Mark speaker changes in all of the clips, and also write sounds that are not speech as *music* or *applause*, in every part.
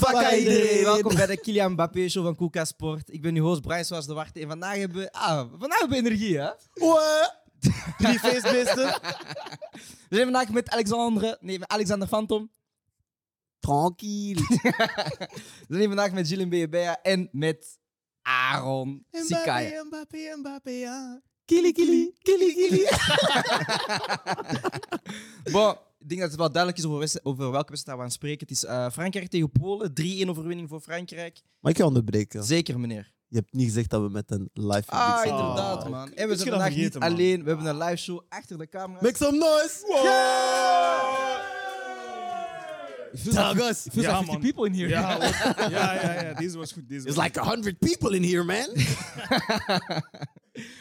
Speaker 1: Wakka iedereen, welkom bij de Kilian Mbappé Show van Kuka Sport. Ik ben uw host Brian Soares de Warte en vandaag hebben we, ah, vandaag hebben we energie hè. *laughs*
Speaker 2: Oeh, Die feestmeester.
Speaker 1: We zijn vandaag met Alexandre, nee met Alexander Phantom.
Speaker 2: *laughs* Tranquil.
Speaker 1: We zijn vandaag met Gilles Mbeya en met Aaron Sikaya.
Speaker 2: Mbappé, Mbappé, Mbappé, ja.
Speaker 1: Kili kili, kili kili.
Speaker 2: *laughs*
Speaker 1: bon, ik denk dat het wel duidelijk is over, wes- over welke wedstrijd we aan het spreken. Het is eh, Frankrijk tegen Polen. 3-1 overwinning voor Frankrijk.
Speaker 2: Mag ik je onderbreken?
Speaker 1: Zeker, meneer.
Speaker 2: Je hebt niet gezegd dat we met een live
Speaker 1: Ah,
Speaker 2: publiek zijn.
Speaker 1: inderdaad,
Speaker 3: Ah,
Speaker 1: man.
Speaker 3: ik-
Speaker 1: En we
Speaker 3: ik
Speaker 1: zijn
Speaker 3: had dat
Speaker 1: vandaag niet
Speaker 3: vergeten, man.
Speaker 1: alleen. We hebben een live show achter de camera.
Speaker 2: Make some noise!
Speaker 1: Feels like-
Speaker 2: Tagos!
Speaker 1: feels
Speaker 3: Ja,
Speaker 1: like 50
Speaker 3: man.
Speaker 1: people in here.
Speaker 3: Ja, wat- ja, ja, ja, deze was goed. Deze was
Speaker 2: It's like 100 people in here,
Speaker 1: *laughs*
Speaker 2: man.
Speaker 1: *laughs*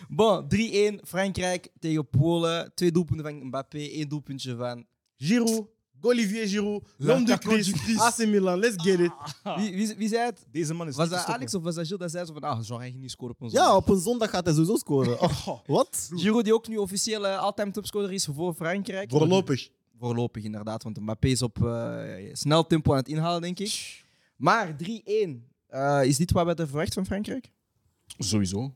Speaker 1: Bon, 3-1 Frankrijk tegen Polen. Twee doelpunten van Mbappé, één doelpuntje van.
Speaker 4: Giroud, Olivier Giroud, l'homme du
Speaker 3: L'attaquant
Speaker 4: Christ,
Speaker 3: du Christ.
Speaker 4: AC Milan, let's get it.
Speaker 1: Wie, wie, wie zei het?
Speaker 3: Deze man is
Speaker 1: Was
Speaker 3: niet
Speaker 1: dat
Speaker 3: te
Speaker 1: Alex of was dat Gilles? Dat zei zo van, ah, zou hij niet scoren op ons?
Speaker 2: Ja, op een zondag gaat hij sowieso scoren. Oh,
Speaker 3: stoppen. Oh,
Speaker 2: wat?
Speaker 1: Giroud, die ook nu officieel eh, all-time topscorer is voor Frankrijk.
Speaker 4: Voorlopig.
Speaker 1: Voorlopig inderdaad, want Mbappé is op eh, snel tempo aan het inhalen, denk ik. Maar 3-1. eh, is dit wat we hadden verwacht van Frankrijk?
Speaker 3: Sowieso.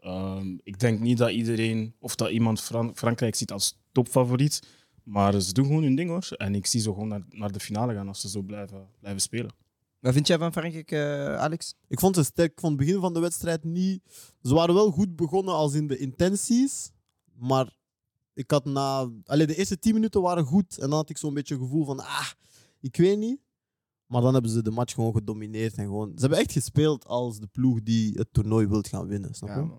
Speaker 3: Ehm, ik denk niet dat iedereen of dat iemand Fran- Frankrijk ziet als topfavoriet. Maar ze doen gewoon hun ding hoor. En ik zie ze gewoon naar, naar de finale gaan als ze zo blijven, blijven spelen.
Speaker 1: Wat vind jij van Frankrijk, eh, Alex?
Speaker 2: Ik vond ze sterk van het begin van de wedstrijd niet. Ze waren wel goed begonnen als in de intenties. Maar ik had na. Allee, de eerste 10 minuten waren goed. En dan had ik zo'n beetje het gevoel van. Ah, ik weet niet. Maar dan hebben ze de match gewoon gedomineerd. En gewoon, ze hebben echt gespeeld als de ploeg die het toernooi wilt gaan winnen. Snap je?
Speaker 1: man.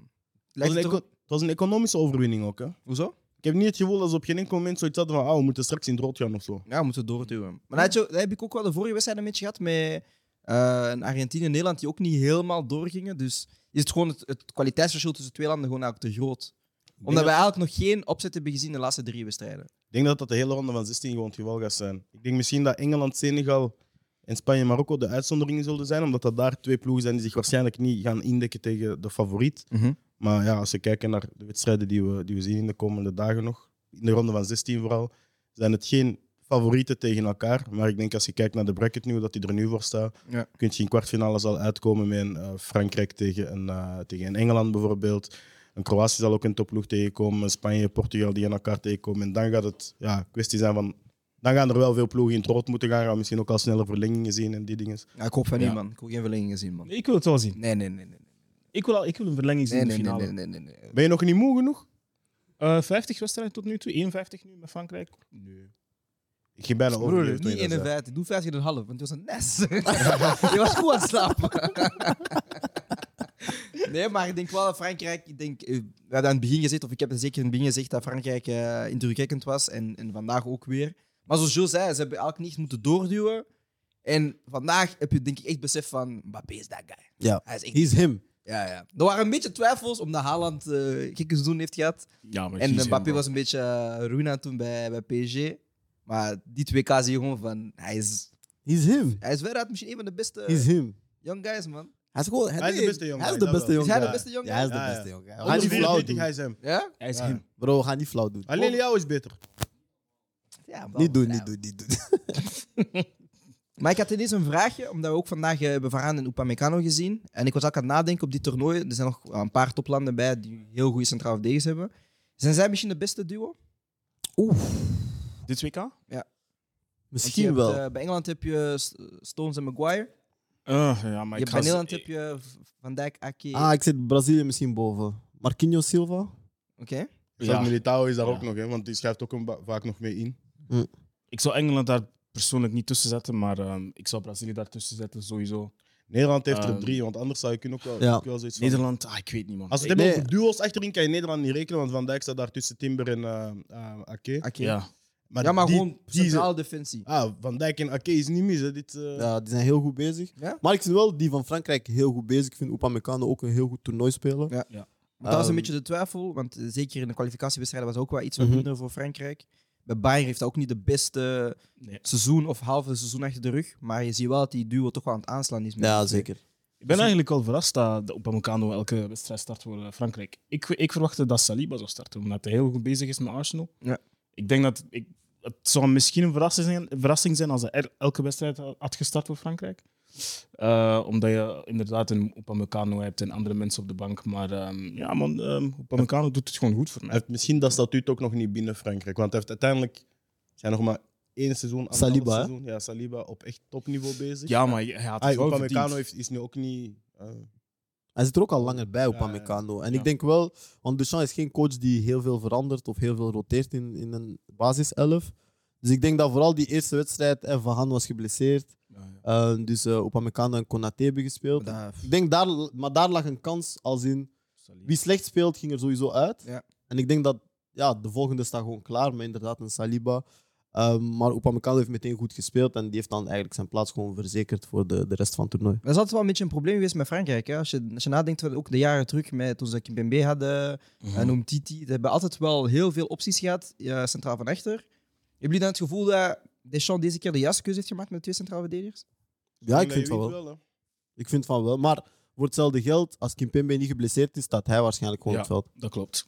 Speaker 4: Het
Speaker 1: Lijkt het
Speaker 4: was, een
Speaker 1: erop-
Speaker 4: eco- het was een economische overwinning ook. Hè.
Speaker 1: Hoezo?
Speaker 4: Ik heb niet het gevoel dat ze op geen enkel moment zoiets hadden van ah, we moeten straks in het rood gaan of zo.
Speaker 1: Ja, we moeten doorduwen. Maar dat, had je- dat heb ik ook wel de vorige wedstrijd een beetje gehad met eh, een Argentinië en Nederland die ook niet helemaal doorgingen. Dus is het gewoon het, het kwaliteitsverschil tussen de twee landen gewoon eigenlijk te groot.
Speaker 4: denk
Speaker 1: Omdat
Speaker 4: dat-
Speaker 1: wij eigenlijk nog geen opzet hebben gezien in de laatste drie wedstrijden.
Speaker 4: Ik denk dat dat de hele ronde van 16 gewoon het geval gaat zijn. Ik denk misschien dat Engeland, Senegal en Spanje en Marokko de uitzonderingen zullen zijn. Omdat dat daar twee ploegen zijn die zich waarschijnlijk niet gaan indekken tegen de favoriet.
Speaker 1: Mhm.
Speaker 4: Maar ja, als we kijken naar de wedstrijden die we, die we zien in de komende dagen nog, in de ronde van 16 vooral, zijn het geen favorieten tegen elkaar. Maar ik denk als je kijkt naar de bracket nu, hoe dat die er nu voor staat,
Speaker 1: Ja.
Speaker 4: kun je in kwartfinales al uitkomen met een, eh, Frankrijk tegen een, eh, tegen een Engeland bijvoorbeeld. Een Kroatië zal ook een topploeg tegenkomen, Spanje, Portugal die aan elkaar tegenkomen. En dan gaat het ja, kwestie zijn van, dan gaan er wel veel ploegen in het rood moeten gaan, gaan we misschien ook al snelle verlengingen zien en die dingen.
Speaker 1: Ja, ik hoop van
Speaker 3: Ja.
Speaker 1: niet, man. Ik wil geen verlenging zien, man.
Speaker 3: Ik wil het wel zien.
Speaker 1: Nee, nee, nee. nee.
Speaker 3: Ik wil, al, ik wil een verlenging zien
Speaker 1: Nee,
Speaker 3: in de
Speaker 1: nee, nee,
Speaker 3: finale.
Speaker 1: nee, nee, nee, nee.
Speaker 4: Ben je nog niet moe genoeg?
Speaker 3: Eh, 50 wedstrijden tot nu toe, 51 nu met Frankrijk. Nee.
Speaker 4: Ik ging bijna over.
Speaker 1: Broer, niet 51. Doe 50 en een half, want het was een nes. *laughs* je was goed aan het slapen. *laughs* nee, maar ik denk wel dat Frankrijk... Ik denk, eh, we hebben aan het begin gezegd, of ik heb zeker in het begin gezegd, dat Frankrijk eh indrukwekkend was. En, en vandaag ook weer. Maar zoals Jules zei, ze hebben eigenlijk niet moeten doorduwen. En vandaag heb je denk ik echt besef van... Mbappé is dat guy.
Speaker 2: Ja.
Speaker 1: Hij is echt...
Speaker 2: He's him.
Speaker 1: Ja, ja. Er waren een beetje twijfels omdat Haaland eh gekke seizoen heeft gehad.
Speaker 3: Ja, maar
Speaker 1: En
Speaker 3: kies
Speaker 1: Mbappé
Speaker 3: hem,
Speaker 1: was een beetje eh, ruïna toen bij, bij PSG. Maar die twee K zie je gewoon van... Hij is,
Speaker 2: He's him.
Speaker 1: hij is veruit misschien een van de beste
Speaker 2: He's him.
Speaker 1: young guys, man.
Speaker 2: Hij is gewoon. Hij,
Speaker 4: Hij is de
Speaker 2: nee,
Speaker 4: beste jongen,
Speaker 2: Hij is
Speaker 4: dat
Speaker 2: de beste
Speaker 4: wel.
Speaker 1: Is
Speaker 2: jongen.
Speaker 1: hij de beste young
Speaker 2: Ja, hij
Speaker 1: guy?
Speaker 2: is de
Speaker 4: Ja, ja.
Speaker 2: beste jongen. We
Speaker 4: Hij
Speaker 2: gaan niet flauw doen.
Speaker 4: Hij is hem.
Speaker 1: Ja?
Speaker 3: Hij is
Speaker 4: Ja.
Speaker 3: hem.
Speaker 2: Bro, we gaan niet flauw doen.
Speaker 4: Alleen jou is beter.
Speaker 1: ja man.
Speaker 2: Niet doen,
Speaker 1: Ja.
Speaker 2: niet doen, niet doen.
Speaker 1: Maar ik had ineens een vraagje, omdat we ook vandaag eh, hebben Varaan en Upamecano gezien. En ik was ook aan het nadenken op dit toernooi. Er zijn nog een paar toplanden bij die heel goede centraal verdedigers hebben. Zijn zij misschien de beste duo?
Speaker 3: Dit WK?
Speaker 1: Want je
Speaker 2: Misschien
Speaker 1: hebt,
Speaker 2: wel.
Speaker 1: eh, bij Engeland heb je S- Stones en Maguire.
Speaker 3: Eh, ja, maar
Speaker 1: Je
Speaker 3: ik
Speaker 1: hebt
Speaker 3: ga
Speaker 1: bij Nederland
Speaker 3: ze-
Speaker 1: heb je V- Van Dijk, Ake.
Speaker 2: Ah, ik zit Brazilië misschien boven. Marquinhos Silva?
Speaker 1: Oké.
Speaker 4: Ja.
Speaker 3: Ja.
Speaker 4: Militao is daar
Speaker 3: Ja.
Speaker 4: ook nog, hè, want die schuift ook een ba- vaak nog mee in.
Speaker 3: Ik zou Engeland daar persoonlijk niet tussen zetten, maar ehm, ik zou Brazilië daar tussen zetten sowieso.
Speaker 4: Nederland heeft er
Speaker 3: Ehm,
Speaker 4: drie, want anders zou je kunnen ook wel,
Speaker 2: Ja.
Speaker 4: ook wel zoiets van-
Speaker 3: Nederland, ah, ik weet niet man.
Speaker 4: Als we
Speaker 3: Ik-
Speaker 4: het hebben
Speaker 2: Nee.
Speaker 4: over duo's achterin, kan je Nederland niet rekenen, want Van Dijk staat daar tussen Timber en eh eh, Ake.
Speaker 1: Ake.
Speaker 3: ja.
Speaker 1: ja, maar
Speaker 4: die-
Speaker 1: gewoon
Speaker 4: die is-
Speaker 1: centraal defensie.
Speaker 4: ah, Van Dijk en Ake is niet mis, hè. Dit, eh,
Speaker 2: Ja, die zijn heel goed bezig.
Speaker 1: Ja?
Speaker 2: Maar ik vind wel die van Frankrijk heel goed bezig. Ik vind Upamecano ook een heel goed toernooi spelen.
Speaker 1: Ja. Maar dat was een
Speaker 2: Ehm,
Speaker 1: beetje de twijfel, want eh, zeker in de kwalificatiewedstrijden was ook wel iets wat
Speaker 2: Mhm.
Speaker 1: minder voor Frankrijk. Bij Bayern heeft hij ook niet de beste
Speaker 3: Nee.
Speaker 1: seizoen of halve seizoen achter de rug, maar je ziet wel dat die duo toch wel aan het aanslaan is. met die
Speaker 2: Ja,
Speaker 1: twee.
Speaker 2: zeker.
Speaker 3: Ik ben eigenlijk al verrast dat de Upamecano elke wedstrijd start voor eh, Frankrijk. Ik, ik verwachtte dat Saliba zou starten, omdat hij heel goed bezig is met Arsenal.
Speaker 1: Ja.
Speaker 3: Ik denk dat ik, het zou misschien een verrassing zijn, verrassing zijn als hij er- elke wedstrijd had gestart voor Frankrijk. Eh, omdat je inderdaad een Upamecano hebt en andere mensen op de bank. Maar ehm, ja, man, ehm Upamecano doet het gewoon goed voor
Speaker 4: Hij
Speaker 3: mij.
Speaker 4: heeft misschien dat statuut ook nog niet binnen Frankrijk. Want hij heeft uiteindelijk zijn nog maar één seizoen, anderhalf
Speaker 2: Saliba, hè?
Speaker 4: seizoen. Ja, Saliba op echt topniveau bezig.
Speaker 3: Ja, maar hij had
Speaker 4: Ah,
Speaker 3: het wel
Speaker 4: Upamecano
Speaker 3: verdiend.
Speaker 4: heeft- is nu ook niet... eh,
Speaker 2: Hij zit er ook al langer bij,
Speaker 4: Ja, ja.
Speaker 2: Upamecano. En
Speaker 3: Ja.
Speaker 2: ik denk wel, want Duchamp is geen coach die heel veel verandert of heel veel roteert in, in een basiself. Dus ik denk dat vooral die eerste wedstrijd, eh, Van Han was geblesseerd.
Speaker 3: Ja, ja.
Speaker 2: Eh, dus eh Upamecano en Konaté hebben gespeeld.
Speaker 1: Dat-
Speaker 2: Ik denk daar, maar daar lag een kans als in
Speaker 3: Saliba.
Speaker 2: wie slecht speelt, ging er sowieso uit.
Speaker 1: Ja.
Speaker 2: En ik denk dat ja, de volgende staat gewoon klaar met inderdaad een Saliba. Ehm maar Upamecano heeft meteen goed gespeeld en die heeft dan eigenlijk zijn plaats gewoon verzekerd voor de, de rest van het toernooi.
Speaker 1: Dat is altijd wel een beetje een probleem geweest met Frankrijk. Hè? Als, je, als je nadenkt, wat ook de jaren terug, met, toen ze Kimpembe hadden
Speaker 3: Mhm.
Speaker 1: en Umtiti, ze hebben altijd wel heel veel opties gehad, eh, centraal van echter. Hebben jullie dan het gevoel dat Deschamps deze keer de juiste keuze heeft gemaakt met twee centrale verdedigers?
Speaker 2: Ja, ik
Speaker 4: dat
Speaker 2: vind
Speaker 4: je
Speaker 2: van
Speaker 4: weet
Speaker 2: wel.
Speaker 4: hè.
Speaker 2: Ik vind van wel. Maar voor hetzelfde geld, als Kimpembe niet geblesseerd is, staat hij waarschijnlijk gewoon
Speaker 3: Ja.
Speaker 2: op het veld.
Speaker 3: Dat klopt.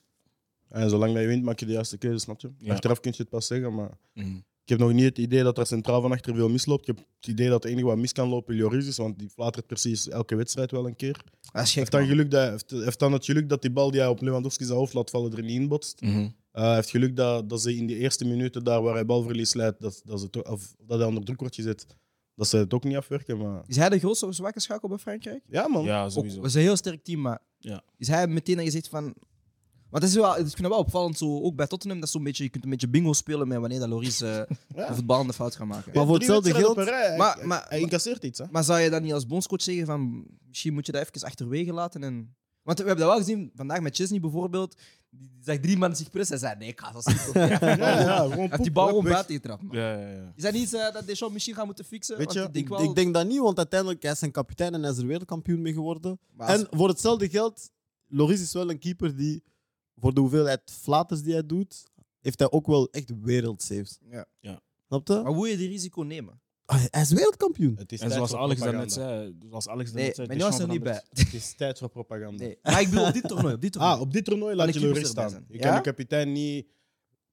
Speaker 4: En zolang dat je wint, maak je de juiste keuze, snap je?
Speaker 3: Ja.
Speaker 4: Achteraf kun je het pas zeggen, maar
Speaker 3: Mhm.
Speaker 4: ik heb nog niet het idee dat er centraal van achter veel misloopt. Ik heb het idee dat het enige wat mis kan lopen Lloris is, want die flatert precies elke wedstrijd wel een keer.
Speaker 1: Dat is
Speaker 4: Heeft
Speaker 1: gek.
Speaker 4: dan,
Speaker 1: man.
Speaker 4: geluk dat, heeft, heeft dan het geluk dat die bal die hij op Lewandowski zijn hoofd laat vallen er niet in botst.
Speaker 3: Mhm.
Speaker 4: Eh, Hij heeft geluk dat, dat ze in die eerste minuten daar waar hij balverlies leidt, dat, dat, ze toch- of dat hij onder druk wordt gezet, dat ze het ook niet afwerken. Maar...
Speaker 1: Is hij de grootste zwakke schakel bij Frankrijk?
Speaker 4: Ja, man.
Speaker 3: Ja,
Speaker 1: Ook-
Speaker 4: Oh,
Speaker 3: sowieso.
Speaker 1: We zijn een heel sterk team, maar
Speaker 3: Ja.
Speaker 1: is hij meteen dat je zegt van... Want dat is wel, ik vind dat wel opvallend, zo, ook bij Tottenham, dat is zo'n beetje, je kunt een beetje bingo spelen met wanneer dat Loris
Speaker 4: *laughs*
Speaker 1: eh
Speaker 4: Ja.
Speaker 1: een voetballende fout gaat maken.
Speaker 2: Maar voor
Speaker 4: Drie
Speaker 2: hetzelfde
Speaker 4: wedstrijden
Speaker 2: geld-
Speaker 4: op een rij, hij-
Speaker 1: Maar-
Speaker 4: hij-
Speaker 1: maar-
Speaker 4: hij incasseert iets, hè?
Speaker 1: Maar zou je dan niet als bondscoach zeggen van misschien moet je dat even achterwege laten? En... Want we hebben dat wel gezien vandaag met Chesney bijvoorbeeld. Die zag drie mannen zich pressen en zei: Nee, ik ga dat niet
Speaker 4: *laughs*
Speaker 1: doen." Hij
Speaker 4: Ja, ja, gewoon
Speaker 1: heeft die
Speaker 4: poep,
Speaker 1: bal
Speaker 4: hup,
Speaker 1: gewoon
Speaker 4: weg.
Speaker 1: buiten getrapt. man.
Speaker 3: Ja, ja, ja.
Speaker 1: Is dat niet eh, dat Deschamps misschien gaat moeten fixen?
Speaker 4: Weet
Speaker 1: Want
Speaker 4: je,
Speaker 1: ik denk
Speaker 2: Ik,
Speaker 1: wel.
Speaker 2: ik denk dat niet, want uiteindelijk hij is zijn kapitein en hij is er wereldkampioen mee geworden.
Speaker 1: Maar als-
Speaker 2: En voor hetzelfde geld, Loris is wel een keeper die, voor de hoeveelheid flaters die hij doet, heeft hij ook wel echt wereldsaves.
Speaker 1: Ja.
Speaker 3: Ja.
Speaker 2: Snap je?
Speaker 1: Maar hoe je die risico nemen?
Speaker 2: Ah, Hij is wereldkampioen.
Speaker 4: Het is
Speaker 3: En
Speaker 4: tijd
Speaker 3: zoals
Speaker 4: voor
Speaker 3: Alex daarnet
Speaker 4: propaganda.
Speaker 3: zei, zoals Alex
Speaker 1: Nee,
Speaker 3: daarnet zei,
Speaker 1: mijn jongens is er niet bij.
Speaker 3: verandert.
Speaker 4: Het is tijd voor propaganda.
Speaker 1: Nee. Maar ik bedoel, op dit toernooi. Op dit toernooi.
Speaker 4: Ah, op dit toernooi
Speaker 1: de
Speaker 4: laat je
Speaker 1: keepers
Speaker 4: Lloris
Speaker 1: erbij
Speaker 4: staan.
Speaker 1: zijn.
Speaker 4: Je
Speaker 1: Ja?
Speaker 4: kan de kapitein niet...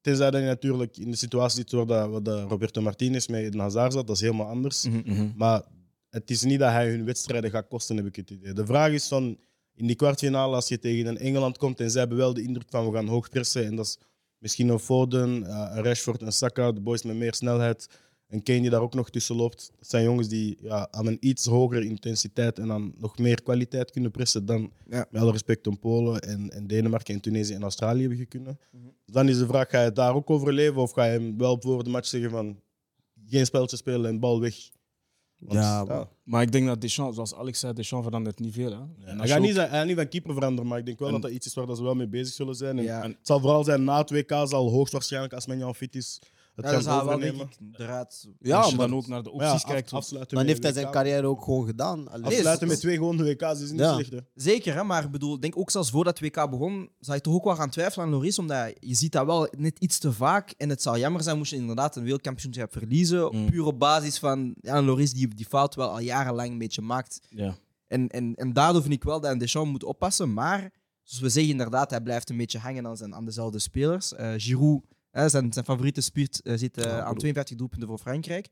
Speaker 4: Tenzij dat je natuurlijk in de situatie zit waar, dat, waar dat Roberto Martinez met Eden Hazard zat. Dat is helemaal anders.
Speaker 1: Mm.
Speaker 3: Mhm, mhm.
Speaker 4: Maar het is niet dat hij hun wedstrijden gaat kosten, heb ik het idee. De vraag is van, in die kwartfinale, als je tegen een Engeland komt en zij hebben wel de indruk van we gaan hoog pressen. En dat is misschien een Foden, eh, een Rashford, een Saka, de boys met meer snelheid. Een Kane die daar ook nog tussen loopt. Dat zijn jongens die ja, aan een iets hogere intensiteit en aan nog meer kwaliteit kunnen pressen dan,
Speaker 1: Ja.
Speaker 4: met alle respect, om Polen en, en Denemarken en Tunesië en Australië hebben gekunnen. Dus dan is de vraag, ga je het daar ook overleven of ga je hem wel voor de match zeggen van geen speltje spelen en bal weg? Want,
Speaker 2: Ja, man.
Speaker 3: Maar ik denk dat Deschamps, zoals Alex zei, Deschamps verandert niet veel. Hè? En
Speaker 4: Hij
Speaker 3: als
Speaker 4: gaat,
Speaker 3: je
Speaker 4: niet,
Speaker 3: ook-
Speaker 4: zijn- hij gaat niet van keeper veranderen, maar ik denk wel
Speaker 3: En-
Speaker 4: dat dat iets is waar dat ze wel mee bezig zullen zijn. En
Speaker 1: Ja.
Speaker 4: Het zal vooral zijn na het WK, zal hoogstwaarschijnlijk als Menjan fit is, het
Speaker 1: Ja, dat
Speaker 4: gaan
Speaker 1: zou wel, denk
Speaker 4: overnemen.
Speaker 1: ik, de raad.
Speaker 3: als
Speaker 2: Ja,
Speaker 3: je
Speaker 2: maar
Speaker 3: dan ook naar de
Speaker 4: Maar ja,
Speaker 3: opties
Speaker 4: af-
Speaker 3: kijkt.
Speaker 4: afsluiten
Speaker 2: dan
Speaker 4: met
Speaker 2: heeft hij zijn
Speaker 4: WK.
Speaker 2: carrière ook gewoon gedaan. Allee,
Speaker 4: Afsluiten
Speaker 1: Nee,
Speaker 4: met twee gewone WK's is niet
Speaker 2: Ja.
Speaker 4: slecht. Hè.
Speaker 1: Zeker, hè? maar ik bedoel, ik denk ook zelfs voordat het WK begon, zou je toch ook wel gaan twijfelen aan Loris, omdat je ziet dat wel net iets te vaak. En het zou jammer zijn moest je inderdaad een wereldkampioenschap verliezen,
Speaker 3: Mm.
Speaker 1: puur op basis van ja, een Loris die die fout wel al jarenlang een beetje maakt.
Speaker 3: ja.
Speaker 1: En, en, en daardoor vind ik wel dat Deschamps moet oppassen, maar zoals we zeggen inderdaad, hij blijft een beetje hangen aan, zijn, aan dezelfde spelers. Eh, Giroud, hè, zijn, zijn favoriete spuurt, eh, zit eh,
Speaker 2: Ja,
Speaker 1: aan
Speaker 2: bedoel-
Speaker 1: 52 doelpunten voor Frankrijk.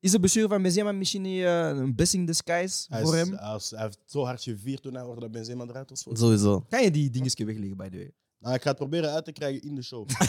Speaker 1: Is de blessure van Benzema misschien niet, eh, een blessing in disguise
Speaker 4: Hij, is-
Speaker 1: voor hem?
Speaker 4: hij is- hij heeft zo hard gevierd toen hij hoorde dat Benzema eruit was.
Speaker 2: Sowieso.
Speaker 1: Kan je die dingetjes wegleggen, by the way?
Speaker 4: Nou, ik ga het proberen uit te krijgen in de *laughs* show.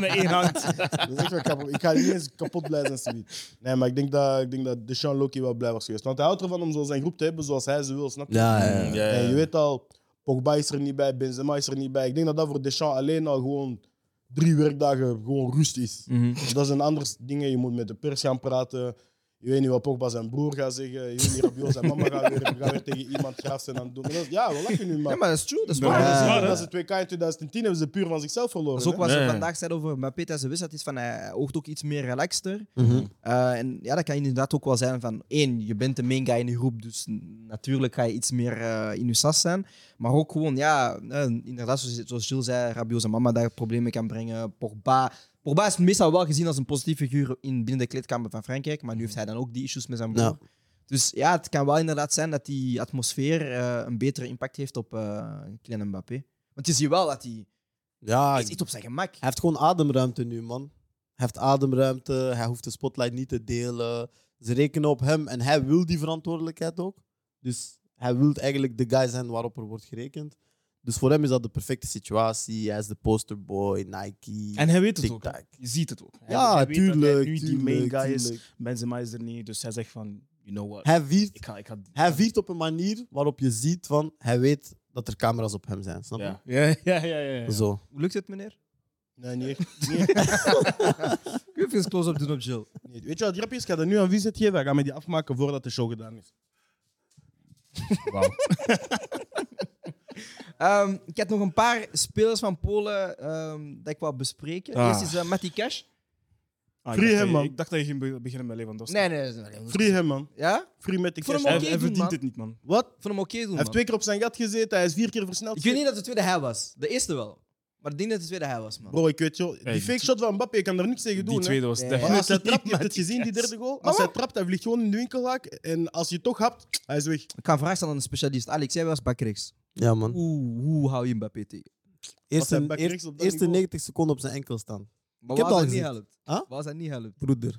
Speaker 3: Met één *laughs* hand.
Speaker 4: Dat is echt wel kapot. Ik ga niet eens kapot blij zijn, Stevie. Nee, maar ik denk dat, ik denk dat Deschamps Loki wel blij was geweest. Want hij houdt ervan om zo zijn groep te hebben zoals hij ze wil, snap je?
Speaker 2: Ja, ja, ja.
Speaker 3: Hmm,
Speaker 1: Eh,
Speaker 3: Ja,
Speaker 4: En
Speaker 3: ja.
Speaker 4: je weet al, Pogba is er niet bij, Benzema is er niet bij. Ik denk dat dat voor Deschamps alleen al gewoon drie werkdagen gewoon rust is.
Speaker 1: Mhm.
Speaker 4: Dat zijn andere dingen. Je moet met de pers gaan praten. Je weet niet wat Pogba zijn broer gaat zeggen. Je weet niet, Rabiot zijn mama gaat weer, gaat weer tegen iemand graaf zijn aan het doen. Maar dat is- ja, we lachen nu,
Speaker 1: Ja,
Speaker 4: maar...
Speaker 1: maar dat is true, dat is
Speaker 3: Ja.
Speaker 1: waar.
Speaker 4: dat
Speaker 2: Ja.
Speaker 4: is waar, dat is het WK in 2010 hebben ze puur van zichzelf verloren.
Speaker 1: Dat is ook
Speaker 4: hè?
Speaker 1: wat ze
Speaker 3: Nee.
Speaker 1: vandaag zeiden over Mbappé tijdens de wedstrijd, is van hij oogt ook iets meer relaxter.
Speaker 2: Mhm.
Speaker 1: Eh, en ja, dat kan inderdaad ook wel zijn van één, je bent de main guy in de groep, dus n- natuurlijk ga je iets meer eh, in je sas zijn. Maar ook gewoon, ja, eh, inderdaad, zoals, zoals Jules zei, Rabiot zijn mama daar problemen kan brengen. Pogba. Pogba is meestal wel gezien als een positief figuur in, binnen de kleedkamer van Frankrijk, maar nu heeft hij dan ook die issues met zijn broer.
Speaker 2: Ja.
Speaker 1: Dus ja, het kan wel inderdaad zijn dat die atmosfeer eh, een betere impact heeft op eh Kylian Mbappé. Want je ziet wel dat hij
Speaker 2: Ja,
Speaker 1: hij
Speaker 2: ik-
Speaker 1: is iets op zijn gemak.
Speaker 2: Hij heeft gewoon ademruimte nu, man. Hij heeft ademruimte, hij hoeft de spotlight niet te delen. Ze rekenen op hem en hij wil die verantwoordelijkheid ook. Dus hij wil eigenlijk de guy zijn waarop er wordt gerekend. Dus voor hem is dat de perfecte situatie. Hij is de posterboy, Nike.
Speaker 3: En hij weet het ook.
Speaker 2: TikTok.
Speaker 3: Je ziet het ook. Hij-
Speaker 2: Ja,
Speaker 3: hij weet dat hij
Speaker 2: tuurlijk.
Speaker 3: nu die
Speaker 2: tuurlijk,
Speaker 3: main guy is.
Speaker 2: tuurlijk.
Speaker 3: Benzema is er niet, dus hij zegt van, you know what,
Speaker 2: Hij viert,
Speaker 3: ik ga... Ik ga
Speaker 2: hij viert op een manier waarop je ziet van hij weet dat er camera's op hem zijn. Snap je?
Speaker 3: ja. Ja, ja, ja, ja, ja.
Speaker 2: Zo.
Speaker 1: Hoe lukt het, meneer?
Speaker 4: Nee, niet
Speaker 1: *laughs*
Speaker 4: echt. Niet echt.
Speaker 1: Kun je even een close-up doen op Jill?
Speaker 4: Niet. Weet je wat grapjes? Ik ga dat nu aan Vincent geven. Hij gaat me die afmaken voordat de show gedaan is.
Speaker 3: Ah,
Speaker 1: Ehm, ik heb nog een paar spelers van Polen ehm, dat ik wil bespreken.
Speaker 3: Ah.
Speaker 1: Eerst is eh, Matty Cash.
Speaker 3: Ah, ik
Speaker 4: Free
Speaker 3: dacht
Speaker 4: hem,
Speaker 3: dat je-
Speaker 4: man.
Speaker 3: Ik dacht dat je ging be- beginnen met Lewandowski.
Speaker 1: Nee, nee, nee. nee.
Speaker 4: Free hem, man.
Speaker 1: Ja?
Speaker 4: Free met de
Speaker 1: Voor
Speaker 4: cash.
Speaker 1: hem
Speaker 3: Hij,
Speaker 1: ook
Speaker 4: Hij-
Speaker 1: Oké
Speaker 3: hij
Speaker 1: doen,
Speaker 3: verdient
Speaker 1: man.
Speaker 3: het niet, man.
Speaker 4: Wat?
Speaker 1: Ik vond hem oké doen,
Speaker 4: Hij heeft
Speaker 1: man.
Speaker 4: twee keer op zijn gat gezeten. Hij is vier keer versneld.
Speaker 1: Ik weet niet dat de tweede hij was. De eerste wel. Maar ik denk dat de tweede hij was, man.
Speaker 4: Bro, ik weet joh.
Speaker 3: die
Speaker 4: Die fake shot van Mbappé, ik kan er niks tegen
Speaker 3: Die
Speaker 4: doen. hè.
Speaker 3: tweede was
Speaker 1: Nee.
Speaker 4: Maar als hij
Speaker 3: deftig.
Speaker 4: trapt, je hebt het gezien, die derde goal. Als hij trapt, hij vliegt gewoon in de winkelhaak. En als je toch hapt, hij is weg.
Speaker 1: Ik ga een vraag stellen aan een specialist. Alex, jij was backrechts.
Speaker 2: Ja, man.
Speaker 1: Hoe, hoe hou je Mbappé tegen?
Speaker 2: Eerst
Speaker 4: hij
Speaker 2: een-
Speaker 4: back
Speaker 2: eerst-
Speaker 4: rechts op dat
Speaker 2: eerste
Speaker 4: niveau?
Speaker 2: 90 seconden op zijn enkel staan.
Speaker 1: Maar
Speaker 2: Ik heb
Speaker 1: waar
Speaker 2: het al
Speaker 1: als hij niet
Speaker 2: gezien.
Speaker 1: helpt?
Speaker 2: Huh?
Speaker 1: Waar als hij niet helpt?
Speaker 2: Broeder.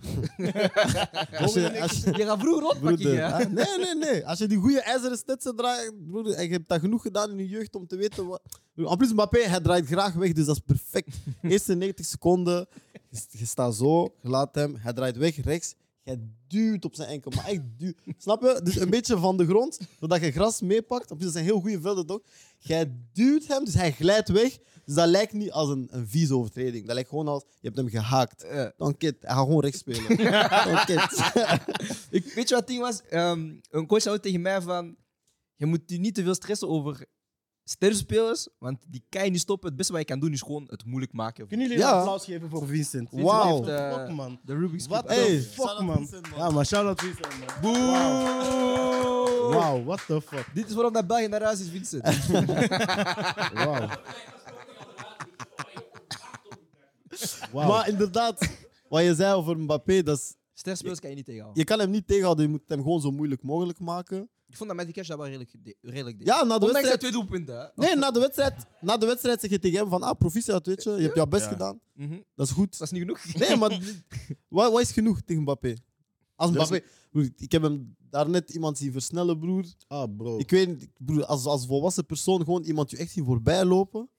Speaker 2: als je, als je,
Speaker 1: Je gaat vroeger rondpakken,
Speaker 2: broeder.
Speaker 1: ja.
Speaker 2: hè? Nee, nee, nee. Als je die goede ijzeren stetsen draait, broeder, en je hebt dat genoeg gedaan in je jeugd om te weten wat... En plus Mbappé, hij draait graag weg, dus dat is perfect. Eerste 90 seconden, je, je staat zo, je laat hem, hij draait weg rechts. Jij duwt op zijn enkel, maar echt duwt. Snap je? Dus een beetje van de grond, zodat je gras meepakt. En plus, Dat zijn heel goede velden, toch? Jij duwt hem, dus hij glijdt weg. Dus dat lijkt niet als een, een vieze overtreding. Dat lijkt gewoon als, je hebt hem gehaakt.
Speaker 1: Eh,
Speaker 2: Dan kid, hij gaat gewoon rechts spelen. Dan kid.
Speaker 1: ik, weet je wat het ding was? Ehm, een coach zei ooit tegen mij van... Je moet je niet te veel stressen over sterrenspelers, want die kan je niet stoppen. Het beste wat je kan doen is gewoon het moeilijk maken.
Speaker 4: Kunnen jullie
Speaker 2: Ja.
Speaker 4: een applaus geven voor Vincent? Vincent
Speaker 2: Wauw.
Speaker 4: heeft
Speaker 1: Eh,
Speaker 4: een Fuck, man.
Speaker 1: De Rubik's
Speaker 4: What
Speaker 1: Cube.
Speaker 2: Hey.
Speaker 4: the fuck, man. Ja, maar shout-out Vincent, man.
Speaker 1: Boe!
Speaker 4: Wauw, what the fuck.
Speaker 1: Dit is waarom dat België naar huis is, *laughs* Vincent.
Speaker 4: Wauw. Wauw.
Speaker 2: Maar inderdaad, wat je zei over Mbappé, dat is,
Speaker 1: Sterrenspelers kan je niet tegenhouden.
Speaker 2: je kan hem niet tegenhouden. Je moet hem gewoon zo moeilijk mogelijk maken.
Speaker 1: Ik vond dat met die cash dat wel redelijk, de- redelijk deed.
Speaker 2: Ja, na de
Speaker 1: Ondanks de
Speaker 2: wedstrijd...
Speaker 1: twee doelpunten. hè.
Speaker 2: Nee, na de wedstrijd, na de wedstrijd zeg je tegen hem van, ah, proficiat, weet je. Je hebt jouw best
Speaker 3: Ja.
Speaker 2: gedaan.
Speaker 1: Mhm.
Speaker 2: Dat is goed.
Speaker 1: Dat is niet genoeg.
Speaker 2: Nee, maar wat, wat is genoeg tegen Mbappé? Als
Speaker 4: Er is-
Speaker 2: Mbappé... Broer, Ik heb hem daarnet iemand zien versnellen, broer.
Speaker 4: Ah, bro.
Speaker 2: Ik weet niet, broer, als, als volwassen persoon gewoon iemand je echt zien voorbij lopen.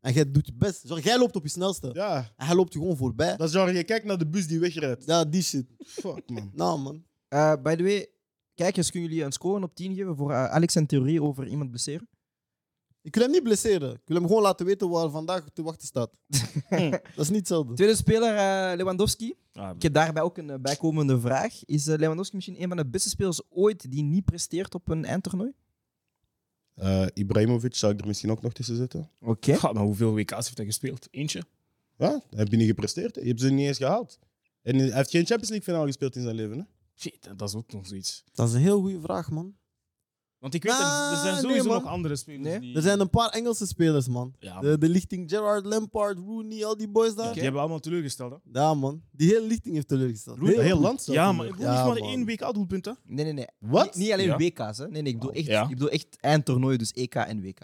Speaker 2: En jij doet je best. Zo, Jij loopt op je snelste.
Speaker 4: Ja,
Speaker 2: En hij loopt je gewoon voorbij.
Speaker 4: dat is genre, je kijkt naar de bus die wegrijdt.
Speaker 2: Ja, die shit.
Speaker 4: Fuck, man.
Speaker 2: Nou, man.
Speaker 1: Eh, by the way, kijkers, kunnen jullie een score op 10 geven voor eh, Alex en theorie over iemand blesseren?
Speaker 2: Ik wil hem niet blesseren. Ik wil hem gewoon laten weten waar vandaag te wachten staat.
Speaker 3: *laughs*
Speaker 2: *laughs* dat is niet hetzelfde.
Speaker 1: Tweede speler, eh, Lewandowski.
Speaker 3: Ah,
Speaker 1: Ik heb daarbij ook een eh, bijkomende vraag. Is eh, Lewandowski misschien een van de beste spelers ooit die niet presteert op een eindtoernooi?
Speaker 4: Eh, Ibrahimovic zou ik er misschien ook nog tussen zetten.
Speaker 1: Oké.
Speaker 3: God, maar hoeveel WK's heeft hij gespeeld? Eentje?
Speaker 4: Ja, heb je niet gepresteerd. hè. Je hebt ze niet eens gehaald. En hij heeft geen Champions League finale gespeeld in zijn leven. Hè?
Speaker 3: Shit, dat is ook nog zoiets.
Speaker 2: Dat is een heel goede vraag, man.
Speaker 3: Want ik weet, er, er zijn
Speaker 2: Ah,
Speaker 3: sowieso
Speaker 2: nee, man.
Speaker 3: nog andere spelers
Speaker 1: Nee?
Speaker 3: die...
Speaker 2: Er zijn een paar Engelse spelers, man.
Speaker 3: Ja, man.
Speaker 2: De, de lichting Gerard, Lampard, Rooney, al die boys daar.
Speaker 3: Die hebben allemaal teleurgesteld, hè?
Speaker 2: Ja, man. Die hele lichting heeft teleurgesteld.
Speaker 4: Heel, heel land. zelf.
Speaker 3: Ja, maar ik bedoel
Speaker 2: Ja,
Speaker 3: niet maar
Speaker 2: man.
Speaker 3: één WK-doelpunt, hè?
Speaker 1: Nee, nee, nee.
Speaker 4: Wat?
Speaker 1: Niet, niet alleen
Speaker 3: Ja. Oh,
Speaker 1: WK's. Hè. Nee, nee, ik bedoel echt,
Speaker 3: Ja.
Speaker 1: ik bedoel echt eindtoernooi, dus EK en WK.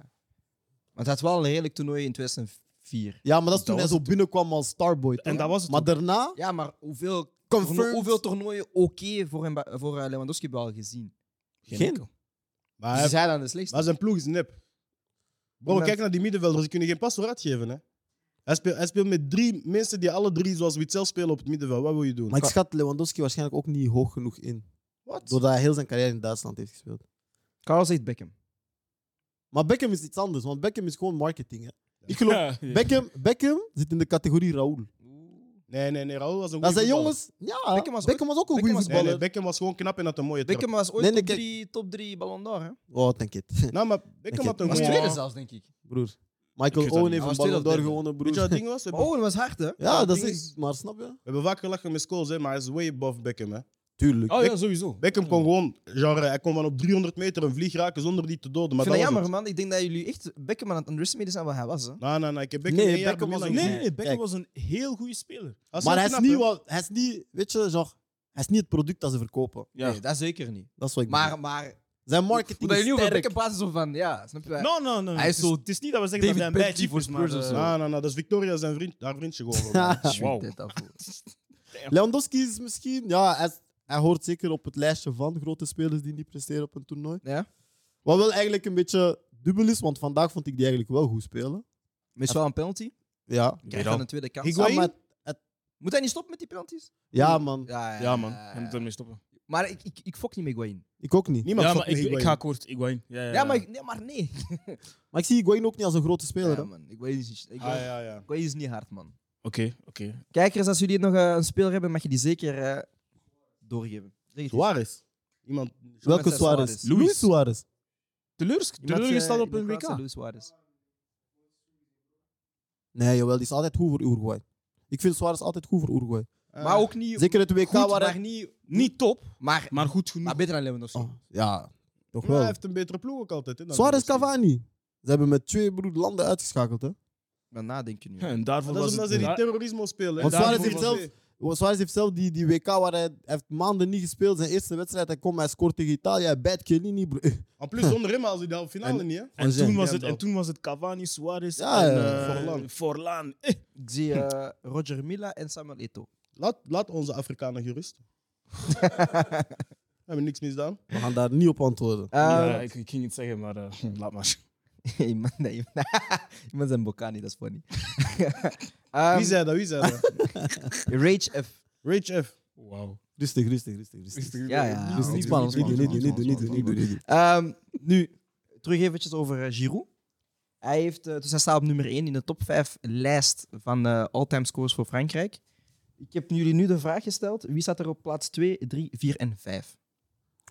Speaker 1: Want het had wel een redelijk toernooi in 2004.
Speaker 2: Ja, maar dat is toen
Speaker 3: Dat
Speaker 2: hij
Speaker 3: was
Speaker 2: zo binnenkwam als Starboy. toch?
Speaker 3: En dat was het
Speaker 2: maar
Speaker 3: ook.
Speaker 2: daarna,
Speaker 1: Ja, maar hoeveel,
Speaker 2: Confirmed.
Speaker 1: hoeveel toernooien oké voor, hem- voor eh, Lewandowski hebben we al gezien?
Speaker 2: Geen.
Speaker 3: enkel.
Speaker 4: Maar,
Speaker 1: Dus
Speaker 4: Ah, hij-
Speaker 1: is hij dan de slechtste?
Speaker 4: maar zijn ploeg is nep. Bro,
Speaker 1: Moment.
Speaker 4: kijk naar die middenvelders. Die kunnen geen pas vooruit geven. Hè? Hij, speelt, hij speelt met drie mensen die alle drie zoals Witzel spelen op het middenveld. Wat wil je doen?
Speaker 2: maar ik schat Lewandowski waarschijnlijk ook niet hoog genoeg in.
Speaker 4: Wat?
Speaker 2: Doordat hij heel zijn carrière in Duitsland heeft gespeeld.
Speaker 1: Carl zegt Beckham.
Speaker 2: Maar Beckham is iets anders, want Beckham is gewoon marketing. Hè. Ik geloof,
Speaker 3: Ja, ja.
Speaker 2: Beckham, Beckham zit in de categorie Raoul.
Speaker 4: Nee, nee, nee. Raul was een
Speaker 2: Dat
Speaker 4: goeie
Speaker 2: zijn
Speaker 4: voetballer.
Speaker 2: jongens. Ja, Beckham
Speaker 1: Beckham
Speaker 2: was,
Speaker 1: was
Speaker 2: ook een goede
Speaker 1: Beckham was-
Speaker 4: Nee, nee,
Speaker 2: voetballer.
Speaker 4: Beckham was gewoon knap en had een mooie trap.
Speaker 1: Beckham was ooit
Speaker 2: Nee, nee,
Speaker 1: top,
Speaker 2: kijk.
Speaker 1: drie, top drie Ballon d'Or, hè?
Speaker 2: Oh, denk *laughs* het,
Speaker 4: Nou, maar Beckham had een
Speaker 1: Was
Speaker 2: Maar
Speaker 4: goeie...
Speaker 1: tweede
Speaker 4: Weet
Speaker 1: zelfs, denk ik.
Speaker 2: broer.
Speaker 3: Ik
Speaker 2: Michael
Speaker 3: weet dat
Speaker 2: Owen
Speaker 3: niet.
Speaker 2: heeft
Speaker 1: Hij
Speaker 2: een
Speaker 1: was tweede
Speaker 2: Ballon
Speaker 1: of
Speaker 2: d'or
Speaker 1: derde.
Speaker 2: gewonnen,
Speaker 4: je wat het
Speaker 2: broer.
Speaker 4: ding was? We hebben,
Speaker 1: Oh, dat was hard, hè?
Speaker 2: Ja, dat
Speaker 4: ding
Speaker 2: is... Maar snap je?
Speaker 4: we hebben vaak gelachen met Scholes, hè, maar hij is way above Beckham. Hè.
Speaker 2: Tuurlijk.
Speaker 3: Oh ja, sowieso.
Speaker 4: Beckham kon gewoon... Genre, hij kon van op 300 meter een vlieg raken zonder die te doden.
Speaker 1: Ik
Speaker 4: Maar
Speaker 1: vind
Speaker 4: dat
Speaker 1: dat jammer,
Speaker 4: was het.
Speaker 1: man. Ik denk dat jullie echt Beckham aan het underestimaten zijn wat hij was, hè?
Speaker 4: Nee, nee, nee. nou, Ik heb Beckham
Speaker 2: Nee,
Speaker 4: één jaar
Speaker 2: Beckham was
Speaker 4: bij
Speaker 2: een-
Speaker 4: Milan
Speaker 3: Nee,
Speaker 4: gezien.
Speaker 3: nee, Beckham
Speaker 2: Kijk.
Speaker 3: was een heel goede speler.
Speaker 4: Als
Speaker 2: Maar hij is,
Speaker 4: knap,
Speaker 2: niet
Speaker 4: hè.
Speaker 2: wat, hij is niet... Weet je, genre, hij is niet het product dat ze verkopen.
Speaker 3: Ja.
Speaker 1: Nee, dat zeker niet.
Speaker 2: Dat is wat ik bedoel.
Speaker 1: Maar, maar...
Speaker 2: Zijn
Speaker 1: Hoe
Speaker 2: marketing
Speaker 1: dat
Speaker 2: is
Speaker 1: jullie over
Speaker 2: sterk. *laughs*
Speaker 1: Beckham praten, zo van... Ja, snap je?
Speaker 3: No, no, no.
Speaker 1: Hij is
Speaker 3: het, is,
Speaker 1: zo
Speaker 3: het is niet dat we zeggen dat hij
Speaker 1: David
Speaker 3: een bad
Speaker 1: Beckham
Speaker 3: type is,
Speaker 1: voor
Speaker 3: maar...
Speaker 1: Spurs of
Speaker 3: eh,
Speaker 1: zo.
Speaker 4: Nee, nee, nee. Nou, Dat is Victoria zijn
Speaker 2: *laughs*
Speaker 4: vriend, haar vriendje gewoon. man.
Speaker 1: Shoot
Speaker 3: Wow.
Speaker 1: that af.
Speaker 2: Lewandowski is misschien... Ja, hij is, Hij hoort zeker op het lijstje van grote spelers die niet presteren op een toernooi.
Speaker 1: Ja?
Speaker 2: Wat wel eigenlijk een beetje dubbel is, want vandaag vond ik die eigenlijk wel goed spelen.
Speaker 1: Met wel een penalty.
Speaker 2: Ja.
Speaker 1: Krijgt
Speaker 3: al.
Speaker 1: dan een tweede kans. Ah,
Speaker 2: Ja, maar-
Speaker 1: Moet hij niet stoppen met die penalties?
Speaker 2: ja, man.
Speaker 3: Ja, man. Je moet ermee stoppen.
Speaker 1: Maar ik, ik, ik fok niet met Guain.
Speaker 2: Ik ook niet.
Speaker 4: Niemand
Speaker 3: ja,
Speaker 4: valt
Speaker 3: maar ik,
Speaker 4: mee,
Speaker 3: ik
Speaker 4: Higuaín.
Speaker 3: ga kort. Iguain. Ja, ja,
Speaker 1: Ja,
Speaker 3: ja.
Speaker 1: maar, ik- nee, maar nee.
Speaker 2: Maar ik zie Higuain ook niet als een grote speler.
Speaker 1: Ja,
Speaker 2: hè.
Speaker 1: man. Higuaín is, niet- Higuaín-
Speaker 4: Ah, ja, ja.
Speaker 1: Higuaín is niet hard, man.
Speaker 3: Oké, oké.
Speaker 1: Kijkers, als jullie nog eh, een speler hebben, mag je die zeker eh, doorgeven. Zeg het eens.
Speaker 4: Suarez. Iemand...
Speaker 2: Welke
Speaker 1: Met zijn
Speaker 2: Suarez?
Speaker 1: Suarez.
Speaker 2: Luis.
Speaker 3: Luis.
Speaker 2: Suarez.
Speaker 3: Teleurs,
Speaker 1: Iemand,
Speaker 3: teleurgesteld
Speaker 1: eh,
Speaker 3: op een
Speaker 1: Nicolas en
Speaker 3: WK.
Speaker 1: Luis Suarez.
Speaker 2: Nee, jawel, die is altijd goed voor Uruguay. Ik vind Suarez altijd goed voor Uruguay.
Speaker 4: Eh,
Speaker 1: maar ook niet...
Speaker 2: Zeker het WK
Speaker 1: goed,
Speaker 2: waar
Speaker 1: maar
Speaker 2: hij...
Speaker 1: niet...
Speaker 3: Niet top,
Speaker 1: Maar,
Speaker 3: maar goed genoeg.
Speaker 1: maar beter dan Lewandowski.
Speaker 2: Oh, ja, Nou, toch
Speaker 4: Maar hij
Speaker 2: wel.
Speaker 4: heeft een betere ploeg ook altijd. Hè, dan
Speaker 2: Suarez
Speaker 4: Messi.
Speaker 2: Cavani. Ze hebben met twee broed landen uitgeschakeld. Hè.
Speaker 1: Maar nadenken nu.
Speaker 3: Ja, en daarvoor
Speaker 4: Maar Dat is
Speaker 3: was
Speaker 4: omdat ze
Speaker 3: het...
Speaker 4: die
Speaker 3: Ja,
Speaker 4: terrorisme spelen.
Speaker 2: Want
Speaker 4: hè.
Speaker 2: Suarez
Speaker 4: Daarvoor
Speaker 2: heeft zelf,
Speaker 4: was-
Speaker 2: Suarez heeft zelf die, die WK waar hij, hij heeft maanden niet gespeeld. Zijn eerste wedstrijd, hij komt, hij scoort tegen Italië. Hij bijt Chiellini. bro. Eh,
Speaker 4: En plus zonder hem als hij de halve finale niet. Hè.
Speaker 3: En
Speaker 2: zijn.
Speaker 3: toen, was het,
Speaker 4: Ja,
Speaker 3: en toen was het Cavani, Suarez
Speaker 2: Ja,
Speaker 3: en
Speaker 2: ja,
Speaker 3: eh,
Speaker 4: Forlan.
Speaker 3: Forlan. Eh,
Speaker 1: Ik zie eh, Roger Milla en Samuel Eto'o.
Speaker 4: Laat, laat onze Afrikanen gerust. We *laughs* hebben niks misdaan.
Speaker 2: We gaan daar niet op antwoorden.
Speaker 1: Eh,
Speaker 3: ja, ik, ik ging het zeggen, maar eh, laat
Speaker 1: *laughs*
Speaker 3: maar.
Speaker 1: iemand, nee, iemand, *laughs* iemand zijn Bocani, dat is funny. Ehm,
Speaker 4: Wie zei dat? Wie zei dat?
Speaker 1: Rage F.
Speaker 4: Rage F.
Speaker 3: Wauw.
Speaker 2: Rustig, rustig, rustig. rustig.
Speaker 1: Ja, ja.
Speaker 2: Dus niet spannend, niet doen, niet doen, niet doen, niet doen, niet doen, niet doen.
Speaker 1: *laughs* Ehm, nu, terug eventjes over eh, Giroud. Hij, heeft, eh, dus hij staat op nummer 1 in de top 5 lijst van eh all-time scores voor Frankrijk. Ik heb jullie nu de vraag gesteld. Wie staat er op plaats 2, 3, 4 en 5?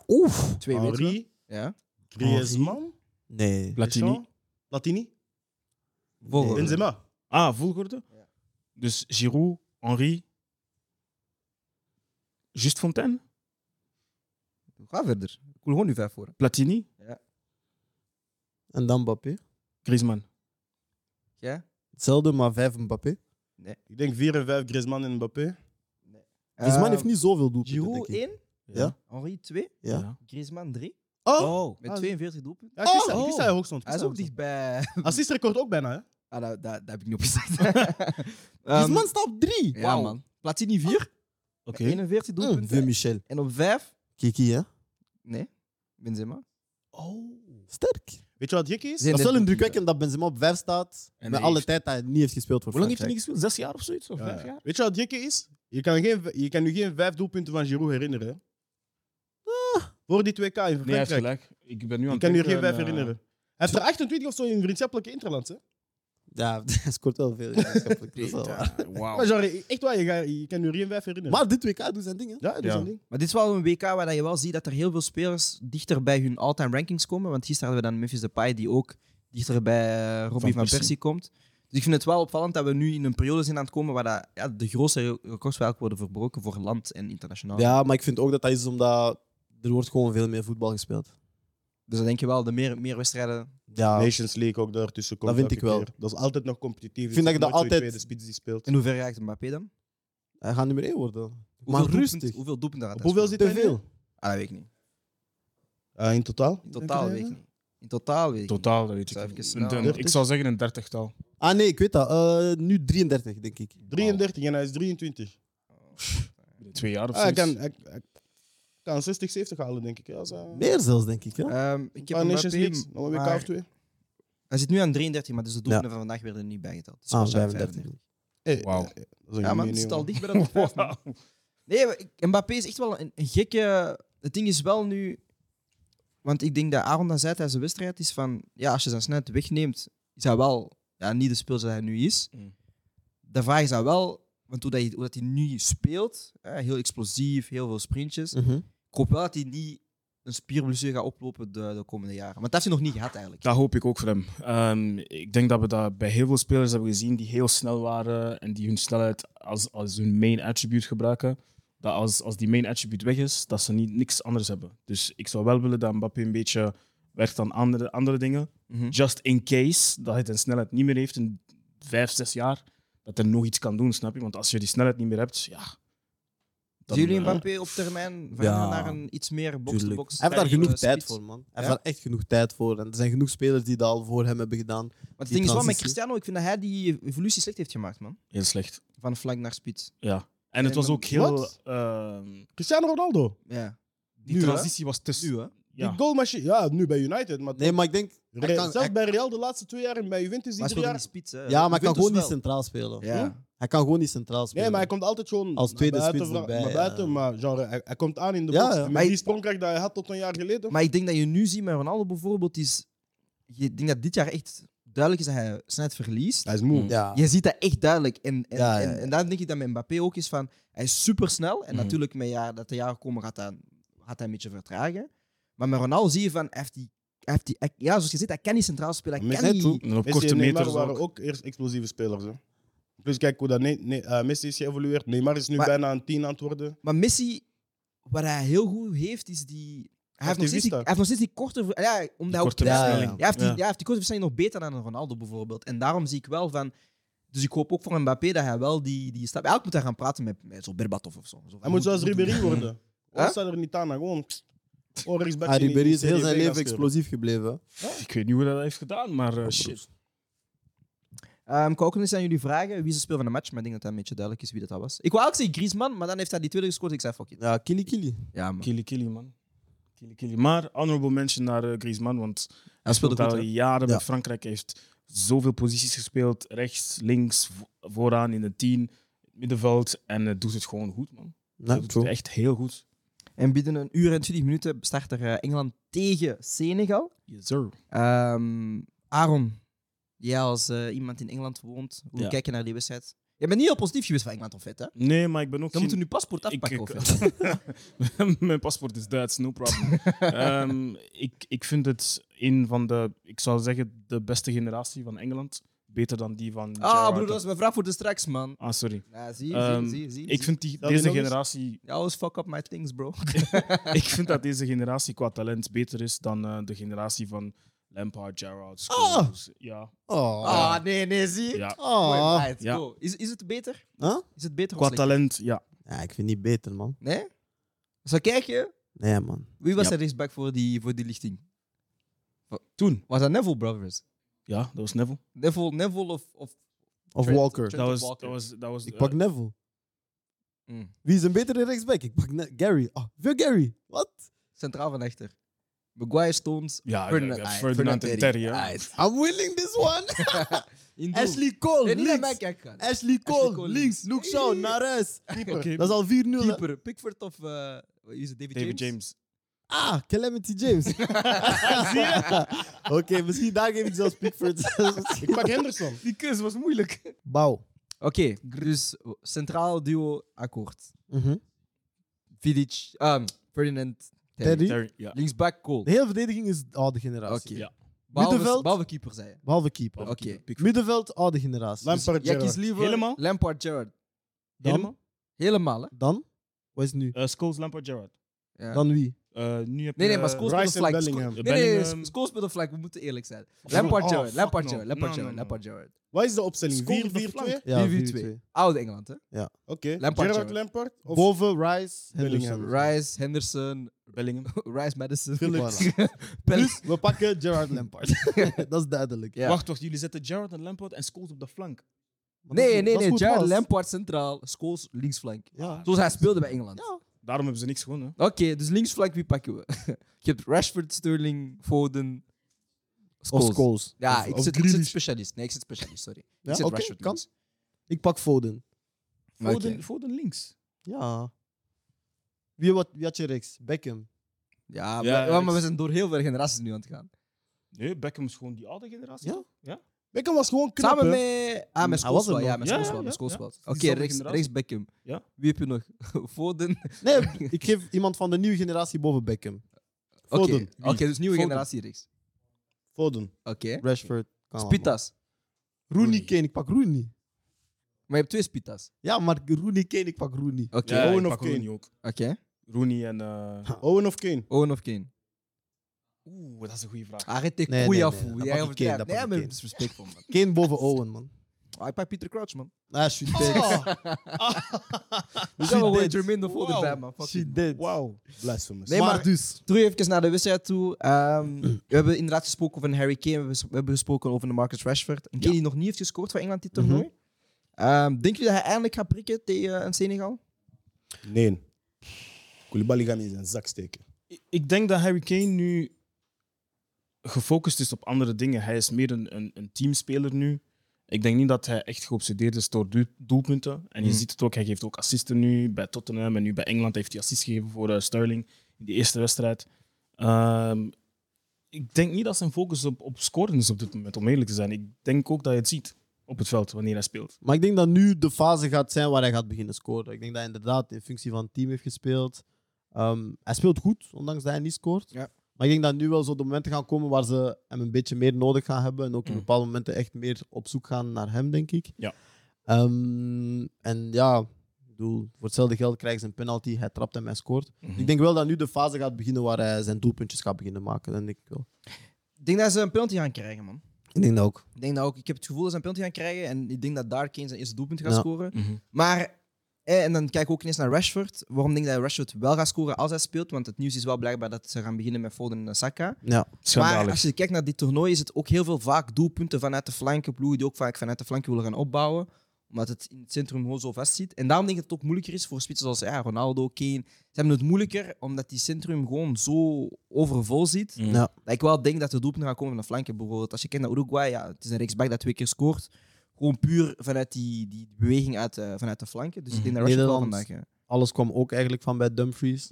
Speaker 2: Oef.
Speaker 1: Twee weten we.
Speaker 4: Henri,
Speaker 1: Ja.
Speaker 4: Griezmann,
Speaker 2: Nee.
Speaker 3: Platini.
Speaker 4: Deschamps, Platini,
Speaker 1: Volgende.
Speaker 4: Benzema.
Speaker 3: Ah, volgorde?
Speaker 1: Ja.
Speaker 3: Dus Giroud, Henri... Just Fontaine,
Speaker 1: Ga verder. Ik wil gewoon nu vijf horen.
Speaker 3: Platini,
Speaker 2: En dan Mbappé.
Speaker 3: Griezmann.
Speaker 1: Ja?
Speaker 2: Hetzelfde, maar vijf Mbappé.
Speaker 4: Ik denk 4 en 5 Griezmann en Mbappé.
Speaker 2: Griezmann
Speaker 1: Eh,
Speaker 2: heeft niet zoveel doelpunten,
Speaker 1: Giroud
Speaker 2: denk ik.
Speaker 1: 1,
Speaker 2: Ja.
Speaker 1: Henri 2,
Speaker 2: Ja.
Speaker 1: Griezmann 3.
Speaker 4: Oh!
Speaker 1: Met
Speaker 4: Ah,
Speaker 1: 42 doelpunten.
Speaker 4: Ja, Kissa,
Speaker 1: Oh.
Speaker 4: Kissa hij hoogstond.
Speaker 1: Hij is ook dichtbij.
Speaker 4: Assistrecord ook bijna, hè?
Speaker 1: *laughs* Ah, dat, dat, dat heb ik niet *laughs* opgezet. Ehm,
Speaker 2: Griezmann staat op drie.
Speaker 1: Ja, man. Platini 4,
Speaker 3: Oké.
Speaker 1: 41
Speaker 2: Mm,
Speaker 1: doelpunten.
Speaker 2: Veel Michel.
Speaker 1: En op 5,
Speaker 2: Kiki, hè?
Speaker 1: nee, Benzema.
Speaker 4: Oh.
Speaker 2: Sterk.
Speaker 4: Weet je wat gek is?
Speaker 1: Zin-
Speaker 2: Dat is wel
Speaker 1: net
Speaker 2: indrukwekkend dat Benzema op vijf staat.
Speaker 3: En
Speaker 2: met
Speaker 3: hij
Speaker 2: alle
Speaker 3: heeft-
Speaker 2: tijd dat hij niet heeft gespeeld voor
Speaker 3: Hoe lang heeft hij niet
Speaker 2: Frankrijk.
Speaker 3: gespeeld? Zes jaar of zoiets? Of
Speaker 4: Ja,
Speaker 3: vijf
Speaker 4: ja.
Speaker 3: jaar?
Speaker 4: Weet je wat gek is? Je kan, geen, je kan nu geen vijf doelpunten van Giroud herinneren. hè.
Speaker 1: Ah.
Speaker 4: Voor die 2K in Frankrijk.
Speaker 3: Nee, hij heeft gelijk. Ik ben nu aan
Speaker 4: Ik
Speaker 3: het
Speaker 4: kan nu
Speaker 3: denken
Speaker 4: geen vijf
Speaker 3: en, eh, *laughs*
Speaker 4: herinneren. Hij heeft er 28 of zo in vriendschappelijke interlands. Hè?
Speaker 2: Ja, *laughs* hij scoort wel veel. ja, dat is wel waar.
Speaker 4: Maar
Speaker 3: Ah, Wauw.
Speaker 4: genre, echt waar, je, gaat- je kan nu geen vijf herinneren.
Speaker 2: Maar dit WK doet zijn ding, hè?
Speaker 4: ja, dat is
Speaker 3: Ja.
Speaker 4: een ding.
Speaker 1: Maar dit is wel een WK waar je wel ziet dat er heel veel spelers dichter bij hun all-time rankings komen. Want gisteren hadden we dan Memphis Depay, die ook dichter bij eh, Robbie van,
Speaker 3: Van
Speaker 1: Persie.
Speaker 3: Persie.
Speaker 1: komt. Dus ik vind het wel opvallend dat we nu in een periode zijn aan het komen waar dat, ja, de grootste records wel worden verbroken voor land en internationaal.
Speaker 2: Ja, maar ik vind ook dat dat is omdat er wordt gewoon veel meer voetbal gespeeld.
Speaker 1: Dus dan denk je wel, de meer, meer wedstrijden...
Speaker 2: Ja,
Speaker 4: Nations League ook daartussen komt.
Speaker 2: vind ik
Speaker 4: elke
Speaker 2: wel.
Speaker 4: keer. Dat is altijd nog competitief.
Speaker 2: vind dat je dat
Speaker 4: De
Speaker 2: altijd-
Speaker 4: tweede spits die speelt.
Speaker 1: In hoeverre raakt Mbappé dan?
Speaker 2: hij gaat nummer één worden.
Speaker 1: Hoeveel
Speaker 2: Maar
Speaker 1: doelpunten-
Speaker 2: rustig.
Speaker 1: Hoeveel doelpunten gaat
Speaker 4: Op
Speaker 1: hij
Speaker 4: hoeveel
Speaker 1: scoren?
Speaker 4: zit
Speaker 2: Te
Speaker 4: hij nu?
Speaker 2: veel.
Speaker 1: Ah, dat weet ik niet.
Speaker 4: Eh, in totaal?
Speaker 1: In totaal
Speaker 4: Denk
Speaker 1: weet ik
Speaker 4: je?
Speaker 1: niet. In totaal weet ik niet.
Speaker 3: Totaal, dat weet ik
Speaker 1: Zou even
Speaker 3: niet.
Speaker 1: snel-
Speaker 3: Een- een- Ik zou zeggen een dertigtal.
Speaker 2: Ah nee, ik weet dat. Eh, nu 33, denk ik.
Speaker 4: 33 en hij is 23.
Speaker 3: Twee jaar of
Speaker 4: Ah, hij,
Speaker 3: zoiets.
Speaker 4: kan, hij, hij kan 60, 70 halen, denk ik. hè, Als, hij-
Speaker 2: Oh. Meer zelfs, denk ik. Hè?
Speaker 1: Ehm, ik heb
Speaker 4: Ah, Nations
Speaker 1: Mbappé,
Speaker 4: League, nog een WK
Speaker 1: maar-
Speaker 4: of twee.
Speaker 1: Hij zit nu aan 33, maar dus de doelpunten van vandaag werden er niet bijgeteld. Dus
Speaker 2: Ah,
Speaker 1: waarschijnlijk
Speaker 2: 35.
Speaker 4: Eh,
Speaker 3: Wauw.
Speaker 4: eh, dat is een
Speaker 1: Ja, maar
Speaker 4: gemene
Speaker 1: het zit al
Speaker 4: jongen.
Speaker 1: dicht bij dat top
Speaker 3: *laughs*
Speaker 1: vijf, man. Nee, maar ik- Mbappé is echt wel een, een gekke... Het ding is wel nu... Want ik denk dat Aaron dat zei tijdens de wedstrijd is van... Ja, als je zijn snelheid wegneemt, is hij wel ja, niet de speler dat hij nu is.
Speaker 3: Mm.
Speaker 1: De vraag is dan wel... Want hoe, dat hij, hoe dat hij nu speelt, hè, heel explosief, heel veel sprintjes.
Speaker 2: Mhm.
Speaker 1: Ik hoop wel dat hij niet een spierblessure gaat oplopen de, de komende jaren. Want dat heeft hij nog niet gehad eigenlijk.
Speaker 3: Dat hoop ik ook voor hem. Ehm, ik denk dat we dat bij heel veel spelers hebben gezien die heel snel waren en die hun snelheid als, als hun main attribute gebruiken. Dat als, als die main attribute weg is, dat ze niet, niks anders hebben. Dus ik zou wel willen dat Mbappé een beetje werkt aan andere, andere dingen.
Speaker 1: Mhm.
Speaker 3: Just in case dat hij de snelheid niet meer heeft in vijf, zes jaar, dat hij nog iets kan doen, snap je? Want als je die snelheid niet meer hebt, ja... dan,
Speaker 1: Zien jullie
Speaker 3: eh,
Speaker 1: Mbappé op termijn veranderen naar een iets meer
Speaker 2: Tuurlijk.
Speaker 1: box-to-box?
Speaker 2: Hij heeft daar
Speaker 1: type,
Speaker 2: genoeg
Speaker 1: eh,
Speaker 2: tijd
Speaker 1: spits?
Speaker 2: voor, man. Hij
Speaker 1: Ja.
Speaker 2: heeft daar echt genoeg tijd voor. En er zijn genoeg spelers die dat al voor hem hebben gedaan.
Speaker 1: Want het
Speaker 2: Die
Speaker 1: ding is wel met
Speaker 2: transitie.
Speaker 1: Cristiano, ik vind dat hij die evolutie slecht heeft gemaakt, man.
Speaker 3: Heel slecht.
Speaker 1: Van flank naar spits.
Speaker 3: Ja. En het
Speaker 1: En
Speaker 3: was
Speaker 1: dan-
Speaker 3: ook heel...
Speaker 4: Wat?
Speaker 3: ehm,
Speaker 4: Cristiano Ronaldo.
Speaker 1: Ja.
Speaker 3: die
Speaker 4: Nu, hè?
Speaker 3: transitie was tussen...
Speaker 1: Nu, hè?
Speaker 3: Ja.
Speaker 4: Die goalmachine. Ja, nu bij United. Maar
Speaker 2: Nee, maar ik denk...
Speaker 4: Re-
Speaker 2: Hij kan,
Speaker 4: zelfs
Speaker 2: hij-
Speaker 4: bij Real de laatste twee jaar en bij Juventus die
Speaker 1: Maar
Speaker 4: drie
Speaker 1: speelde die
Speaker 4: jaar.
Speaker 1: spits, hè?
Speaker 2: ja, maar hij kan
Speaker 1: Juventus
Speaker 2: gewoon niet
Speaker 1: wel.
Speaker 2: centraal spelen. Hm?
Speaker 1: Ja.
Speaker 2: Hij kan gewoon niet centraal spelen.
Speaker 4: Nee, maar hij komt altijd gewoon
Speaker 2: Als
Speaker 4: naar
Speaker 2: tweede
Speaker 4: buiten,
Speaker 2: spits
Speaker 4: vra-
Speaker 2: erbij,
Speaker 4: naar
Speaker 2: ja.
Speaker 4: buiten, maar genre, hij, hij komt aan in de
Speaker 2: Ja,
Speaker 4: box.
Speaker 2: ja.
Speaker 4: Met
Speaker 1: Maar
Speaker 4: die
Speaker 1: ik-
Speaker 4: sprongkracht die hij had tot een jaar geleden.
Speaker 1: Maar ik denk dat je nu ziet met Ronaldo bijvoorbeeld is... Ik denk dat dit jaar echt duidelijk is dat hij snelheid verliest.
Speaker 4: hij is moe.
Speaker 3: Mm.
Speaker 2: Ja.
Speaker 1: Je ziet dat echt duidelijk. En, en,
Speaker 2: Ah. Ja, ja, ja.
Speaker 1: en, en dan denk ik dat met Mbappé ook is van... Hij is supersnel. En
Speaker 3: Mhm.
Speaker 1: natuurlijk, met jaar, dat de jaren komen, gaat hij, gaat hij een beetje vertragen. Maar met Ronaldo zie je van... Hij heeft die, hij heeft die, hij- ja, zoals je ziet, hij kan niet centraal spelen. Hij
Speaker 4: Met
Speaker 1: kan
Speaker 4: net
Speaker 1: niet...
Speaker 3: En op
Speaker 4: Messi
Speaker 3: korte
Speaker 4: en Neymar
Speaker 3: meters
Speaker 4: waren
Speaker 3: ook.
Speaker 4: ook eerst explosieve spelers. Hè. Plus kijk hoe dat ne Ne- eh, Messi is geëvolueerd. Neymar is nu
Speaker 1: Maar-
Speaker 4: bijna een tien aan het worden.
Speaker 1: Maar Messi, wat hij heel goed heeft, is die... Hij heeft, nog steeds die,
Speaker 4: Activista.
Speaker 1: hij heeft nog steeds die korte... ver- Ja, omdat hij ook-
Speaker 3: korte
Speaker 2: Ja, ja.
Speaker 3: versnelling.
Speaker 1: Ja, hij heeft, Die, ja, hij heeft die korte versnelling nog beter dan een Ronaldo bijvoorbeeld. En daarom zie ik wel van... Dus ik hoop ook voor Mbappé dat hij wel die, die stap... Eigenlijk moet hij gaan praten met, met zo'n Berbatov of zo. Zo van,
Speaker 4: Hij moet zoals Ribéry worden.
Speaker 1: Hè?
Speaker 4: Hij staat er niet aan, hè. gewoon... pst. Oh, rechtsback
Speaker 2: Ah,
Speaker 4: in- in
Speaker 2: Ribéry is heel
Speaker 4: Serie B
Speaker 2: zijn
Speaker 4: gaan
Speaker 2: leven
Speaker 4: spelen.
Speaker 2: explosief gebleven.
Speaker 3: Ik weet niet hoe hij dat heeft gedaan, maar eh, shit.
Speaker 1: Ehm, ik wou ook nog eens aan jullie vragen wie is de speel van de match, maar ik denk dat dat een beetje duidelijk is wie dat, dat was. Ik wou eigenlijk zeggen Griezmann, maar dan heeft hij die tweede gescoord. Ik zei fuck it.
Speaker 2: Ja, Kili Kili.
Speaker 1: Ja, man.
Speaker 3: Kili Kili, man. Kili Kili. Maar honorable mention naar eh, Griezmann, want
Speaker 1: Hij speelde
Speaker 3: dat
Speaker 1: goed.
Speaker 3: al
Speaker 1: hè.
Speaker 3: jaren
Speaker 2: Ja.
Speaker 3: met Frankrijk. Hij heeft zoveel posities gespeeld. Rechts, links, vo- vooraan in de tien, middenveld. En eh, doet het gewoon goed, man.
Speaker 2: Nee,
Speaker 3: doet het echt heel goed.
Speaker 1: En binnen een uur en 20 minuten start er eh, Engeland tegen Senegal.
Speaker 3: Yes, sir.
Speaker 1: Ehm, Aaron, jij als eh, iemand in Engeland woont, hoe
Speaker 3: Ja.
Speaker 1: kijk je naar die wedstrijd? Je bent niet heel positief geweest van Engeland of het, hè? Dan
Speaker 3: Nee, maar ik ben ook
Speaker 1: moeten
Speaker 3: geen...
Speaker 1: we nu paspoort
Speaker 3: Ik- eh,
Speaker 1: afpakken.
Speaker 3: *laughs*
Speaker 1: of
Speaker 3: ik-
Speaker 1: het?
Speaker 3: *laughs* Mijn paspoort is Duits, no problem. Ehm, ik, ik vind het een van de, ik zou zeggen, de beste generatie van Engeland. Beter dan die van...
Speaker 1: Ah,
Speaker 3: Gerrard.
Speaker 1: broer, dat is mijn vraag voor de straks, man.
Speaker 3: Ah, sorry.
Speaker 1: Ja, zie, zie,
Speaker 3: Ehm,
Speaker 1: zie, zie.
Speaker 3: Ik vind die,
Speaker 4: Zou die
Speaker 3: deze
Speaker 4: nog eens?
Speaker 3: generatie
Speaker 1: I always fuck up my things,
Speaker 3: *laughs*
Speaker 1: bro.
Speaker 3: ik vind dat deze generatie qua talent beter is dan eh, de generatie van Lampard, Gerrard, Scholes. Ja,
Speaker 2: Oh.
Speaker 1: Ah, nee, nee, zie.
Speaker 3: ja.
Speaker 1: Mooi,
Speaker 2: Oh.
Speaker 1: meid,
Speaker 3: Ja.
Speaker 1: go. Is, is het beter?
Speaker 2: Huh?
Speaker 1: Is het beter of
Speaker 3: Qua
Speaker 1: slechter?
Speaker 3: talent, ja.
Speaker 2: Ja, ik vind het niet beter, man.
Speaker 1: Nee? Zo kijk je.
Speaker 2: Nee, man.
Speaker 1: Wie was
Speaker 3: Ja.
Speaker 1: er rechtsback voor die, voor die lichting?
Speaker 3: Toen?
Speaker 1: Was dat Neville Brothers?
Speaker 3: Ja, dat was Neville.
Speaker 1: Neville, Neville of... of
Speaker 2: Of
Speaker 1: Trent-
Speaker 2: Walker.
Speaker 1: Trent
Speaker 3: Dat
Speaker 1: of
Speaker 3: was, dat
Speaker 1: Walker.
Speaker 3: was, dat was
Speaker 2: Ik
Speaker 3: eh,
Speaker 2: pak Neville.
Speaker 1: Mm.
Speaker 2: Wie is een betere rechtsback? Ik pak Ne- Gary. Ah, veel Gary. Wat?
Speaker 1: Centraal van achter. Maguire, Stones,
Speaker 3: ja, ja,
Speaker 1: Ferdinand,
Speaker 3: ja,
Speaker 1: ah,
Speaker 3: Ferdinand en Terry. ja.
Speaker 1: Aight.
Speaker 2: I'm winning this one.
Speaker 1: In doel.
Speaker 2: Ashley Cole,
Speaker 1: Nee, niet naar mij
Speaker 2: links.
Speaker 1: kijken.
Speaker 2: Ashley Cole,
Speaker 1: Cole,
Speaker 2: links. Luke Shaw,
Speaker 1: Hey.
Speaker 2: naar huis.
Speaker 1: Oké.
Speaker 2: Dat is al 4-0. hè?
Speaker 1: Keeper, Pickford of... eh, wie is het, David,
Speaker 3: David
Speaker 1: James?
Speaker 3: James.
Speaker 2: Ah, Calamity
Speaker 1: *laughs*
Speaker 2: James. Zie je? Oké, misschien daar geef ik zelfs Pickford.
Speaker 4: Ik pak Henderson.
Speaker 3: Die keuze was moeilijk.
Speaker 2: *laughs* Bouw.
Speaker 1: Oké, dus centraal duo akkoord. Vidic, ehm, Ferdinand, Terry.
Speaker 2: Terry.
Speaker 3: Terry, ja.
Speaker 1: Linksback, Cole.
Speaker 2: De hele verdediging is de oude generatie.
Speaker 1: Oké.
Speaker 3: Ja.
Speaker 1: Behalve,
Speaker 2: Middenveld.
Speaker 1: behalve keeper, zei je.
Speaker 2: Behalve keeper.
Speaker 1: Oké.
Speaker 2: Middenveld, oude generatie. Dus
Speaker 4: Lampard,
Speaker 1: Jij kiest
Speaker 4: Gerrard.
Speaker 1: liever
Speaker 3: Helemaal?
Speaker 1: Lampard, Gerrard.
Speaker 2: dan,
Speaker 3: Helemaal?
Speaker 1: Helemaal, hè?
Speaker 2: dan? Wat is het nu?
Speaker 3: Eh, Scholes, Lampard, Gerrard.
Speaker 1: Ja.
Speaker 2: Dan wie?
Speaker 3: Eh, nu heb
Speaker 1: Nee, nee,
Speaker 3: je,
Speaker 1: maar Scholes
Speaker 4: Rice
Speaker 1: speelt
Speaker 4: en
Speaker 1: een flank.
Speaker 4: Bellingham.
Speaker 1: Scho- Nee, nee, nee,
Speaker 3: Bellingham.
Speaker 1: Scholes speelt een flank. We moeten eerlijk zijn. Lampard,
Speaker 3: Oh,
Speaker 1: Gerrard,
Speaker 3: fuck
Speaker 1: Lampard,
Speaker 3: no.
Speaker 1: Gerrard,
Speaker 3: No,
Speaker 1: Lampard,
Speaker 3: no,
Speaker 1: Gerrard,
Speaker 3: no.
Speaker 1: Lampard, Gerrard.
Speaker 4: Wat is de
Speaker 3: Scoren op de
Speaker 4: opstelling? 4-4-2?
Speaker 3: flank.
Speaker 4: Oké.
Speaker 2: Ja,
Speaker 1: 4-4-2. Oud Engeland, hè? Lampard,
Speaker 4: Gerard
Speaker 1: Gerrard.
Speaker 4: Lampard? Of
Speaker 2: Boven Rice,
Speaker 4: Bellingham.
Speaker 2: Henderson.
Speaker 1: Rice,
Speaker 3: *laughs*
Speaker 1: Henderson,
Speaker 3: Bellingham.
Speaker 1: Rice, Madison.
Speaker 2: Phillips.
Speaker 1: *laughs* Pellis.
Speaker 2: Dus we pakken
Speaker 1: *laughs*
Speaker 2: Gerard Lampard. *laughs* dat is duidelijk.
Speaker 1: Ja.
Speaker 3: Wacht, wacht. Jullie zetten Gerrard en Lampard en Scholes op de flank.
Speaker 2: Maar dat is
Speaker 1: Nee,
Speaker 2: goed,
Speaker 1: nee,
Speaker 2: dat is
Speaker 1: nee.
Speaker 2: goed
Speaker 1: Gerrard,
Speaker 2: pas.
Speaker 1: Lampard centraal, Scholes linksflank.
Speaker 2: Ja.
Speaker 1: Zoals hij speelde bij Engeland.
Speaker 3: Daarom hebben ze niks gewonnen.
Speaker 1: Oké, dus linksflank, wie pakken we? *laughs* Je hebt Rashford, Sterling, Foden,
Speaker 2: Of
Speaker 1: Scholes.
Speaker 2: Scholes.
Speaker 1: Ja,
Speaker 2: Of-
Speaker 1: ik
Speaker 2: of
Speaker 1: zit, ik
Speaker 2: Grealish.
Speaker 1: zit specialist. Nee, ik zit specialist, sorry.
Speaker 2: Ja,
Speaker 1: ik zit
Speaker 2: oké,
Speaker 1: Rashford dus.
Speaker 2: kan.
Speaker 1: links.
Speaker 2: Ik pak Foden.
Speaker 1: Oké.
Speaker 3: Foden, Foden links.
Speaker 2: Ja. Wie, wat, wie had je rechts? Beckham.
Speaker 1: Ja,
Speaker 3: Ja,
Speaker 1: maar, maar we
Speaker 3: ik-
Speaker 1: zijn door heel veel generaties nu aan het gaan.
Speaker 3: Nee, Beckham is gewoon die oude generatie.
Speaker 2: Ja.
Speaker 4: Beckham was gewoon knap,
Speaker 1: Samen
Speaker 4: hè.
Speaker 1: met... Ah, met
Speaker 2: Hij was er
Speaker 1: Schoolswell. Ja,
Speaker 2: nog.
Speaker 1: met
Speaker 3: Ja,
Speaker 1: Schoolswell.
Speaker 3: ja,
Speaker 1: met
Speaker 3: ja,
Speaker 1: Schoolswell.
Speaker 3: ja.
Speaker 1: Oké,
Speaker 3: Diezelfde
Speaker 1: rechts,
Speaker 3: generatie.
Speaker 1: rechts Beckham.
Speaker 3: Ja.
Speaker 1: Wie heb je nog? *laughs* Foden.
Speaker 2: Nee, ik geef iemand van de nieuwe generatie boven Beckham.
Speaker 1: Oké,
Speaker 4: Foden.
Speaker 1: Oké, dus nieuwe
Speaker 3: Foden.
Speaker 1: generatie rechts.
Speaker 4: Foden.
Speaker 1: Oké. Dus
Speaker 2: Rashford. kan allemaal.
Speaker 1: Spitas.
Speaker 2: Rooney Kane, ik pak Rooney.
Speaker 1: Maar je hebt twee Spitas.
Speaker 2: Ja, maar Rooney Kane, ik pak Rooney. *laughs*
Speaker 1: Oké.
Speaker 4: Ja.
Speaker 3: ik
Speaker 4: Owen of
Speaker 3: pak
Speaker 4: Kane?
Speaker 3: Rooney ook.
Speaker 1: Oké.
Speaker 3: Rooney en... eh,
Speaker 4: Owen of Kane?
Speaker 1: Owen of Kane? Ah,
Speaker 3: Oeh, dat is een goede vraag.
Speaker 1: Arrête
Speaker 2: nee,
Speaker 1: nee, koeien
Speaker 2: nee, dat
Speaker 1: af.
Speaker 2: pak
Speaker 1: Jij
Speaker 2: ik Kane,
Speaker 1: overdrijft.
Speaker 2: dat
Speaker 1: Nee,
Speaker 2: pak ik
Speaker 1: maar
Speaker 2: Kane.
Speaker 1: disrespectvol, man.
Speaker 2: Kane boven Owen, man.
Speaker 1: Ah, ik pak Peter Crouch, man.
Speaker 2: Ah, she dead.
Speaker 1: Dus
Speaker 2: She
Speaker 1: zijn we gewoon
Speaker 2: dead.
Speaker 1: Jermaine de Foden
Speaker 2: Wow.
Speaker 1: bij, man. Fuck it,
Speaker 2: She
Speaker 1: man.
Speaker 2: dead.
Speaker 4: Wauw. Blasphemous.
Speaker 1: Nee,
Speaker 2: maar,
Speaker 1: maar-
Speaker 2: dus.
Speaker 1: Terug even naar de wedstrijd toe. Ehm, we hebben inderdaad gesproken over een Harry Kane. We hebben- we hebben gesproken over de Marcus Rashford. Een Kane die nog niet heeft gescoord voor Engeland dit toernooi. Ehm, denk je dat hij eindelijk gaat prikken tegen eh, een Senegal?
Speaker 4: Nee. Koulibaly gaat hem in zijn zak steken.
Speaker 3: Ik- Ik denk dat Harry Kane nu gefocust is op andere dingen. Hij is meer een, een, een teamspeler nu. Ik denk niet dat hij echt geobsedeerd is door doel- doelpunten. En je
Speaker 1: Hmm.
Speaker 4: Mm.
Speaker 3: ziet het ook, hij geeft ook assisten nu bij Tottenham en nu bij Engeland heeft hij assist gegeven voor eh, Sterling in die eerste wedstrijd. Ehm, ik denk niet dat zijn focus op, op scoren is op dit moment, om eerlijk te zijn. Ik denk ook dat je het ziet op het veld wanneer hij speelt.
Speaker 2: Maar ik denk dat nu de fase gaat zijn waar hij gaat beginnen scoren. Ik denk dat hij inderdaad in functie van het team heeft gespeeld. Ehm, hij speelt goed, ondanks dat hij niet scoort.
Speaker 1: Ja.
Speaker 2: Maar ik denk dat nu wel zo de momenten gaan komen waar ze hem een beetje meer nodig gaan hebben. En ook in
Speaker 3: Mm.
Speaker 2: bepaalde momenten echt meer op zoek gaan naar hem, denk ik.
Speaker 3: Ja.
Speaker 2: Ehm, en ja, ik bedoel, voor hetzelfde geld krijgt ze een penalty. Hij trapt en hij scoort. Ik denk wel dat nu de fase gaat beginnen waar hij zijn doelpuntjes gaat beginnen maken. Dat denk ik wel.
Speaker 1: Ik denk dat ze een penalty gaan krijgen, man.
Speaker 2: Ik denk dat ook.
Speaker 1: Ik denk dat ook. Ik heb het gevoel dat ze een penalty gaan krijgen. En ik denk dat daar Kane zijn eerste doelpunt gaat
Speaker 2: Ja.
Speaker 1: scoren.
Speaker 3: Mhm.
Speaker 1: Maar, eh, en dan kijk ik ook eens naar Rashford. Waarom denk ik dat Rashford wel gaat scoren als hij speelt? Want het nieuws is wel blijkbaar dat ze gaan beginnen met Foden en Saka.
Speaker 2: Ja.
Speaker 1: Maar
Speaker 3: Schandalig.
Speaker 1: als je kijkt naar dit toernooi, is het ook heel veel vaak doelpunten vanuit de flanken. Ploegen die ook vaak vanuit de flanken willen gaan opbouwen. Omdat het in het centrum gewoon zo vast zit. En daarom denk ik dat het ook moeilijker is voor spitsen zoals ja, Ronaldo, Kane. Ze hebben het moeilijker omdat die centrum gewoon zo overvol zit.
Speaker 3: Mhm.
Speaker 2: Ja.
Speaker 1: Dat ik wel denk dat de doelpunten gaan komen van de flanken. Bijvoorbeeld als je kijkt naar Uruguay, ja, het is een rechtsback dat twee keer scoort. Gewoon puur vanuit die, die beweging uit, eh, vanuit de flanken. Dus ik denk dat Rashford wel vandaag...
Speaker 2: Nederland.
Speaker 1: eh,
Speaker 2: Alles kwam ook eigenlijk van bij Dumfries.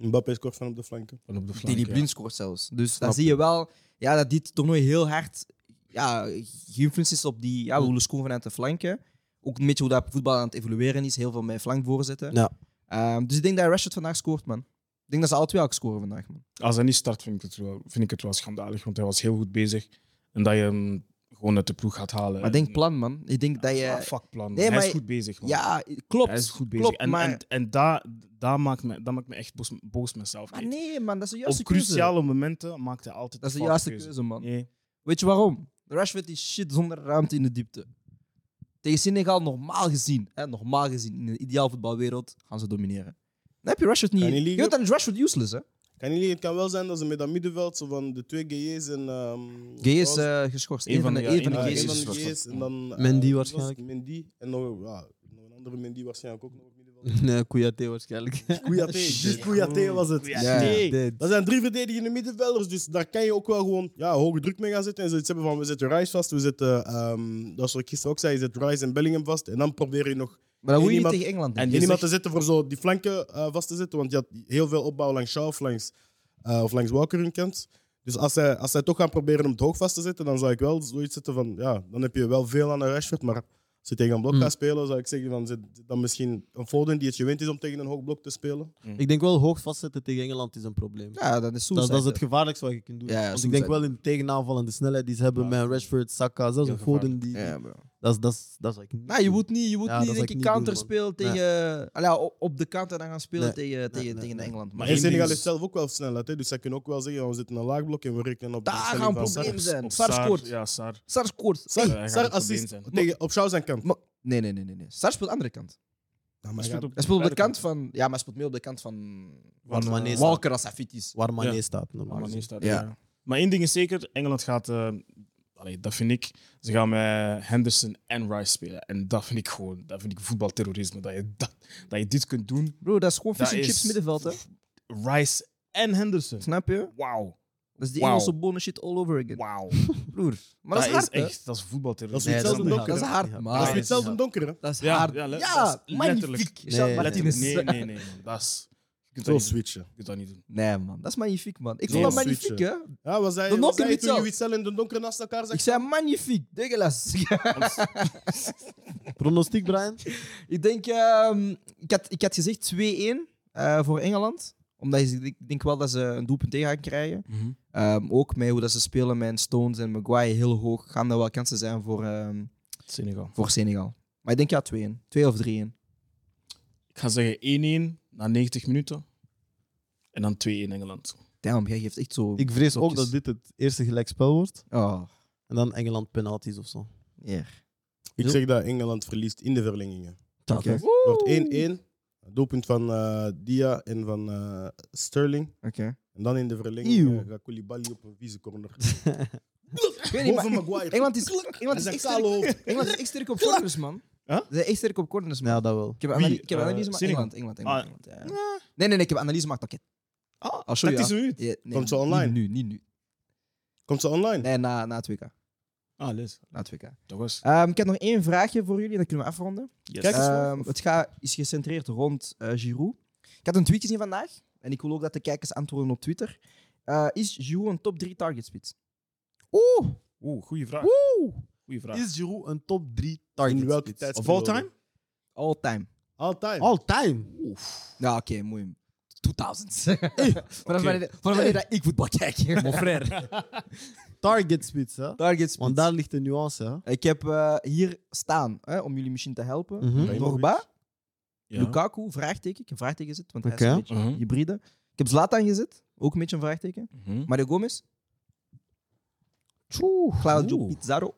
Speaker 4: Mbappé scoort van op de flanken.
Speaker 3: Van op de flank,
Speaker 1: Daley
Speaker 3: ja.
Speaker 1: Blind scoort zelfs. Dus dan
Speaker 3: Snap
Speaker 1: zie je wel ja, dat dit toernooi heel hard ja, geïnfluenced is op die... Ja, we willen scoren vanuit de flanken. Ook een beetje hoe dat voetbal aan het evolueren is. Heel veel met flank voorzetten.
Speaker 2: *laughs* Ja.
Speaker 1: Ehm, dus ik denk dat Rashford vandaag scoort, man. Ik denk dat ze alle twee ook scoren vandaag, man.
Speaker 3: Als hij niet start, vind ik, het wel, vind ik het wel schandalig. Want hij was heel goed bezig. En dat je hem gewoon uit de ploeg gaat halen.
Speaker 1: Maar denk plan, man. Ik denk dat
Speaker 3: Ah,
Speaker 1: je...
Speaker 3: fuck plan.
Speaker 1: Nee,
Speaker 3: hij
Speaker 1: maar-
Speaker 3: is goed bezig, man.
Speaker 1: Ja, klopt.
Speaker 3: hij is goed bezig.
Speaker 1: Klopt,
Speaker 3: en
Speaker 1: maar...
Speaker 3: en, en daar daar maakt me, daar maakt me echt boos, boos mezelf.
Speaker 1: maar
Speaker 3: Kate.
Speaker 1: nee, man. Dat is de
Speaker 3: Op
Speaker 1: juiste keuze.
Speaker 3: cruciale momenten maakt hij altijd
Speaker 1: Dat is de
Speaker 3: foute
Speaker 1: juiste keuze, man.
Speaker 3: Nee.
Speaker 1: Weet je waarom? Rashford is shit zonder ruimte in de diepte. Tegen Senegal, normaal gezien, hè, normaal gezien, in een ideaal voetbalwereld, gaan ze domineren. Dan heb je Rashford niet.
Speaker 4: Kan je
Speaker 1: Je
Speaker 4: liegen?
Speaker 1: weet, dan is Rashford useless, hè?
Speaker 4: Kan jullie, het kan wel zijn dat ze met dat middenveld zo van de twee Guéés en... ehm,
Speaker 1: Gay is
Speaker 4: Ross-
Speaker 1: eh, geschorst.
Speaker 3: Eén
Speaker 1: Eén van de,
Speaker 3: van de-
Speaker 1: één
Speaker 3: ja,
Speaker 1: van de
Speaker 3: één
Speaker 4: Ah,
Speaker 1: gays
Speaker 4: een
Speaker 1: is
Speaker 3: van
Speaker 4: van de
Speaker 1: geschorst.
Speaker 4: Guéés en dan... eh,
Speaker 2: Mendy
Speaker 4: Ross,
Speaker 2: waarschijnlijk.
Speaker 4: Mendy en nog, ja, nog een andere Mendy waarschijnlijk ook nog op middenveld.
Speaker 2: Nee, Kouyaté waarschijnlijk.
Speaker 4: Kouyaté, just Kouyaté was het.
Speaker 1: Ja.
Speaker 2: Dead.
Speaker 4: Dat zijn drie verdedigende middenvelders, dus daar kan je ook wel gewoon ja, hoge druk mee gaan zetten. En zoiets hebben van, we zetten Rice vast, we zetten, ehm, dat is wat ik gisteren ook zei, je zet Rice en Bellingham vast. En dan probeer je nog
Speaker 1: Maar dat moet je niet
Speaker 4: Iemand-
Speaker 1: tegen Engeland doen.
Speaker 3: En
Speaker 4: en
Speaker 3: je
Speaker 4: iemand
Speaker 3: zegt-
Speaker 4: te zetten voor zo die flanken eh, vast te zetten, want je had heel veel opbouw langs Shaw of langs, eh, of langs Walker hun kant. Dus als zij, als zij toch gaan proberen om het hoog vast te zetten, dan zou ik wel zoiets zetten van, ja, dan heb je wel veel aan een Rashford, maar als je tegen een blok
Speaker 2: Mm.
Speaker 4: gaat spelen, zou ik zeggen van, zet dan misschien een Foden die het gewend is om tegen een hoog blok te spelen.
Speaker 2: Ik denk wel hoog vastzetten tegen Engeland is een probleem.
Speaker 1: Ja, dat is
Speaker 2: dat,
Speaker 1: suicide.
Speaker 2: dat is het gevaarlijkste wat je kunt doen.
Speaker 1: Ja, ja,
Speaker 2: Want ik
Speaker 1: suicide.
Speaker 2: denk wel in de tegenaanval en de snelheid die ze hebben
Speaker 3: Ja.
Speaker 2: met Rashford, Saka, zelfs
Speaker 3: Heel
Speaker 2: een Foden. Die,
Speaker 1: Ja, bro.
Speaker 2: dat, is, dat, is, dat is wat ik niet
Speaker 1: Nou, je
Speaker 2: doe.
Speaker 1: moet niet, je moet
Speaker 2: Ja,
Speaker 1: niet
Speaker 2: dat
Speaker 1: denk ik
Speaker 2: zou ik niet doen,
Speaker 1: counter spelen
Speaker 2: man.
Speaker 1: tegen... Allee, ja, op- op de counter dan gaan spelen
Speaker 2: Nee.
Speaker 1: tegen, tegen,
Speaker 2: nee,
Speaker 1: tegen
Speaker 2: nee.
Speaker 1: Engeland.
Speaker 3: Maar
Speaker 1: Maar
Speaker 4: En
Speaker 3: één ding
Speaker 4: Senegal
Speaker 3: is-
Speaker 4: heeft zelf ook wel snelheid, hè, dus zij kunnen ook wel zeggen, ja, we zitten in een laag blok en we rekenen op de
Speaker 1: Daar gaan
Speaker 4: instelling van
Speaker 1: problemen
Speaker 4: Sar.
Speaker 1: Problemen zijn.
Speaker 3: Op
Speaker 1: Sar
Speaker 3: Sar,
Speaker 1: scoort. Nou,
Speaker 3: Ja, Sar.
Speaker 1: Sar scoort.
Speaker 4: Sar,
Speaker 3: Ja, hij gaat
Speaker 4: Sar
Speaker 3: het probleem
Speaker 4: assist
Speaker 3: zijn.
Speaker 4: tegen, op Shaw zijn kant.
Speaker 1: Maar- Nee, nee, nee, nee, nee. Sar speelt andere kant.
Speaker 3: Hij
Speaker 4: Nou, maar
Speaker 3: speelt
Speaker 4: ja,
Speaker 3: op,
Speaker 1: Hij speelt op de kant van... Ja, maar hij speelt meer op de kant van...
Speaker 2: Waar
Speaker 3: eh,
Speaker 2: Mané staat.
Speaker 1: Walker als hij fit is.
Speaker 2: Waar Mané
Speaker 3: Ja.
Speaker 2: staat, normaal
Speaker 3: Maar
Speaker 2: gezien.
Speaker 3: wanneer staat
Speaker 1: Ja.
Speaker 3: ja. eh, Maar één ding is zeker, Engeland gaat, eh, allee, dat vind ik, ze gaan met Henderson en Rice spelen. En dat vind ik gewoon, dat vind ik voetbalterrorisme, dat je, dat, dat je dit kunt doen.
Speaker 1: Bro, dat is gewoon
Speaker 3: Dat
Speaker 1: fish and
Speaker 3: is-
Speaker 1: chips middenveld, hè?
Speaker 3: Rice en Henderson.
Speaker 1: Snap je?
Speaker 3: Wauw,
Speaker 1: Dat is die
Speaker 3: Wauw.
Speaker 1: Engelse bonen shit all over again.
Speaker 3: wauw.
Speaker 1: Broer. Maar dat, is hard,
Speaker 3: is
Speaker 1: hè?
Speaker 3: echt, dat is voetbalterrorisme.
Speaker 4: Dat is hetzelfde
Speaker 2: niet
Speaker 4: ook,
Speaker 1: Dat is
Speaker 4: hè?
Speaker 1: hard,
Speaker 4: Dat is
Speaker 1: maar...
Speaker 4: weer hetzelfde donker, hè?
Speaker 1: Dat is
Speaker 3: Ja,
Speaker 1: hard.
Speaker 3: ja,
Speaker 1: Ja,
Speaker 3: le- dat
Speaker 1: *laughs*
Speaker 3: is
Speaker 1: magnifiek.
Speaker 3: letterlijk.
Speaker 1: Jean
Speaker 2: Nee,
Speaker 1: Martinez.
Speaker 3: Nee, nee, nee, man. Dat is, je kunt dat
Speaker 4: Zo
Speaker 3: niet doen.
Speaker 4: switchen.
Speaker 3: Je kunt dat niet doen.
Speaker 1: Nee, man. Dat is magnifiek, man. Ik
Speaker 4: Zo
Speaker 1: vond dat
Speaker 4: switchen.
Speaker 1: magnifiek, hè?
Speaker 4: Ja, was hij,
Speaker 1: De
Speaker 4: was
Speaker 1: donker
Speaker 4: hij
Speaker 1: niet
Speaker 4: toen
Speaker 1: zelf.
Speaker 4: Witzel en de donker naast elkaar
Speaker 1: Ik
Speaker 4: zegt?
Speaker 1: zei magnifiek. Degelas. *laughs*
Speaker 2: Pronostiek, Brian?
Speaker 1: ik denk... ehm, ik, had, ik had gezegd 2-1 eh, voor Engeland. Omdat ik denk- ik denk wel dat ze een doelpunt tegen gaan krijgen.
Speaker 3: Mhm.
Speaker 1: Ehm, ook met hoe dat ze spelen met Stones en Maguire heel hoog. Gaan er wel kansen zijn voor, ehm,
Speaker 3: Senegal.
Speaker 1: voor Senegal. Maar ik denk ja 2-1. 2 of 3-1.
Speaker 3: Ik ga zeggen 1-1 na 90 minuten. En dan 2-1 Engeland.
Speaker 1: Damn, jij geeft echt zo...
Speaker 2: Ik vrees ook
Speaker 1: Blokjes.
Speaker 2: dat dit het eerste gelijkspel wordt.
Speaker 1: Oh,
Speaker 2: En dan Engeland penalties of zo.
Speaker 1: yeah.
Speaker 4: Ik zeg dat Engeland verliest in de verlengingen.
Speaker 2: Dat
Speaker 1: Oké.
Speaker 2: is-
Speaker 4: Het wordt 1-1. Doelpunt van eh, Dia en van eh, Sterling.
Speaker 1: Oké.
Speaker 4: En dan in de verlenging
Speaker 2: Eeuw.
Speaker 4: eh, gaat Koulibaly op een vieze *laughs* corner.
Speaker 1: Ik weet niet, maar
Speaker 4: Boven Maguire.
Speaker 1: Engeland is, Engeland, is
Speaker 4: zijn
Speaker 1: echt
Speaker 4: kale
Speaker 1: sterk,
Speaker 4: hoofd.
Speaker 1: Engeland is echt sterk op voorkeurs, man.
Speaker 3: Huh?
Speaker 1: Ze zijn echt sterk op corners, man.
Speaker 2: Ja, dat wel.
Speaker 1: Ik heb,
Speaker 3: Wie?
Speaker 1: analy- ik heb
Speaker 3: Eh,
Speaker 1: analyse gemaakt.
Speaker 3: Senegal?
Speaker 1: Engeland, Engeland, Engeland.
Speaker 3: Ah.
Speaker 1: Engeland, ja. Nee, nee, nee, ik heb analyse gemaakt. Oké.
Speaker 3: Ah,
Speaker 1: I'll show you
Speaker 3: tactische minuut.
Speaker 1: Ja, nee,
Speaker 4: Komt ze
Speaker 1: niet
Speaker 4: online?
Speaker 1: Nu, niet nu.
Speaker 4: Komt ze online?
Speaker 1: Nee, na, na het WK.
Speaker 3: Ah, les.
Speaker 1: Na het WK.
Speaker 3: Dat was.
Speaker 1: Ehm, ik heb nog één vraagje voor jullie en dan kunnen we afronden.
Speaker 4: Kijk eens.
Speaker 1: Ehm, het gaat is gecentreerd rond eh, Giroud. Ik had een tweet gezien vandaag en ik wil ook dat de kijkers antwoorden op Twitter. Eh, is Giroud een top 3 targetspits? Oeh!
Speaker 3: Oeh, goede vraag.
Speaker 1: Oeh!
Speaker 3: Goeie vraag.
Speaker 2: Is Giroud een top 3 target?
Speaker 4: In welke
Speaker 2: spits?
Speaker 4: tijd-
Speaker 3: Of all time?
Speaker 1: All time.
Speaker 4: All time.
Speaker 2: All time.
Speaker 1: Ja, oké, mooi. 2000s. *laughs* Vanaf wanneer- vanaf wanneer dat ik voetbal kijk. *laughs* Mon
Speaker 5: *laughs*
Speaker 1: frère.
Speaker 2: Target spits, hè?
Speaker 1: Targetspits.
Speaker 2: Want daar ligt de nuance, hè?
Speaker 1: Ik heb eh, hier staan, hè, om jullie misschien te helpen.
Speaker 2: Mhm.
Speaker 1: Norba,
Speaker 3: Ja.
Speaker 1: Lukaku, vraagteken. Ik heb een vraagteken gezet, want hij is
Speaker 2: Oké.
Speaker 1: een beetje
Speaker 3: Mhm.
Speaker 1: hybride. Ik heb Zlatan gezet, ook een beetje een vraagteken.
Speaker 3: Mhm.
Speaker 1: Mario Gomez. Tjoe, Claudio
Speaker 3: Oeh.
Speaker 1: Pizarro.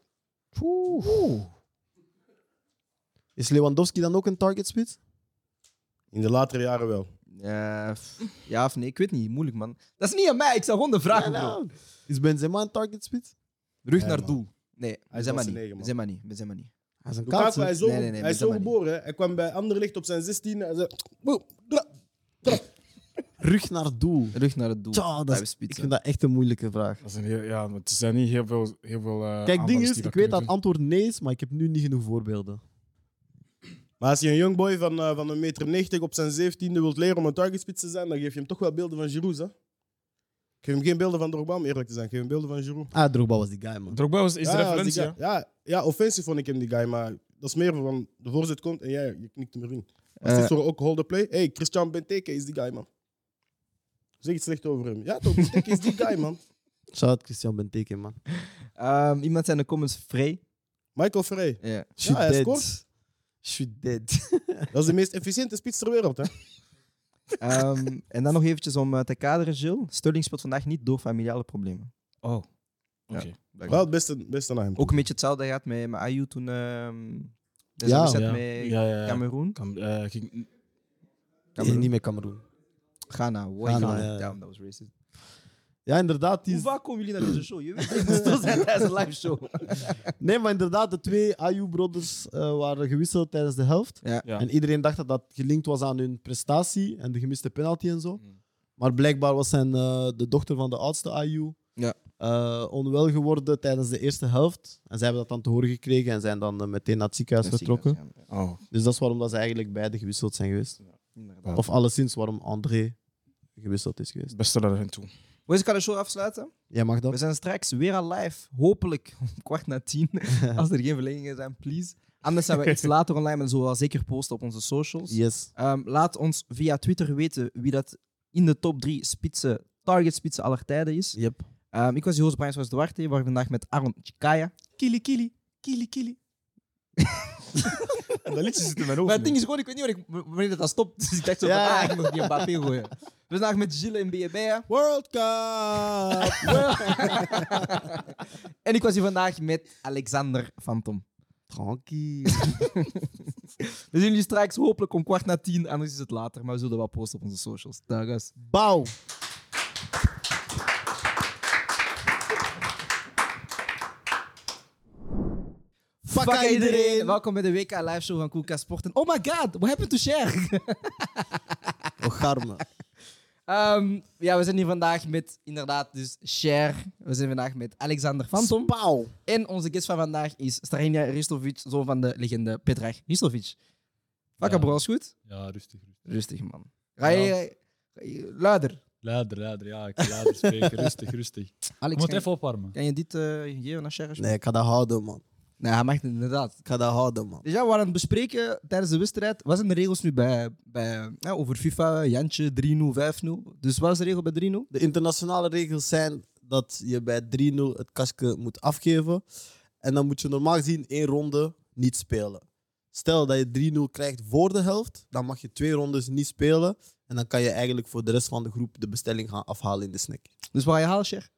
Speaker 2: Is Lewandowski dan ook een target spits?
Speaker 4: In de latere jaren wel.
Speaker 1: Eh, f- ja of nee, ik weet niet. Moeilijk, man. Dat is niet aan mij. Ik zou gewoon de vraag bro.
Speaker 2: Is Benzema een target spits?
Speaker 1: Rug
Speaker 4: Nee,
Speaker 1: naar
Speaker 4: man.
Speaker 1: doel. Nee, we zijn maar
Speaker 4: wel
Speaker 1: niet.
Speaker 4: zijn negen,
Speaker 1: We zijn maar niet. We zijn maar niet.
Speaker 2: Hij is een
Speaker 4: Lukaku, hij
Speaker 2: kaatser.
Speaker 4: is zo,
Speaker 1: Nee, nee, nee,
Speaker 4: hij is zo
Speaker 1: Benzema niet.
Speaker 4: geboren. hè. Hij kwam bij Anderlicht op zijn 16 en zei... "Boe, dra."
Speaker 2: Rug naar doel.
Speaker 1: Rug naar het doel.
Speaker 2: Tja, dat
Speaker 1: Blijven
Speaker 2: is, ik
Speaker 1: spitsen.
Speaker 2: vind dat echt een moeilijke vraag.
Speaker 3: Dat is een heel, ja, maar het zijn niet heel veel. Heel veel eh,
Speaker 2: Kijk, ding
Speaker 3: aanvallers
Speaker 2: is,
Speaker 3: die
Speaker 2: ik weet dat het
Speaker 3: kunnen
Speaker 2: antwoord nee is, maar ik heb nu niet genoeg voorbeelden.
Speaker 4: Maar als je een jongboy van, eh, van een meter 90 op zijn 17e wilt leren om een targetspits te zijn, dan geef je hem toch wel beelden van Giroud, hè? Ik geef hem geen beelden van Drogba, om eerlijk te zijn. Ik geef hem beelden van Giroud.
Speaker 2: Ah, Drogba was die guy,
Speaker 3: doen.
Speaker 2: man.
Speaker 3: Drogba is, is de
Speaker 4: als die
Speaker 3: referentie.
Speaker 4: guy-
Speaker 3: hè?
Speaker 4: ja, ja, offensief vond ik hem die guy, maar dat is meer van de voorzet komt en jij je knikt hem erin. Als
Speaker 1: Eh.
Speaker 4: dit soort ook hold the play, hey, Christian Benteke is die guy, man. Zeg iets slecht over hem. Ja, toch, Benteke is die guy, man.
Speaker 2: Shout-out Christian Benteke, man.
Speaker 1: Ehm, iemand zijn in de comments vrij.
Speaker 4: Michael Frey,
Speaker 1: Ja.
Speaker 2: She
Speaker 4: Ja, hij
Speaker 2: dead.
Speaker 4: scoort.
Speaker 2: She dead.
Speaker 4: dat is de meest efficiënte spits ter wereld, hè?
Speaker 1: Ehm, en dan nog eventjes om eh, te kaderen, Jill. Sterling speelt vandaag niet door familiale problemen.
Speaker 3: Oh, oké.
Speaker 4: Wel het beste, beste naar hem.
Speaker 1: Ook een beetje hetzelfde gaat met, met Ayu toen ehm de
Speaker 2: Ja.
Speaker 1: ja. zat
Speaker 3: Ja.
Speaker 1: met
Speaker 3: Ja, ja, ja.
Speaker 1: Cameroen.
Speaker 3: Kan, eh, ging-
Speaker 2: Nee, niet met Cameroen.
Speaker 1: Ghana, wow.
Speaker 2: Ghana,
Speaker 1: Ghana.
Speaker 2: ja.
Speaker 1: Damn, dat was racist.
Speaker 2: Ja, inderdaad. Die
Speaker 1: Hoe
Speaker 2: is-
Speaker 1: vaak komen jullie naar deze show? Je weet het, stil zijn tijdens een live show.
Speaker 2: Nee, maar inderdaad, de twee Ayu-brothers eh, waren gewisseld tijdens de helft.
Speaker 1: Ja.
Speaker 3: Ja.
Speaker 2: En iedereen dacht dat dat gelinkt was aan hun prestatie en de gemiste penalty en zo.
Speaker 3: Mm.
Speaker 2: Maar blijkbaar was zijn, eh, de dochter van de oudste Ayu
Speaker 1: Ja.
Speaker 2: eh, onwel geworden tijdens de eerste helft. En zij hebben dat dan te horen gekregen en zijn dan eh, meteen naar het ziekenhuis vertrokken.
Speaker 3: oh,
Speaker 2: Dus dat is waarom dat ze eigenlijk beide gewisseld zijn geweest.
Speaker 1: Inderdaad.
Speaker 2: Of alleszins waarom André gewisseld is geweest.
Speaker 3: het beste naar hen toe.
Speaker 1: Boys, ik ga de show afsluiten.
Speaker 2: Jij mag
Speaker 1: We
Speaker 2: dat?
Speaker 1: zijn straks weer al live. Hopelijk *laughs* om kwart na tien. Als er geen verlengingen zijn, please. Anders zijn we *laughs* iets later online, maar zo wel zeker posten op onze socials.
Speaker 2: Yes.
Speaker 1: Ehm, laat ons via Twitter weten wie dat in de top drie spitsen, target spitsen aller tijden is.
Speaker 2: Yep.
Speaker 1: Ehm, ik was Joost Brian Swas Duarte. We waren vandaag met Aaron Chikaya.
Speaker 3: Kili, kili, kili, kili. dat liedje zit in mijn hoofd.
Speaker 1: Maar het
Speaker 3: nu.
Speaker 1: ding is gewoon, ik weet niet waar ik- wanneer dat dat stopt. *laughs* Dus ik dacht zo,
Speaker 2: Ja.
Speaker 1: van, ah, ik moet die Mbappé gooien. *laughs* We zijn vandaag met Gilles en BB.
Speaker 4: World Cup!
Speaker 1: En ik was hier vandaag met Alexander Phantom.
Speaker 2: Tranquille.
Speaker 1: We zien jullie straks hopelijk om kwart na tien. Anders is het later, maar we zullen wel posten op onze socials. Dag, guys.
Speaker 2: Bouw. Fuck
Speaker 1: Fuck
Speaker 2: iedereen.
Speaker 1: Welkom bij de WK live show van Koelka Sport. En oh my god, what happened to share?
Speaker 2: Ocharme.
Speaker 1: Ehm, ja, we zijn hier vandaag met inderdaad dus Cher. We zijn vandaag met Alexander Phantom.
Speaker 2: Pauw.
Speaker 1: En onze guest van vandaag is Starinja Ristovic, zoon van de legende Petrag Ristovic. Wakker,
Speaker 5: Ja.
Speaker 1: bro, is goed?
Speaker 5: Ja, rustig. rustig.
Speaker 1: Rustig, man. Ga je, luider.
Speaker 5: Luider, luider. Ja, ik ga luider spreken. rustig, rustig. Ik
Speaker 1: Alex,
Speaker 5: moet
Speaker 1: kan,
Speaker 5: even opwarmen.
Speaker 1: kan je dit eh, geven aan Cher?
Speaker 2: Nee, ik ga dat houden, man.
Speaker 1: nee, hij mag het inderdaad.
Speaker 2: Ik ga dat houden, man.
Speaker 1: Dus ja, we waren aan het bespreken tijdens de wedstrijd. Wat zijn de regels nu bij, bij, ja, over FIFA? Jantje, 3-0, 5-0. Dus wat is de regel bij 3-0?
Speaker 2: De internationale regels zijn dat je bij 3-0 het kastje moet afgeven. En dan moet je normaal gezien één ronde niet spelen. Stel dat je 3-0 krijgt voor de helft, dan mag je twee rondes niet spelen. En dan kan je eigenlijk voor de rest van de groep de bestelling gaan afhalen in de snack.
Speaker 1: Dus waar je haalt, Cher?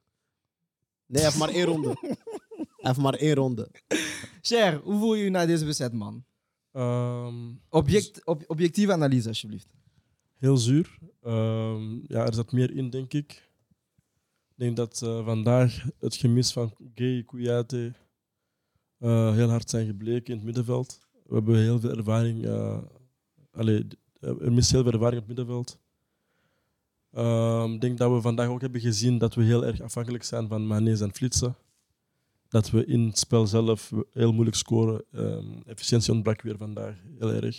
Speaker 2: Nee, hij heeft maar één ronde. Hij heeft maar één ronde.
Speaker 1: Cher, hoe voel je je na deze wedstrijd, man?
Speaker 6: Ehm,
Speaker 1: Object, ob- objectieve analyse, alsjeblieft.
Speaker 6: heel zuur. Ehm, ja, er zat meer in, denk ik. Ik denk dat eh, vandaag het gemis van Gay Kouyaté eh, heel hard zijn gebleken in het middenveld. We hebben heel veel ervaring. eh allee, eh, er mist heel veel ervaring op het middenveld. Ehm, ik denk dat we vandaag ook hebben gezien dat we heel erg afhankelijk zijn van Manees en Flitsen. Dat we in het spel zelf heel moeilijk scoren. Ehm, efficiëntie ontbrak weer vandaag heel erg.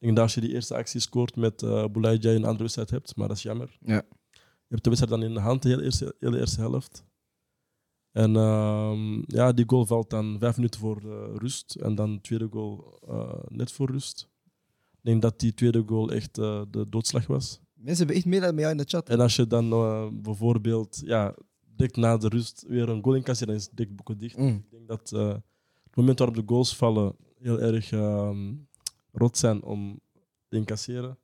Speaker 6: Ik denk dat als je die eerste actie scoort met eh Boulaye een andere wedstrijd hebt, maar dat is jammer.
Speaker 1: Ja.
Speaker 6: Je hebt de wedstrijd dan in de hand de hele eerste, hele eerste helft. En ehm, ja, die goal valt dan vijf minuten voor eh, rust. En dan de tweede goal eh, net voor rust. Ik denk dat die tweede goal echt eh, de doodslag was.
Speaker 1: Mensen hebben echt meedelijden met jou in de chat.
Speaker 6: En als je dan eh, bijvoorbeeld ja, direct na de rust weer een goal incasseert, dan is het direct boeken dicht.
Speaker 1: Mm.
Speaker 6: Ik denk dat eh, het moment waarop de goals vallen heel erg ehm, rot zijn om te incasseren.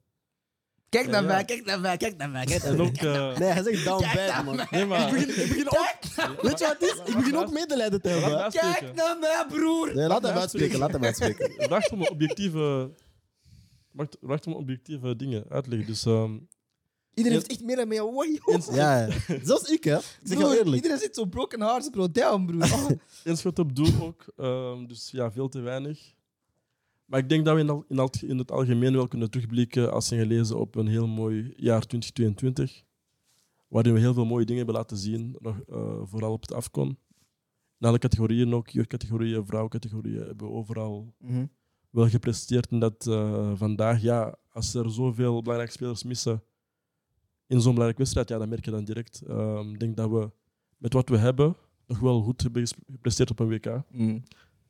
Speaker 1: Kijk naar
Speaker 6: Ja.
Speaker 1: mij, kijk naar mij, kijk naar mij. Kijk naar
Speaker 6: En
Speaker 1: mij.
Speaker 6: ook... eh,
Speaker 2: Nee, hij zegt down bad, man.
Speaker 6: nee, maar...
Speaker 2: Ik begin, ik begin ook, weet je wat het is? Ik begin ook medelijden te hebben. hè.
Speaker 6: Laat me
Speaker 1: Kijk
Speaker 6: uitspreken.
Speaker 1: naar mij, broer!
Speaker 2: Nee, laat hem uitspreken, laat hem uitspreken.
Speaker 6: Het vraagt om een objectieve... het vraagt om objectieve dingen uitleggen. Dus ehm,
Speaker 1: Iedereen heeft echt meedelijden met jou. Wow, joh.
Speaker 2: Ja, ja. Zelfs ik, hè. Ik zeg jou
Speaker 1: Broer,
Speaker 2: eerlijk.
Speaker 1: Iedereen zit zo broken hearts, bro. Damn, *laughs* broer. Oh.
Speaker 6: inschot op doel ook. ehm, dus ja, veel te weinig. Maar ik denk dat we in, al- in, al- in het algemeen wel kunnen terugblikken als een gelezen op een heel mooi jaar 2022. Waarin we heel veel mooie dingen hebben laten zien, nog, eh, vooral op het afkom. In alle categorieën ook, jeugdcategorieën, vrouwencategorieën, hebben we overal
Speaker 1: Mhm.
Speaker 6: wel gepresteerd. En dat eh, vandaag, ja, als er zoveel belangrijke spelers missen in zo'n belangrijke wedstrijd, ja, dat merk je dan direct. Ehm, ik denk dat we met wat we hebben nog wel goed hebben gesp- gepresteerd op een WK.
Speaker 1: Mm.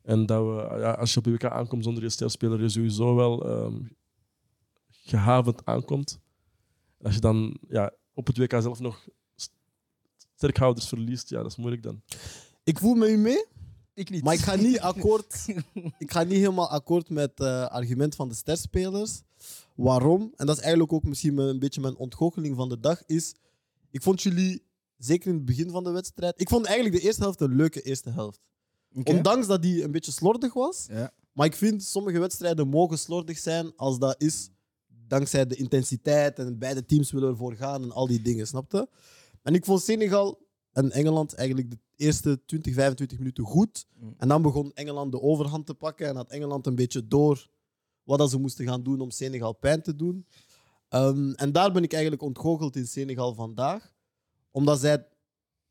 Speaker 6: En dat we, ja, als je op een WK aankomt zonder je sterspeler, je sowieso wel ehm, gehavend aankomt. En als je dan ja, op het WK zelf nog st- sterkhouders verliest, ja, dat is moeilijk dan.
Speaker 2: Ik voel met u mee.
Speaker 1: Ik niet.
Speaker 2: Maar ik ga
Speaker 1: *laughs*
Speaker 2: niet akkoord. ik ga niet helemaal akkoord met het argument van de sterspelers. Waarom? En dat is eigenlijk ook misschien mijn- een beetje mijn ontgoocheling van de dag. Is ik vond jullie zeker in het begin van de wedstrijd. Ik vond eigenlijk de eerste helft een leuke eerste helft.
Speaker 1: Oké.
Speaker 2: Ondanks dat die een beetje slordig was.
Speaker 1: Ja.
Speaker 2: Maar ik vind sommige wedstrijden mogen slordig zijn als dat is dankzij de intensiteit en beide teams willen ervoor gaan en al die dingen, snapte? En ik vond Senegal en Engeland eigenlijk de eerste 20, 25 minuten goed.
Speaker 1: Mm.
Speaker 2: En dan begon Engeland de overhand te pakken en had Engeland een beetje door wat dat ze moesten gaan doen om Senegal pijn te doen. Ehm, en daar ben ik eigenlijk ontgoocheld in Senegal vandaag. Omdat zij...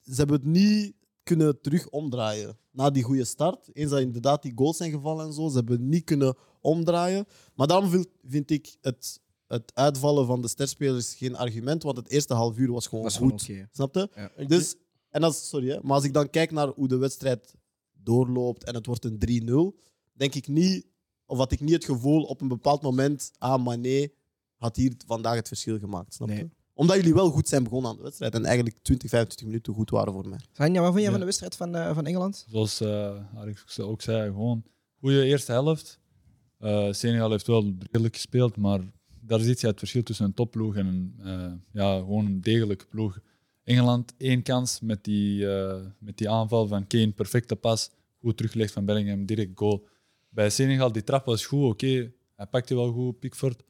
Speaker 2: Ze hebben het niet kunnen terug omdraaien na die goede start. Eens dat inderdaad die goals zijn gevallen en zo. Ze hebben niet kunnen omdraaien. Maar daarom vind, vind ik het, het uitvallen van de sterspelers geen argument. Want het eerste half uur was gewoon
Speaker 1: Dat is
Speaker 2: goed.
Speaker 1: gewoon oké.
Speaker 2: Snap je?
Speaker 6: Ik
Speaker 2: Dus, en als, sorry, hè, maar als ik dan kijk naar hoe de wedstrijd doorloopt en het wordt een 3-0, denk ik niet, of had ik niet het gevoel op een bepaald moment, ah, Mané had hier vandaag het verschil gemaakt. Snap je?
Speaker 1: Nee.
Speaker 2: Omdat jullie wel goed zijn begonnen aan de wedstrijd en eigenlijk 20, 25 minuten goed waren voor mij.
Speaker 1: Sanja, wat vond jij
Speaker 5: Ja.
Speaker 1: van de wedstrijd van, eh, van Engeland?
Speaker 5: Zoals eh, Alex ook zei, gewoon goede eerste helft. Eh, Senegal heeft wel redelijk gespeeld, maar daar ziet je het verschil tussen een topploeg en een, eh, ja, gewoon een degelijke ploeg. Engeland één kans met die, eh, met die aanval van Kane, perfecte pas, goed teruggelegd van Bellingham, direct goal. Bij Senegal, die trap was goed, oké, hij pakte wel goed, Pickford,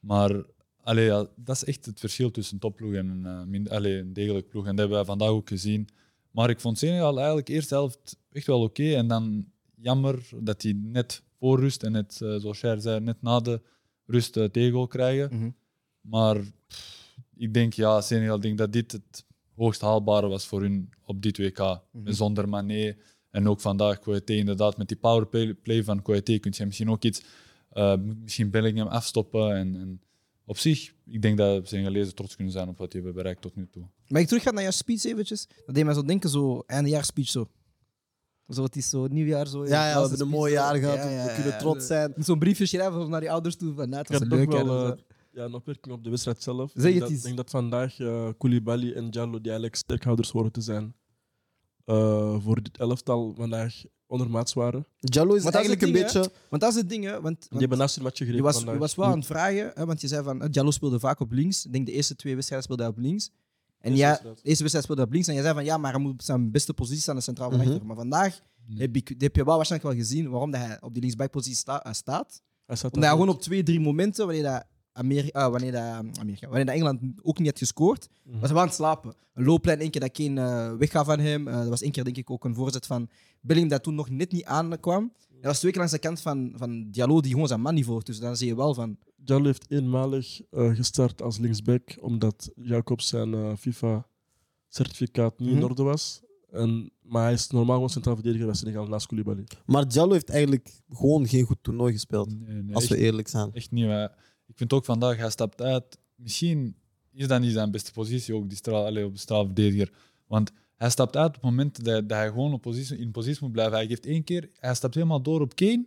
Speaker 5: maar allee, ja, dat is echt het verschil tussen een topploeg en een, eh, min- allee, een degelijke ploeg. En dat hebben wij vandaag ook gezien. Maar ik vond Senegal eigenlijk eerst helft echt wel oké. En dan jammer dat die net voor rust en net, eh, zoals jij zei, net na de rust eh, tegel krijgen.
Speaker 1: Mhm.
Speaker 5: Maar pff, ik denk, ja, Senegal, ik denk dat dit het hoogst haalbare was voor hun op dit WK.
Speaker 1: Mhm.
Speaker 5: Zonder Mané en ook vandaag Coyote inderdaad. Met die powerplay van Coyote kun je misschien ook iets, eh, misschien Bellingham afstoppen. En, en op zich, ik denk dat Senegalezen trots kunnen zijn op wat die hebben bereikt tot nu toe.
Speaker 1: Maar ik terugga naar jouw speech eventjes. Dat deed mij zo denken, zo eindejaars speech zo. Zo, het is zo nieuwjaar zo.
Speaker 2: Ja, ja, we
Speaker 1: de
Speaker 2: hebben een mooi jaar gehad,
Speaker 1: Ja, ja,
Speaker 2: we kunnen
Speaker 1: ja.
Speaker 2: trots zijn.
Speaker 1: Moet Zo'n briefje schrijven naar die ouders toe van, nou, het
Speaker 6: Ik
Speaker 1: was
Speaker 6: heb
Speaker 1: een
Speaker 6: toch
Speaker 1: leuk jaar.
Speaker 6: wel
Speaker 1: en
Speaker 6: eh,
Speaker 1: zo.
Speaker 6: ja, een opmerking op de wedstrijd zelf.
Speaker 1: Zeg het
Speaker 6: ik denk dat-
Speaker 1: eens.
Speaker 6: ik denk dat vandaag eh Koulibaly en Jallo, die eigenlijk sterkhouders horen te zijn, eh, voor dit elftal vandaag ondermaats waren.
Speaker 2: Jallo is
Speaker 1: Maar dat is
Speaker 2: eigenlijk een
Speaker 1: het
Speaker 2: beetje...
Speaker 1: Want dat is het ding, hè. Want,
Speaker 6: Die
Speaker 1: want
Speaker 6: hebben naast hun matje
Speaker 1: je,
Speaker 6: gereden
Speaker 1: was,
Speaker 6: vandaag.
Speaker 1: je was wel aan het vragen, hè, want je zei van, eh, Jallo speelde vaak op links. Ik denk de eerste twee wedstrijden speelde hij op links. En
Speaker 6: Eerste
Speaker 1: ja, de
Speaker 6: wedstrijd.
Speaker 1: eerste wedstrijd speelde hij op links. En jij zei van, ja, maar hij moet op zijn beste positie staan, de centraal van
Speaker 2: Mhm.
Speaker 1: achter. Maar vandaag heb, ik, heb je wel waarschijnlijk wel gezien waarom dat hij op die linksbackpositie sta- eh, staat.
Speaker 6: Hij
Speaker 1: Omdat
Speaker 6: staat
Speaker 1: hij
Speaker 6: daar
Speaker 1: gewoon op twee, drie momenten, wanneer dat, Amerika, ah, wanneer, dat, eh, Amerika, wanneer dat Engeland ook niet had gescoord,
Speaker 6: Mhm.
Speaker 1: was hij aan het slapen. Een looplijn, één keer dat Kane eh, weggaf van hem. Eh, dat was één keer denk ik ook een voorzet van Bellingham dat toen nog net niet aankwam. Dat was twee keer langs de kant van, van Diallo die gewoon zijn man niet volgt. Dus dan zie je wel van...
Speaker 6: Jallo heeft eenmalig eh, gestart als linksback, omdat Jacobs zijn eh, FIFA-certificaat niet
Speaker 1: Mhm.
Speaker 6: in orde was. En, maar hij is normaal gewoon centraal verdediger bij Senegal naast Koulibaly.
Speaker 2: Maar Jallo heeft eigenlijk gewoon geen goed toernooi gespeeld.
Speaker 5: Nee, nee,
Speaker 2: Als
Speaker 5: echt
Speaker 2: we eerlijk zijn.
Speaker 5: Echt niet. Maar ik vind ook vandaag, hij stapt uit. Misschien is dat niet zijn beste positie ook, die straal, allee, op de straalverdediger. Want hij stapt uit op het moment dat, dat hij gewoon op positie, in positie moet blijven. Hij geeft één keer, hij stapt helemaal door op Kane.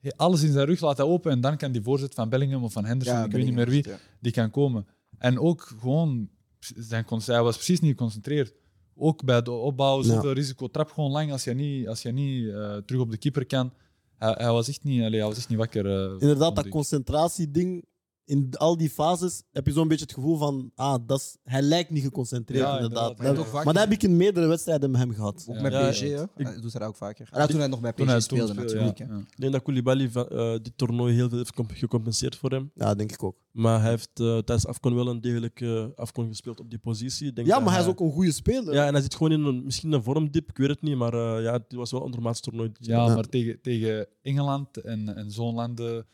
Speaker 5: Hij- Alles in zijn rug laat hij open en dan kan die voorzet van Bellingham of van Henderson, ik weet niet meer wie, die kan komen. En ook gewoon, zijn, cons- hij was precies niet geconcentreerd. Ook bij de opbouw, zoveel risico. Trap gewoon lang als je niet, als je niet eh, terug op de keeper kan. Hij, hij was echt niet, allee, hij was echt niet wakker. eh,
Speaker 2: Inderdaad,
Speaker 5: vond
Speaker 2: dat
Speaker 5: ik.
Speaker 2: concentratieding. In al die fases heb je zo'n beetje het gevoel van... Ah, dat is, hij lijkt niet geconcentreerd,
Speaker 5: Ja,
Speaker 2: inderdaad.
Speaker 5: inderdaad.
Speaker 2: Dat-
Speaker 1: Ook vaak-
Speaker 2: maar dat heb ik in meerdere wedstrijden met hem gehad.
Speaker 1: Ook
Speaker 5: Ja.
Speaker 1: met
Speaker 6: Ja,
Speaker 1: PSG,
Speaker 5: ja.
Speaker 1: hè.
Speaker 6: Ik-
Speaker 1: Hij doet dat ook vaker. Ah, toen hij nog bij PSG speelde, natuurlijk. hè.
Speaker 5: Ja.
Speaker 6: Ik denk dat Koulibaly va- eh, dit toernooi heel veel heeft comp- gecompenseerd voor hem.
Speaker 2: Ja, denk ik ook.
Speaker 6: Maar hij heeft eh, tijdens Afcon wel een degelijke Afcon gespeeld op die positie. Ik Denk
Speaker 2: Ja,
Speaker 6: dat
Speaker 2: maar hij is ook een goede speler.
Speaker 6: Ja, en hij zit gewoon in een, misschien een vormdip, ik weet het niet. Maar eh, ja, dit was wel een ondermaats toernooi.
Speaker 5: Ja, maar tegen, tegen Engeland en, en zo'n landen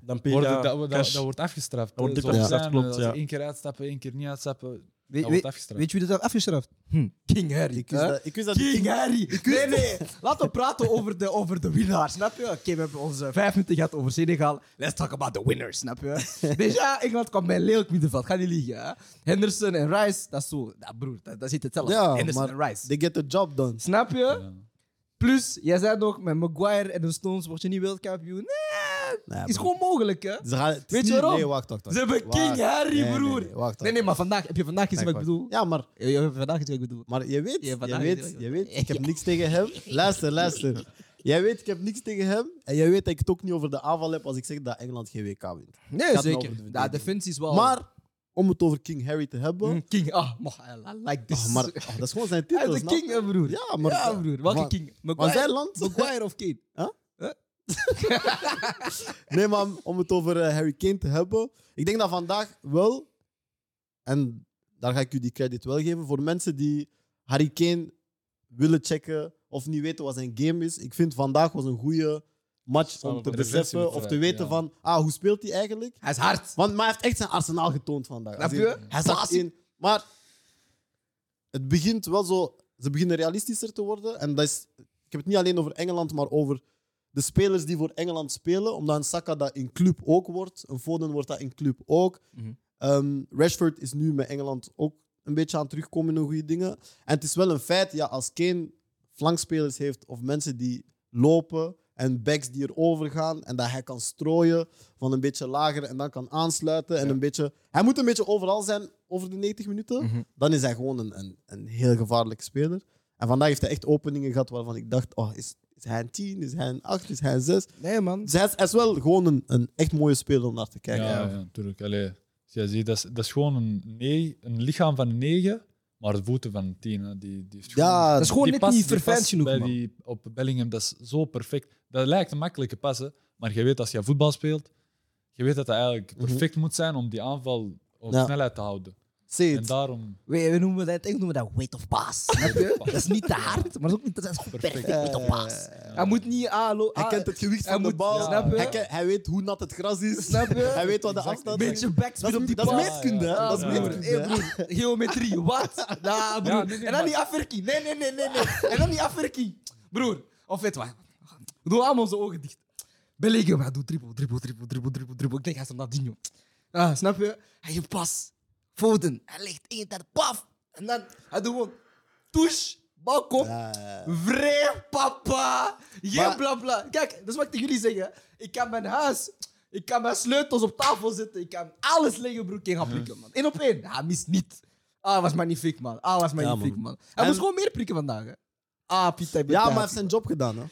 Speaker 6: dan Pe-
Speaker 5: wordt,
Speaker 6: ja,
Speaker 5: het- dat, dat,
Speaker 6: Cash.
Speaker 5: dat wordt afgestraft.
Speaker 6: wordt
Speaker 5: hè. Zo'n
Speaker 6: dik afgestraft,
Speaker 5: zijn,
Speaker 6: klopt,
Speaker 5: Als
Speaker 6: ja.
Speaker 5: ze één keer uitstappen, één keer niet uitstappen, dat
Speaker 1: Weet, weet,
Speaker 5: wordt afgestraft.
Speaker 1: weet je wie dat heeft afgestraft? Hm, King Harry.
Speaker 2: Ik wist
Speaker 1: hè?
Speaker 2: dat- ik wist dat
Speaker 1: King Harry. Nee, nee. Laten we praten over de, over de winnaars, snap je? Oké, we hebben onze vijf minuten gehad over Senegal. Let's talk about the winners, snap je? Deja, Engeland kwam bij een lelijk middenveld. Ga niet liegen, hè? Henderson en Rice, dat is zo... Dat broer, dat, dat zit hetzelfde.
Speaker 2: Ja,
Speaker 1: Henderson
Speaker 2: maar
Speaker 1: en Rice.
Speaker 2: They get the job done.
Speaker 1: Snap je? Plus, jij zei nog, met Maguire en de Stones word je niet wereldkampioen. Nee,
Speaker 2: Nee,
Speaker 1: is
Speaker 2: bro.
Speaker 1: gewoon mogelijk, hè?
Speaker 2: Ze gaan, het is
Speaker 1: Weet je
Speaker 2: niet-
Speaker 1: waarom?
Speaker 2: Nee, wacht, wacht, wacht.
Speaker 1: Ze hebben
Speaker 2: Wacht.
Speaker 1: King Harry,
Speaker 2: Nee, nee,
Speaker 1: broer.
Speaker 2: nee, wacht,
Speaker 1: Nee, nee, maar vandaag... Heb je vandaag gezien
Speaker 2: Wacht,
Speaker 1: wat ik
Speaker 2: wacht.
Speaker 1: bedoel?
Speaker 2: Ja, maar
Speaker 1: Je je hebt vandaag gezien wat ik bedoel.
Speaker 2: Maar je weet,
Speaker 1: Ja,
Speaker 2: je
Speaker 1: vandaag is
Speaker 2: weet,
Speaker 1: het-
Speaker 2: je weet, ik heb niks tegen hem. Luister, luister. Jij weet, ik heb niks tegen hem. En jij weet dat ik het ook niet over de aanval heb als ik zeg dat Engeland geen WK wint.
Speaker 1: Nee,
Speaker 2: Gaat nou over
Speaker 1: zeker.
Speaker 2: de
Speaker 1: Ja, defensie is wel...
Speaker 2: Maar om het over King Harry te hebben.
Speaker 1: Mm, King, ah, moch, I like this.
Speaker 2: oh, maar oh, dat is gewoon *laughs* zijn
Speaker 1: Hij
Speaker 2: titel.
Speaker 1: is de
Speaker 2: snap je?
Speaker 1: king, hè, broer.
Speaker 2: Ja, maar.
Speaker 1: nou- Ja, broer. Welke
Speaker 2: maar-
Speaker 1: king?
Speaker 2: Maar
Speaker 1: Maguire,
Speaker 2: zijn *laughs* land?
Speaker 1: Maguire of Kane?
Speaker 2: Nee, maar om het over eh, Harry Kane te hebben. Ik denk dat vandaag wel. En daar ga ik u die credit wel geven. Voor mensen die Harry Kane willen checken. of niet weten wat zijn game is. Ik vind vandaag was een goede match om te
Speaker 5: Samenvatting.
Speaker 2: beseffen. of te weten
Speaker 5: Ja.
Speaker 2: van. ah, hoe speelt hij eigenlijk?
Speaker 1: Hij is hard.
Speaker 2: Want maar hij heeft echt zijn arsenaal getoond vandaag.
Speaker 1: Snap
Speaker 2: Als in,
Speaker 1: je?
Speaker 2: Hij zat
Speaker 1: Basis-
Speaker 2: in. Maar het begint wel zo. Ze beginnen realistischer te worden. En dat is. Ik heb het niet alleen over Engeland, maar over de spelers die voor Engeland spelen. Omdat een Saka dat in club ook wordt. Een Foden wordt dat in club ook.
Speaker 1: Mhm.
Speaker 2: Ehm, Rashford is nu met Engeland ook een beetje aan het terugkomen in de goede dingen. En het is wel een feit, ja, als Kane flankspelers heeft of mensen die lopen en backs die erover gaan en dat hij kan strooien van een beetje lager en dan kan aansluiten en een beetje... Hij moet een beetje overal zijn over de 90 minuten.
Speaker 1: Mhm.
Speaker 2: Dan is hij gewoon een, een, een heel gevaarlijke speler. En vandaag heeft hij echt openingen gehad waarvan ik dacht, oh, is, is hij een 10, is hij een 8, is hij een 6?
Speaker 1: Nee, man.
Speaker 2: Dus hij is, hij is wel gewoon een, een echt mooie speler om naar te
Speaker 5: Ja,
Speaker 2: kijken.
Speaker 5: ja, natuurlijk. Allee, als jij ziet, dat, is, dat is gewoon een, nee, een lichaam van een 9, maar de voeten van een 10. hè. Die, die heeft gewoon-
Speaker 2: Ja,
Speaker 1: Dat is gewoon
Speaker 5: die
Speaker 1: net
Speaker 5: pas-
Speaker 1: niet
Speaker 5: die pas
Speaker 1: verfijnd genoeg,
Speaker 5: bij
Speaker 1: man.
Speaker 5: Die, op Bellingham, dat is zo perfect. Dat lijkt een makkelijke pas, hè. maar je weet als je voetbal speelt, je weet dat het eigenlijk perfect moet zijn om die aanval op
Speaker 2: Ja.
Speaker 5: snelheid te houden.
Speaker 2: See
Speaker 5: En
Speaker 2: it.
Speaker 5: daarom
Speaker 1: We, we noemen dat, in het Engels noemen we dat weight of *laughs* pass. Snap je? dat is niet te hard, maar dat is ook niet dat is gewoon perfect. Weight of pass. Hij moet niet alo.
Speaker 2: Hij
Speaker 1: ah,
Speaker 2: kent het gewicht
Speaker 1: hij
Speaker 2: van de
Speaker 1: moet-
Speaker 2: bal.
Speaker 1: snap je?
Speaker 2: Hij, ken- hij weet hoe nat het gras is.
Speaker 1: Snap je?
Speaker 2: *laughs* Hij weet wat de afstand
Speaker 1: Een
Speaker 2: is.
Speaker 1: beetje
Speaker 2: Dat
Speaker 1: backspin
Speaker 2: is,
Speaker 1: op die
Speaker 2: dat is
Speaker 1: bal.
Speaker 2: meetkunde, hè?
Speaker 5: Ja,
Speaker 2: dat is
Speaker 5: ja,
Speaker 1: broer,
Speaker 5: ja.
Speaker 2: meetkunde.
Speaker 1: eh, broer, geometrie, wat? Nah, broer.
Speaker 5: Ja, nee, nee,
Speaker 1: en dan
Speaker 5: maar-
Speaker 1: die afwerking. Nee, nee, nee, nee, nee. En dan die afwerking. Broer, of weet je wat? Doe allemaal onze ogen dicht. Bellingham, hij doet dribbel, dribbel, dribbel, dribbel, dribbel, dribbel. Ik denk, hij is Ronaldinho. Ah, snap je? Hij geeft pas. Foden, hij legt één tijd, paf. En dan, hij doet gewoon touche, bal komt. Vrij papa. Je
Speaker 2: Maar-
Speaker 1: bla bla. Kijk, dat is wat ik tegen jullie zeg. hè. Ik kan mijn huis, ik kan mijn sleutels op tafel zetten. Ik kan alles leggen, broek in gaan prikken, man. Eén op één. Hij mist niet. Ah, was magnifiek, man. Ah, was magnifiek, man. Hij
Speaker 2: En-
Speaker 1: moest gewoon meer prikken vandaag. Hè. Ah, Pita, ik ben te
Speaker 2: Ja, maar hij heeft
Speaker 1: happy.
Speaker 2: zijn job gedaan. Hè? Hij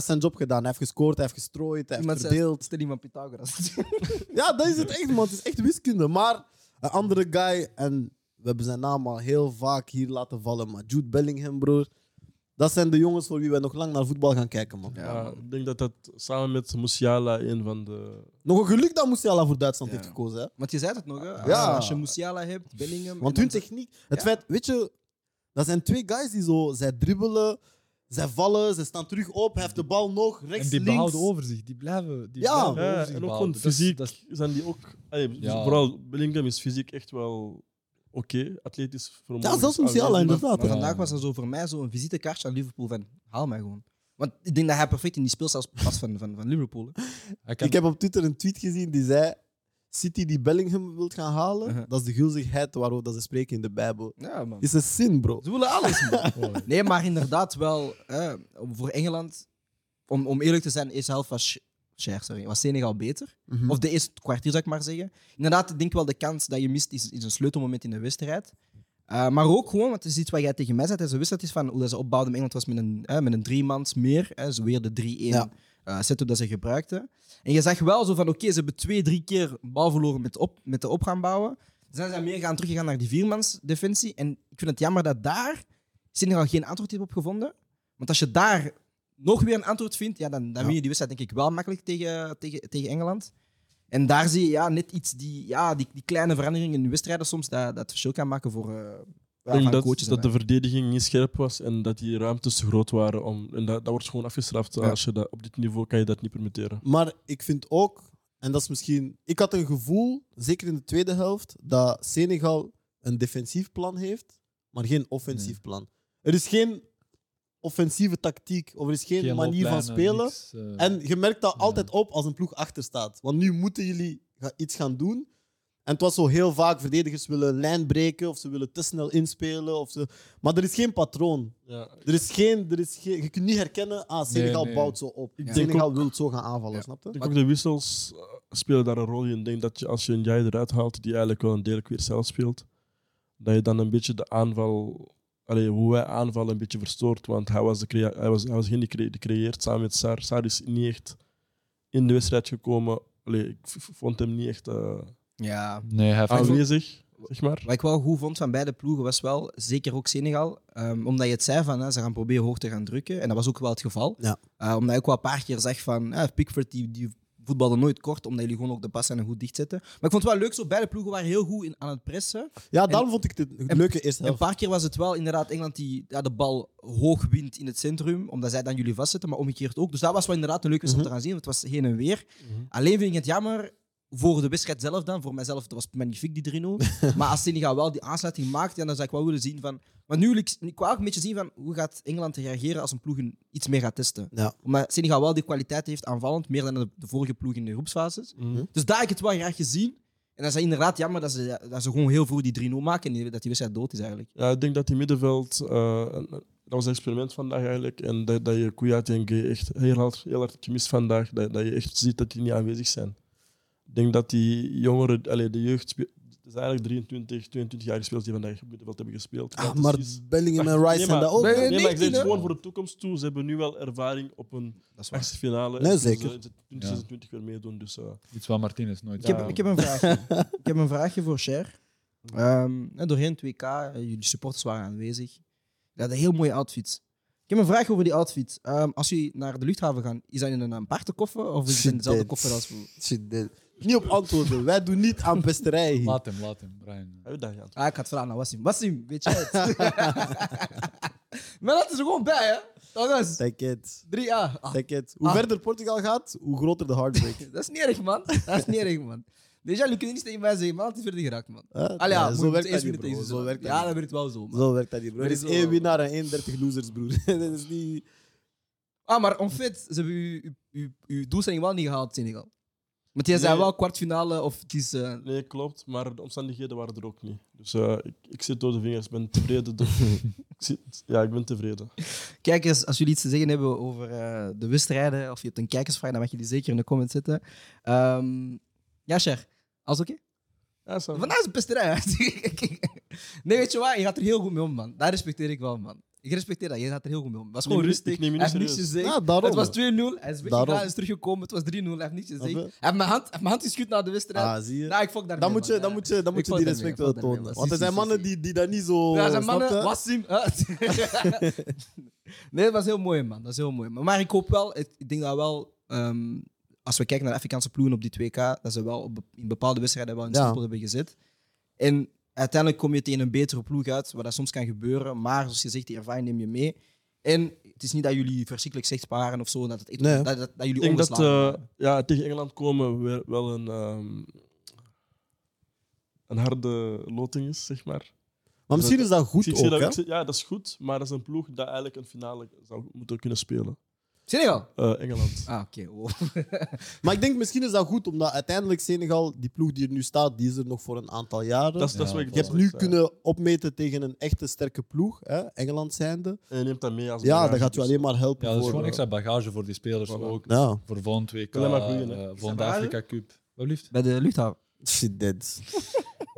Speaker 2: heeft zijn job gedaan. Hij heeft gescoord, hij heeft gestrooid, hij heeft
Speaker 1: Iemand
Speaker 2: verdeeld.
Speaker 1: zei, stel iemand Pythagoras. *laughs*
Speaker 2: Ja, dat is het echt, man. Het is echt wiskunde. Maar een andere guy, en we hebben zijn naam al heel vaak hier laten vallen, maar Jude Bellingham, broer. Dat zijn de jongens voor wie wij nog lang naar voetbal gaan kijken, man.
Speaker 1: Ja,
Speaker 6: Maar
Speaker 1: man.
Speaker 6: ik denk dat dat samen met Musiala een van de.
Speaker 2: Nog een geluk dat Musiala voor Duitsland
Speaker 1: Ja.
Speaker 2: heeft gekozen, hè.
Speaker 1: Want je zei het nog, hè? Als-
Speaker 2: Ja.
Speaker 1: Als je Musiala hebt, Bellingham.
Speaker 2: Want
Speaker 1: en
Speaker 2: hun
Speaker 1: dan-
Speaker 2: techniek... Het
Speaker 1: Ja.
Speaker 2: feit, weet je... Dat zijn twee guys die zo... Zij dribbelen, zij vallen, zij staan terug op, hij heeft de bal nog, rechts,
Speaker 5: En die
Speaker 2: links.
Speaker 5: behouden overzicht. Die blijven, die
Speaker 2: Ja.
Speaker 5: blijven
Speaker 6: Ja,
Speaker 5: overzicht
Speaker 6: en ook gewoon
Speaker 5: behouden. Dat is-
Speaker 6: fysiek.
Speaker 5: dat is-
Speaker 6: Zijn die ook. Allee, dus
Speaker 5: Ja.
Speaker 6: Vooral Bellingham is fysiek echt wel oké. Atletisch Ah, vermogen.
Speaker 2: Ja, zelfs
Speaker 6: is
Speaker 2: Musiala,
Speaker 6: aanwezig.
Speaker 2: inderdaad.
Speaker 1: Maar
Speaker 5: Ja.
Speaker 1: vandaag was dat zo voor mij zo'n visitekaartje aan Liverpool van haal mij gewoon. Want ik denk dat hij perfect in die speelstijl past van, van, van Liverpool. hè.
Speaker 5: hij kan-
Speaker 2: Ik heb op Twitter een tweet gezien die zei... City die Bellingham wilt gaan halen,
Speaker 1: Uh-huh.
Speaker 2: dat is de gulzigheid waarover dat ze spreken in de Bijbel.
Speaker 1: Ja, man.
Speaker 2: Is een zin, bro.
Speaker 1: Ze willen alles, man. Nee, maar inderdaad wel. hè, voor Engeland, om, om eerlijk te zijn, de eerste helft was, Sch- Scher, sorry, was Senegal beter.
Speaker 2: Mhm.
Speaker 1: Of de eerste kwartier, zou ik maar zeggen. Inderdaad, ik denk wel de kans dat je mist is, is een sleutelmoment in de wedstrijd. Eh, maar ook gewoon, want het is iets wat jij tegen mij zei tijdens de wedstrijd, is van hoe dat ze opbouwden in Engeland was met een, hè, met een driemans meer. hè, zo weer de 3-1
Speaker 2: Ja.
Speaker 1: eh, setup dat ze gebruikten. En je zag wel zo van, oké, ze hebben twee, drie keer bal verloren met, op, met de op gaan bouwen. Zijn ze meer gaan teruggegaan naar die viermansdefensie. En ik vind het jammer dat daar Senegal geen antwoord heeft op gevonden. Want als je daar nog weer een antwoord vindt, ja, dan, dan win je die wedstrijd denk ik wel makkelijk tegen, tegen, tegen Engeland. En daar zie je ja, net iets, die, ja, die, die kleine veranderingen in de wedstrijden soms, dat, dat het verschil kan maken voor eh ja,
Speaker 6: Ik denk
Speaker 1: van
Speaker 6: dat,
Speaker 1: coaches. en
Speaker 6: dat de
Speaker 1: wij.
Speaker 6: verdediging niet scherp was en dat die ruimtes te groot waren. Om, en dat, dat wordt gewoon afgestraft.
Speaker 1: Ja.
Speaker 6: Als je dat, op dit niveau kan je dat niet permitteren.
Speaker 2: Maar ik vind ook, en dat is misschien. Ik had een gevoel, zeker in de tweede helft, dat Senegal een defensief plan heeft, maar geen offensief plan. Er is geen offensieve tactiek of er is geen,
Speaker 5: geen
Speaker 2: manier van
Speaker 5: looplijnen,
Speaker 2: spelen.
Speaker 5: niks, eh,
Speaker 2: En je merkt dat
Speaker 5: Ja.
Speaker 2: altijd op als een ploeg achter staat. Want nu moeten jullie ga- iets gaan doen. En het was zo heel vaak: verdedigers willen een lijn breken of ze willen te snel inspelen. Of ze... Maar er is geen patroon. Er is geen, er is geen, je kunt niet herkennen, ah, Senegal
Speaker 5: Nee, nee.
Speaker 2: bouwt zo op.
Speaker 6: denk
Speaker 2: Senegal
Speaker 6: ook-
Speaker 2: wil zo gaan aanvallen,
Speaker 6: Ja.
Speaker 2: snap je?
Speaker 6: Ik denk ook de wissels eh, spelen daar een rol in. Ik denk dat je, als je een jij eruit haalt die eigenlijk wel een deel weer zelf speelt, dat je dan een beetje de aanval, allee, hoe wij aanvallen, een beetje verstoort. Want hij was, de crea- hij was, hij was geen die crea- die creëert samen met Sar. Sar is niet echt in de wedstrijd gekomen. Allee, ik v- v- vond hem niet echt eh,
Speaker 1: Ja,
Speaker 5: Nee, hij heeft
Speaker 6: Ah, aanwezig, zeg maar.
Speaker 1: Wat ik wel goed vond van beide ploegen was wel, zeker ook Senegal, ehm, omdat je het zei van hè, ze gaan proberen hoog te gaan drukken. En dat was ook wel het geval.
Speaker 2: Ja.
Speaker 1: Eh, omdat je ook wel een paar keer zag van eh, Pickford die, die voetbalde nooit kort, omdat jullie gewoon ook de passen en goed dichtzetten. Maar ik vond het wel leuk, zo beide ploegen waren heel goed in, aan het pressen.
Speaker 2: Ja, daarom vond ik dit een
Speaker 1: en-
Speaker 2: leuke eerste
Speaker 1: Een
Speaker 2: helft.
Speaker 1: paar keer was het wel inderdaad Engeland die ja, de bal hoog wint in het centrum, omdat zij dan jullie vastzetten, maar omgekeerd ook. Dus dat was wel inderdaad een leuke wedstrijd
Speaker 2: Mhm.
Speaker 1: om te gaan zien, want het was heen en weer. Alleen vind ik het jammer voor de wedstrijd zelf dan, voor mijzelf, dat was magnifiek die
Speaker 2: *laughs*
Speaker 1: 3-0. maar als Senegal wel die aansluiting maakt, ja, dan zou ik wel willen zien van... Maar nu wil ik, ik wou ook een beetje zien van hoe gaat Engeland reageren als een ploeg hun iets meer gaat testen.
Speaker 2: Ja.
Speaker 1: Omdat Senegal wel die kwaliteit heeft aanvallend, meer dan de, de vorige ploeg in de groepsfases.
Speaker 6: Mhm.
Speaker 1: Dus daar heb ik het wel graag gezien. En dat is inderdaad jammer dat ze, dat ze gewoon heel vroeg die 3-0 maken en dat die wedstrijd dood is eigenlijk.
Speaker 6: Ja, ik denk dat die middenveld, eh, een- dat was een experiment vandaag eigenlijk. En dat, dat je Kouyaté en Gay echt heel hard, heel hard hebt gemist vandaag. Dat, dat je echt ziet dat die niet aanwezig zijn. Ik denk dat die jongeren, allee, de jeugd, spe- het is eigenlijk 23, 22 jaar gespeeld die vandaag op middenveld hebben gespeeld. Ja,
Speaker 2: Ah,
Speaker 6: het is
Speaker 2: maar
Speaker 6: iets-
Speaker 2: Bellingham en
Speaker 6: Wacht,
Speaker 2: Rice zijn
Speaker 6: maar-
Speaker 2: dat ook.
Speaker 1: nee,
Speaker 2: hè?
Speaker 1: nee,
Speaker 6: Nee, maar ik zeg
Speaker 1: 19,
Speaker 6: het
Speaker 1: hè?
Speaker 6: gewoon voor de toekomst toe. Ze hebben nu wel ervaring op een
Speaker 1: Dat is waar.
Speaker 6: achtste finale.
Speaker 2: Nee,
Speaker 6: En ze
Speaker 2: zeker.
Speaker 6: zullen in 2026 weer meedoen. Dus, eh,
Speaker 5: iets wat Martinez nooit
Speaker 1: Ik heb,
Speaker 5: gedaan.
Speaker 1: ik heb een vraagje. *laughs* ik heb een vraagje voor Cher. Ehm, hè, doorheen het WK, eh, jullie supporters waren aanwezig. Je had een heel mooie outfit. Ik heb een vraag over die outfit. Ehm, als jullie naar de luchthaven gaan, is dat in een aparte koffer of is het in dezelfde
Speaker 2: Shit.
Speaker 1: koffer als voor?
Speaker 2: Shit, dit- Niet op antwoorden. Wij doen niet aan pesterij hier.
Speaker 5: Laat hem, laat hem, Brian.
Speaker 6: heb je dat gehad?
Speaker 1: Ah, ik had het vragen aan Wassim. Wassim, weet jij *laughs* het? maar dat is er gewoon bij, hè? Jongens,
Speaker 2: Take it.
Speaker 1: 3A. Ah,
Speaker 2: Take it. Hoe
Speaker 1: Ah.
Speaker 2: verder Portugal gaat, hoe groter de
Speaker 1: *laughs*
Speaker 2: heartbreak.
Speaker 1: dat is niet erg, man. Dat is niet erg, man. Deze jullie kunnen niet tegen mij zeggen, maar het is verder geraakt, man. Allee,
Speaker 2: Hè? Nee,
Speaker 1: ja, moet
Speaker 2: zo,
Speaker 1: je
Speaker 2: werkt
Speaker 1: eerst
Speaker 2: dat
Speaker 1: winnen
Speaker 2: niet, bro.
Speaker 1: tegen
Speaker 2: zo
Speaker 1: ze.
Speaker 2: werkt dat
Speaker 1: Ja,
Speaker 2: niet.
Speaker 1: dat werkt wel zo, man.
Speaker 2: Zo werkt dat niet, bro. Er is
Speaker 1: Zo.
Speaker 2: één winnaar en 31 losers, broer. *laughs* dat is niet...
Speaker 1: Ah, maar om fit, ze hebben uw, uw, uw, uw doelstelling wel niet gehaald, Senegal. Want jij zei
Speaker 6: Nee.
Speaker 1: wel kwartfinale of het is. eh,
Speaker 6: Nee, klopt, maar de omstandigheden waren er ook niet. Dus eh, ik, ik zit door de vingers, ik ben tevreden. door- *laughs* ik zit, ja, ik ben tevreden.
Speaker 1: Kijk eens, als jullie iets te zeggen hebben over eh, de wedstrijden of je hebt een kijkersvraag, dan mag je die zeker in de comments zetten. Ehm, ja, Cher, alles oké?
Speaker 6: Ja, Sam.
Speaker 1: Vandaag is een pesterij. hè? *laughs* nee, weet je wat? Je gaat er heel goed mee om, man. Daar respecteer ik wel, man. Ik respecteer dat. Je gaat er heel goed mee om. Het was gewoon
Speaker 6: neem je-
Speaker 1: rustig.
Speaker 6: ik neem je
Speaker 1: Hij
Speaker 6: niet
Speaker 1: heeft niks
Speaker 6: serieus.
Speaker 1: gezegd.
Speaker 2: Ja, daarom.
Speaker 1: het was 2-0. Hij is weggegaan,
Speaker 2: Daarom.
Speaker 1: hij is teruggekomen. Het was 3-0. Hij heeft niks gezegd.
Speaker 2: Snap
Speaker 1: Hij
Speaker 2: je?
Speaker 1: heeft mijn hand, hij heeft mijn hand geschud na de wedstrijd.
Speaker 2: Ah, zie je?
Speaker 1: nou, ik fok daarmee,
Speaker 2: dan moet je,
Speaker 1: man.
Speaker 2: dan
Speaker 1: Ja.
Speaker 2: moet je, dan
Speaker 1: Ik
Speaker 2: moet je
Speaker 1: val
Speaker 2: die
Speaker 1: daarmee,
Speaker 2: respect
Speaker 1: ik val
Speaker 2: wel
Speaker 1: daarmee, man.
Speaker 2: tonen. Want
Speaker 1: Zie,
Speaker 2: er zijn
Speaker 1: zie,
Speaker 2: mannen
Speaker 1: zie,
Speaker 2: die, die dat niet zo...
Speaker 1: Ja, *laughs* zijn
Speaker 2: snap
Speaker 1: mannen,
Speaker 2: je?
Speaker 1: Wassim. hè? Nee, dat was heel mooi, man. Dat is heel mooi. Maar, maar ik hoop wel, het- ik denk dat wel, ehm, als we kijken naar de Afrikaanse ploegen op die 2K, dat ze wel op, be- in bepaalde wedstrijden wel in
Speaker 2: Ja.
Speaker 1: stempel hebben gezet. En uiteindelijk kom je tegen een betere ploeg uit, wat dat soms kan gebeuren. Maar zoals je zegt, die ervaring neem je mee. En het is niet dat jullie verschrikkelijk slecht sparen of zo, dat, het echt-
Speaker 2: Nee.
Speaker 1: dat, dat, dat
Speaker 6: Ik
Speaker 1: jullie
Speaker 6: denk dat
Speaker 1: ongeslagen
Speaker 6: eh,
Speaker 1: waren.
Speaker 6: ja, tegen Engeland komen weer wel een, ehm, een harde loting is, zeg maar.
Speaker 2: Maar misschien is dat goed
Speaker 6: Ik zie
Speaker 2: ook,
Speaker 6: dat-
Speaker 2: hè?
Speaker 6: ik zie- ja, dat is goed, maar dat is een ploeg dat eigenlijk een finale zou moeten kunnen spelen.
Speaker 1: Senegal?
Speaker 6: Eh, Engeland.
Speaker 1: Ah, oké. wow.
Speaker 2: Maar ik denk misschien is dat goed, omdat uiteindelijk Senegal, die ploeg die er nu staat, die is er nog voor een aantal jaren.
Speaker 6: Dat is, dat is
Speaker 5: Ja,
Speaker 6: wat ik
Speaker 2: je hebt
Speaker 6: wil
Speaker 2: nu
Speaker 6: zeggen.
Speaker 2: kunnen opmeten tegen een echte sterke ploeg, hè? Engeland zijnde.
Speaker 6: En je neemt dat mee als
Speaker 2: Ja,
Speaker 6: bagage,
Speaker 2: dat gaat je
Speaker 6: dus-
Speaker 2: alleen maar helpen.
Speaker 5: Ja, dat is
Speaker 2: voor,
Speaker 5: gewoon
Speaker 2: eh,
Speaker 5: extra bagage voor die spelers
Speaker 6: Voilà.
Speaker 5: ook.
Speaker 2: Ja,
Speaker 5: Voor volgend WK,
Speaker 6: Alleen maar groeien, hè.
Speaker 5: eh,
Speaker 1: dat
Speaker 5: volgend
Speaker 1: waar,
Speaker 5: Afrika Cup. Wat blieft?
Speaker 1: Bij de luchthaven.
Speaker 2: shit, dead.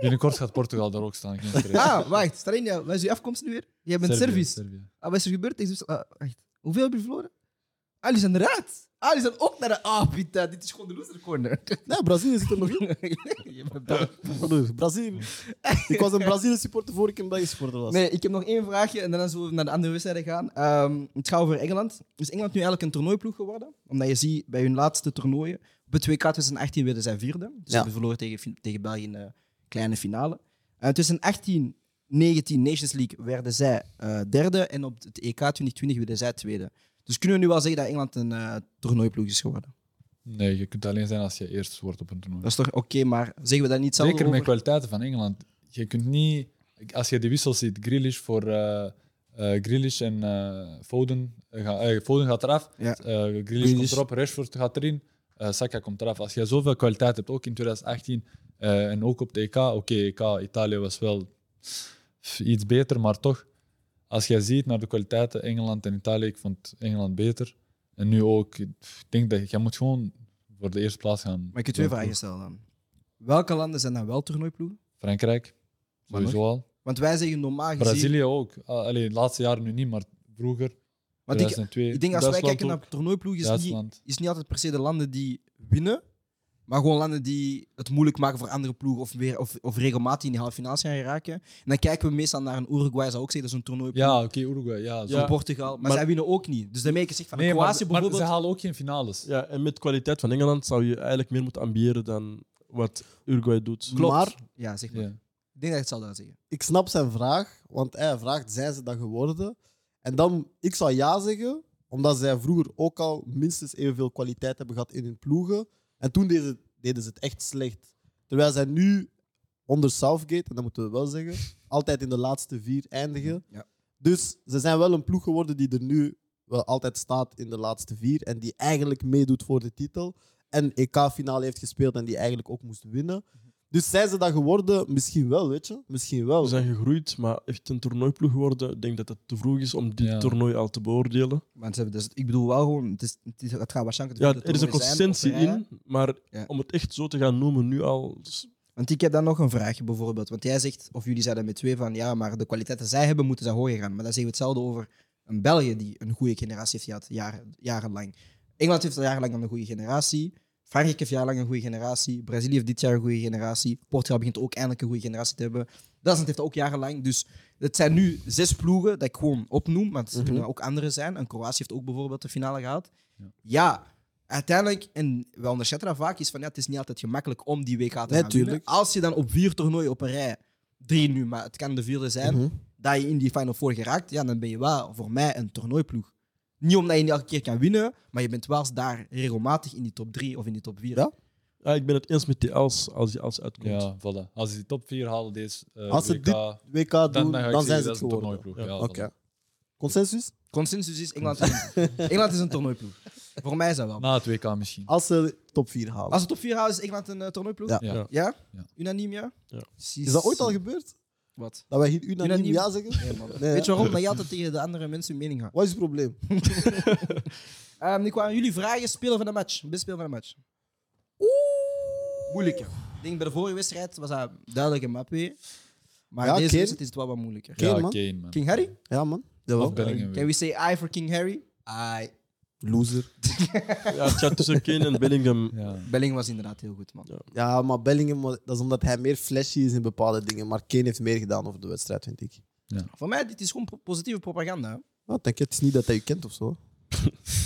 Speaker 5: Binnenkort gaat Portugal daar ook staan. Geen stress.
Speaker 1: Ah, wacht. Starinja, wat is je afkomst nu weer? Jij bent
Speaker 5: Servië,
Speaker 1: Servisch.
Speaker 5: Servië.
Speaker 1: Ah, wat is er gebeurd? Ik dus, ah, wacht. Hoeveel hebben jullie verloren? Ah, jullie zijn eruit. Ah, jullie zijn ook naar de... Ah, Pita, dit is gewoon de loser corner.
Speaker 2: Nee, Nou, Brazilië zit er nog in.
Speaker 1: *laughs* Je bent dom.
Speaker 2: Broer, *laughs* Brazilië. Ik was een Brazilië supporter voor ik een Belgisch supporter was.
Speaker 1: nee, ik heb nog één vraagje en dan zullen we naar de andere wedstrijden gaan. Ehm, het gaat over Engeland. Is Engeland nu eigenlijk een toernooiploeg geworden? Omdat je ziet, bij hun laatste toernooien, op het WK 2018 werden zij vierde. Dus
Speaker 2: Ja.
Speaker 1: ze verloren tegen, Fin- tegen België in de kleine finale. Eh, tussen 18 19 Nations League werden zij eh, derde en op het EK 2020 werden zij tweede. Dus kunnen we nu wel zeggen dat Engeland een eh, toernooiploeg is geworden?
Speaker 5: Nee, je kunt alleen zijn als je eerst wordt op een toernooi.
Speaker 1: Dat is toch oké, maar zeggen we dat niet zelf?
Speaker 5: Zeker met kwaliteiten van Engeland. Je kunt niet, als je de wissels ziet, Grealish voor eh eh, Grealish en eh, Foden. eh, gaan- eh, Foden gaat eraf,
Speaker 1: Ja.
Speaker 5: eh, Grealish, komt erop, Rashford gaat erin, eh, Saka komt eraf. Als je zoveel kwaliteit hebt, ook in 2018 eh, en ook op de EK. Oké, EK, Italië was wel iets beter, maar toch. Als jij ziet naar de kwaliteiten Engeland en Italië, ik vond Engeland beter. En nu ook, ik denk dat je moet gewoon voor de eerste plaats gaan.
Speaker 1: Maar ik heb twee vragen stellen dan. Welke landen zijn dan wel toernooiploegen?
Speaker 5: Frankrijk,
Speaker 1: Maar nog?
Speaker 5: sowieso al.
Speaker 1: Want wij zeggen normaal gezien...
Speaker 5: Brazilië ook. Ah, Allee, de laatste jaren nu niet, maar vroeger.
Speaker 1: Want ik,
Speaker 5: 2002,
Speaker 1: ik denk als wij
Speaker 5: Duitsland
Speaker 1: kijken naar
Speaker 5: ook.
Speaker 1: toernooiploegen, is het niet,
Speaker 5: Duitsland.
Speaker 1: is het niet altijd per se de landen die winnen, maar gewoon landen die het moeilijk maken voor andere ploegen of, weer, of, of regelmatig in de halve finale gaan raken. En dan kijken we meestal naar een Uruguay, zou ook zeggen, dat is een toernooiploeg.
Speaker 5: Ja, oké, Uruguay. Ja, zo.
Speaker 1: Zo'n Portugal, maar,
Speaker 6: maar-
Speaker 1: zij winnen ook niet. Dus daarmee heb ik gezegd van
Speaker 5: Nee, maar,
Speaker 1: Kroatië
Speaker 5: maar ze
Speaker 1: bijvoorbeeld.
Speaker 5: halen ook geen finales.
Speaker 6: Ja, en met kwaliteit van Engeland zou je eigenlijk meer moeten ambiëren dan wat Uruguay doet.
Speaker 1: klopt.
Speaker 2: Maar
Speaker 1: Ja, zeg maar.
Speaker 5: Ja.
Speaker 1: Ik denk dat ik het zal dat zeggen.
Speaker 2: ik snap zijn vraag, want hij vraagt, zijn ze dat geworden? En dan, ik zou ja zeggen, omdat zij vroeger ook al minstens evenveel kwaliteit hebben gehad in hun ploegen. En toen deden ze, deden ze het echt slecht. Terwijl zij nu onder Southgate, en dat moeten we wel zeggen, *laughs* altijd in de laatste vier eindigen.
Speaker 1: Ja.
Speaker 2: Dus ze zijn wel een ploeg geworden die er nu wel altijd staat in de laatste vier en die eigenlijk meedoet voor de titel. En EK-finale heeft gespeeld en die eigenlijk ook moest winnen.
Speaker 5: Mhm.
Speaker 2: Dus zijn ze dat geworden? Misschien wel, weet je. Misschien wel.
Speaker 6: We zijn gegroeid, maar echt een toernooiploeg geworden. Ik denk dat het te vroeg is om dit
Speaker 5: Ja.
Speaker 6: toernooi al te beoordelen.
Speaker 1: Want ze hebben dus, ik bedoel wel gewoon, het, is, het, is- het gaat waarschijnlijk het
Speaker 6: Ja,
Speaker 1: vierde
Speaker 6: er is een
Speaker 1: toernooi zijn op
Speaker 6: consistentie
Speaker 1: rij.
Speaker 6: in, maar
Speaker 1: Ja.
Speaker 6: om het echt zo te gaan noemen nu al. s-
Speaker 1: Want ik heb dan nog een vraagje bijvoorbeeld. Want jij zegt, of jullie zeiden met twee van ja, maar de kwaliteiten zij hebben, moeten zij hoger gaan. Maar dan zeggen we hetzelfde over een België die een goede generatie heeft gehad, jaren, jarenlang. Engeland heeft al jarenlang een goede generatie. Frankrijk heeft jarenlang een goede generatie. Brazilië heeft dit jaar een goede generatie. Portugal begint ook eindelijk een goede generatie te hebben. Duitsland heeft ook jarenlang. Dus het zijn nu zes ploegen dat ik gewoon opnoem, maar het kunnen ook andere zijn. En Kroatië heeft ook bijvoorbeeld de finale gehaald. Ja, uiteindelijk, en we onderschatten dat vaak, is van ja, het is niet altijd gemakkelijk om die WK te gaan
Speaker 2: tuurlijk.
Speaker 1: winnen. Als je dan op vier toernooien op een rij, drie nu, maar het kan de vierde zijn,
Speaker 2: Mhm.
Speaker 1: dat je in die Final Four geraakt, ja, dan ben je wel voor mij een toernooiploeg. Niet omdat je niet elke keer kan winnen, maar je bent wel eens daar regelmatig in die top drie of in die top vier.
Speaker 2: Ja.
Speaker 6: Ja, ik ben het eens met die als, als die als uitkomt.
Speaker 5: Ja, voilà. Als ze die top 4 halen, deze eh,
Speaker 2: Als ze
Speaker 5: WK,
Speaker 2: dit WK doen, dan,
Speaker 5: dan, dan, ga ik zeggen,
Speaker 2: zijn ze het
Speaker 5: dat is een
Speaker 2: geworden.
Speaker 5: toernooiploeg.
Speaker 6: Ja,
Speaker 5: Ja,
Speaker 2: Oké.
Speaker 5: voilà.
Speaker 2: Consensus?
Speaker 1: Consensus is Engeland is, een, *laughs* Engeland is een toernooiploeg. Voor mij is dat wel.
Speaker 5: Na het WK misschien.
Speaker 2: Als ze top 4 halen.
Speaker 1: Als het top 4 houdt, is Engeland een eh, toernooiploeg?
Speaker 2: Ja.
Speaker 5: Ja.
Speaker 1: Ja?
Speaker 5: Ja.
Speaker 1: Unaniem, ja?
Speaker 6: Ja.
Speaker 2: Is dat ooit al gebeurd?
Speaker 1: Wat?
Speaker 2: Dat wij hier unaniem,
Speaker 1: Unaniem?
Speaker 2: ja zeggen?
Speaker 1: Nee, man.
Speaker 2: Nee,
Speaker 1: Weet je
Speaker 2: hè?
Speaker 1: waarom? Dat je altijd tegen de andere mensen je mening gaat.
Speaker 2: Wat is het probleem?
Speaker 1: Ehm, ik wou aan jullie vragen, spelen van de match. Best spelen van de match. Moeilijker. Ik denk bij de vorige wedstrijd was dat duidelijk een map weer. Maar
Speaker 2: Ja,
Speaker 1: deze
Speaker 2: Kane.
Speaker 1: wedstrijd is het wel wat moeilijker.
Speaker 5: Ja,
Speaker 2: Kane, man.
Speaker 5: Kane, man.
Speaker 1: King Harry?
Speaker 2: Ja, man.
Speaker 5: Of
Speaker 2: Jawel.
Speaker 5: Bellingham
Speaker 1: Can
Speaker 5: weer.
Speaker 1: we say I for King Harry? I.
Speaker 2: Loser.
Speaker 6: Ja, het gaat tussen Kane en Bellingham.
Speaker 5: Ja.
Speaker 1: Belling was inderdaad heel goed, man.
Speaker 6: Ja.
Speaker 2: Ja, maar Bellingham, dat is omdat hij meer flashy is in bepaalde dingen. Maar Kane heeft meer gedaan over de wedstrijd, vind ik.
Speaker 1: Voor mij, dit is gewoon po- positieve propaganda. hè.
Speaker 2: Nou, denk je, het is niet dat hij je kent of zo.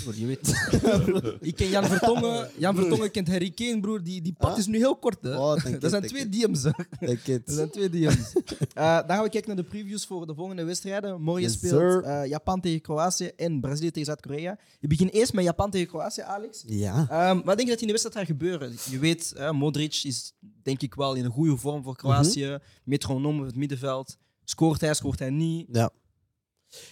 Speaker 1: Broer, je weet. *laughs* ik ken Jan Vertongen. Jan Vertongen kent Harry Kane, broer. Die, die pad
Speaker 2: Ah?
Speaker 1: is nu heel kort, hè.
Speaker 2: Oh, *laughs*
Speaker 1: *laughs*
Speaker 2: denk
Speaker 1: dat
Speaker 2: het,
Speaker 1: zijn
Speaker 2: denk
Speaker 1: twee DM's, hè.
Speaker 2: Denk
Speaker 1: Dat
Speaker 2: het.
Speaker 1: zijn twee DM's. Eh, dan gaan we kijken naar de previews voor de volgende wedstrijden. Morgen
Speaker 2: Yes,
Speaker 1: speelt
Speaker 2: sir.
Speaker 1: eh, Japan tegen Kroatië en Brazilië tegen Zuid-Korea. Je begint eerst met Japan tegen Kroatië, Alex.
Speaker 2: Ja.
Speaker 1: Ehm, wat denk je dat in de wedstrijd gaat gebeuren? Je weet, eh, Modric is denk ik wel in een goede vorm voor Kroatië. Metronoom op het middenveld. Scoort hij, scoort hij niet.
Speaker 2: ja.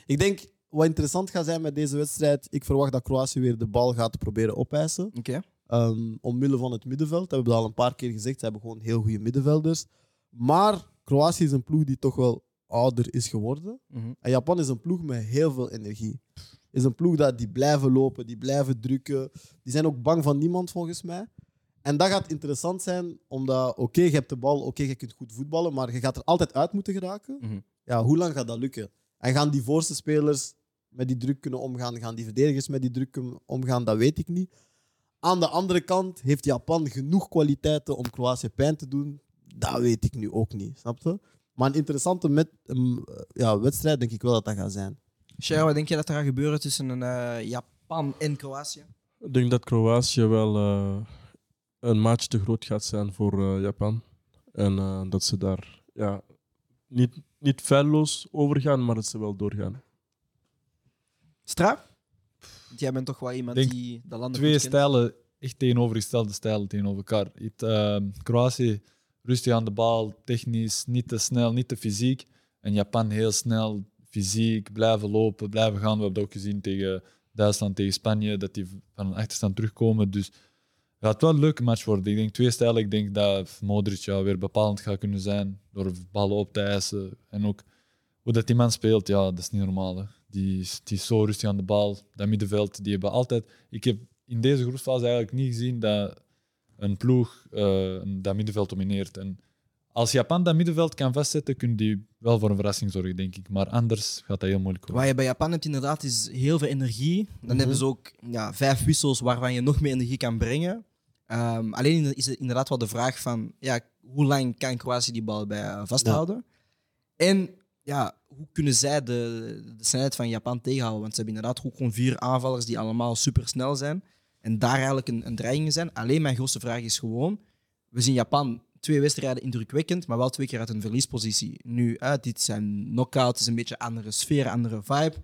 Speaker 2: Ik denk, wat interessant gaat zijn met deze wedstrijd, ik verwacht dat Kroatië weer de bal gaat proberen opeisen.
Speaker 1: Oké.
Speaker 2: Ehm, omwille van het middenveld. Dat hebben we al een paar keer gezegd. Ze hebben gewoon heel goede middenvelders. Maar Kroatië is een ploeg die toch wel ouder is geworden.
Speaker 1: Mhm.
Speaker 2: En Japan is een ploeg met heel veel energie. Is een ploeg dat die blijven lopen, die blijven drukken. Die zijn ook bang van niemand volgens mij. En dat gaat interessant zijn, omdat oké, je hebt de bal, oké, je kunt goed voetballen, maar je gaat er altijd uit moeten geraken.
Speaker 1: Mhm.
Speaker 2: Ja, hoe lang gaat dat lukken? En gaan die voorste spelers met die druk kunnen omgaan? Gaan die verdedigers met die druk kunnen omgaan? Dat weet ik niet. Aan de andere kant heeft Japan genoeg kwaliteiten om Kroatië pijn te doen. Dat weet ik nu ook niet, snap je? Maar een interessante met, ehm, ja, wedstrijd denk ik wel dat dat gaat zijn.
Speaker 1: Sharon, wat denk je dat er gaat gebeuren tussen een, eh, Japan en Kroatië?
Speaker 6: Ik denk dat Kroatië wel eh, een maatje te groot gaat zijn voor eh, Japan. En eh, dat ze daar ja, niet, niet feilloos over gaan, maar dat ze wel doorgaan.
Speaker 1: Straf? Want jij bent toch wel iemand
Speaker 5: Denk
Speaker 1: die de landen
Speaker 5: Twee
Speaker 1: goed kent.
Speaker 5: stijlen, echt tegenovergestelde stijlen tegenover elkaar. Het, eh, Kroatië rustig aan de bal, technisch, niet te snel, niet te fysiek. En Japan heel snel, fysiek, blijven lopen, blijven gaan. We hebben dat ook gezien tegen Duitsland, tegen Spanje, dat die van een achterstand terugkomen. Dus het gaat wel een leuke match worden. Ik denk twee stijlen. Ik denk dat Modric ja, weer bepalend gaat kunnen zijn door ballen op te eisen. En ook hoe dat die man speelt, ja, dat is niet normaal. Hè. Die, is- die is zo rustig aan de bal. Dat middenveld, die hebben altijd... Ik heb in deze groepsfase eigenlijk niet gezien dat een ploeg eh, dat middenveld domineert. En als Japan dat middenveld kan vastzetten, kunnen die wel voor een verrassing zorgen, denk ik. Maar anders gaat dat heel moeilijk worden.
Speaker 1: Wat je bij Japan hebt inderdaad is heel veel energie. Dan
Speaker 2: Mhm.
Speaker 1: hebben ze ook ja, vijf wissels waarvan je nog meer energie kan brengen. Ehm, alleen is het inderdaad wel de vraag van ja, hoe lang kan Kroatië die bal bij eh, vasthouden? En ja, hoe kunnen zij de, de snelheid van Japan tegenhouden? Want ze hebben inderdaad ook gewoon vier aanvallers die allemaal supersnel zijn. En daar eigenlijk een, een dreiging in zijn. Alleen mijn grootste vraag is gewoon, we zien Japan twee wedstrijden indrukwekkend, maar wel twee keer uit een verliespositie. Nu, hè, dit zijn knockouts, het is een beetje andere sfeer, andere vibe.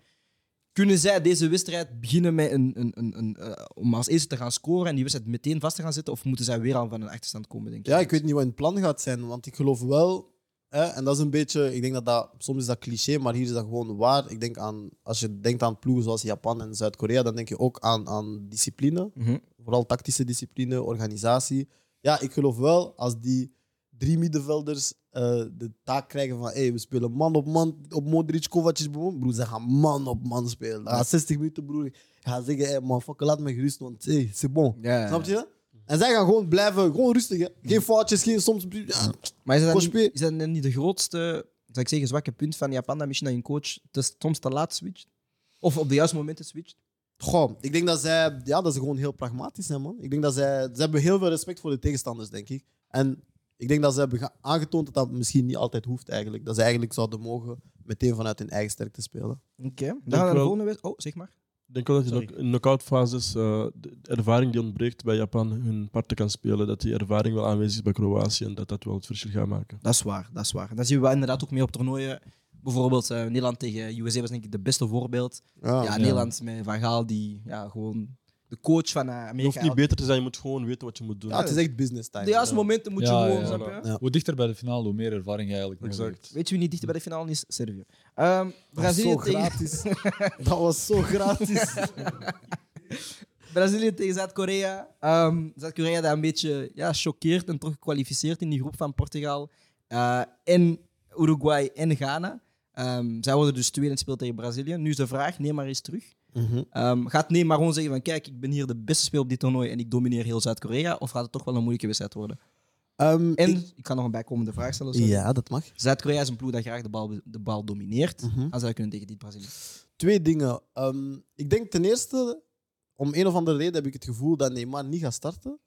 Speaker 1: Kunnen zij deze wedstrijd beginnen met een, een, een, een, eh, om als eerste te gaan scoren en die wedstrijd meteen vast te gaan zitten? Of moeten zij weer al van een achterstand komen, denk je?
Speaker 2: Ja, ik weet niet wat hun plan gaat zijn, want ik geloof wel, hè, en dat is een beetje, ik denk dat dat, soms is dat cliché, maar hier is dat gewoon waar. Ik denk aan, als je denkt aan ploegen zoals Japan en Zuid-Korea, dan denk je ook aan, aan discipline.
Speaker 1: Mhm.
Speaker 2: vooral tactische discipline, organisatie. Ja, ik geloof wel als die drie middenvelders eh, de taak krijgen van hey, we spelen man op man op Modric, Kovacic, broer, broer, ze gaan man op man spelen. Na 60 minuten, broer, ik ga zeggen, hey, man, fuck, laat me gerust, want hey, c'est bon.
Speaker 1: Ja.
Speaker 2: Snap je? En zij gaan gewoon blijven, gewoon rustig. Hè. Geen foutjes, geen soms... Ja,
Speaker 1: Maar is dat, dan
Speaker 2: Coach
Speaker 1: niet,
Speaker 2: P.
Speaker 1: is dat dan niet de grootste, zou ik zeggen, zwakke punt van Japan, dat misschien dat een coach te, soms te laat switcht? Of op de juiste momenten switcht?
Speaker 2: Goh, ik denk dat zij, ja, dat ze gewoon heel pragmatisch zijn, man. Ik denk dat zij, ze hebben heel veel respect voor de tegenstanders, denk ik. En ik denk dat ze hebben ge- aangetoond dat dat misschien niet altijd hoeft eigenlijk. Dat ze eigenlijk zouden mogen meteen vanuit hun eigen sterkte spelen.
Speaker 1: Oké, dan gaan we naar de
Speaker 6: wel.
Speaker 1: volgende wedstrijd. Oh, zeg maar.
Speaker 6: Ik denk wel dat je
Speaker 1: Sorry.
Speaker 6: knock- in knock-outfases eh, de de ervaring die ontbreekt bij Japan hun parten kan spelen. Dat die ervaring wel aanwezig is bij Kroatië en dat dat wel het verschil gaat maken.
Speaker 1: Dat is waar, dat is waar. En dat zien we wel inderdaad ook mee op toernooien. Bijvoorbeeld eh, Nederland tegen USA was denk ik het beste voorbeeld.
Speaker 2: Ja,
Speaker 1: ja, Nederland met Van Gaal, die ja, gewoon de coach van eh,
Speaker 6: Je hoeft
Speaker 1: Amerika...
Speaker 6: niet beter te zijn, je moet gewoon weten wat je moet doen.
Speaker 2: Ja, het is echt business time.
Speaker 1: de juiste
Speaker 2: Ja.
Speaker 1: momenten moet je
Speaker 5: Ja,
Speaker 1: gewoon...
Speaker 5: ja,
Speaker 1: snap
Speaker 6: ja.
Speaker 1: je?
Speaker 2: Ja.
Speaker 5: Hoe dichter bij de finale, hoe meer ervaring je eigenlijk nog hebt.
Speaker 6: Exact.
Speaker 1: Weet je wie niet dichter bij de finale is? Servië. Ehm
Speaker 2: Dat was
Speaker 1: Brazilië
Speaker 2: zo
Speaker 1: tegen...
Speaker 2: gratis. dat was zo
Speaker 1: *laughs*
Speaker 2: gratis.
Speaker 1: Brazilië tegen Zuid-Korea. Ehm, Zuid-Korea dat een beetje ja, choqueert en toch gekwalificeerd in die groep van Portugal eh, en Uruguay en Ghana. Ehm, zij worden dus tweede in het speel tegen Brazilië. Nu is de vraag, neem maar eens terug.
Speaker 2: Mhm.
Speaker 1: Ehm, gaat neem maar gewoon zeggen van kijk, ik ben hier de beste speel op dit toernooi en ik domineer heel Zuid-Korea? Of gaat het toch wel een moeilijke wedstrijd worden?
Speaker 2: Ehm,
Speaker 1: En
Speaker 2: ik-
Speaker 1: ik, kan nog een bijkomende vraag stellen. sorry.
Speaker 2: ja, dat mag.
Speaker 1: Zuid-Korea is een ploeg dat graag de bal, de bal domineert.
Speaker 2: Mhm.
Speaker 1: Als zij kunnen tegen dit Brazilië.
Speaker 2: Twee dingen. Ehm, ik denk ten eerste, om een of andere reden heb ik het gevoel dat Neymar niet gaat starten.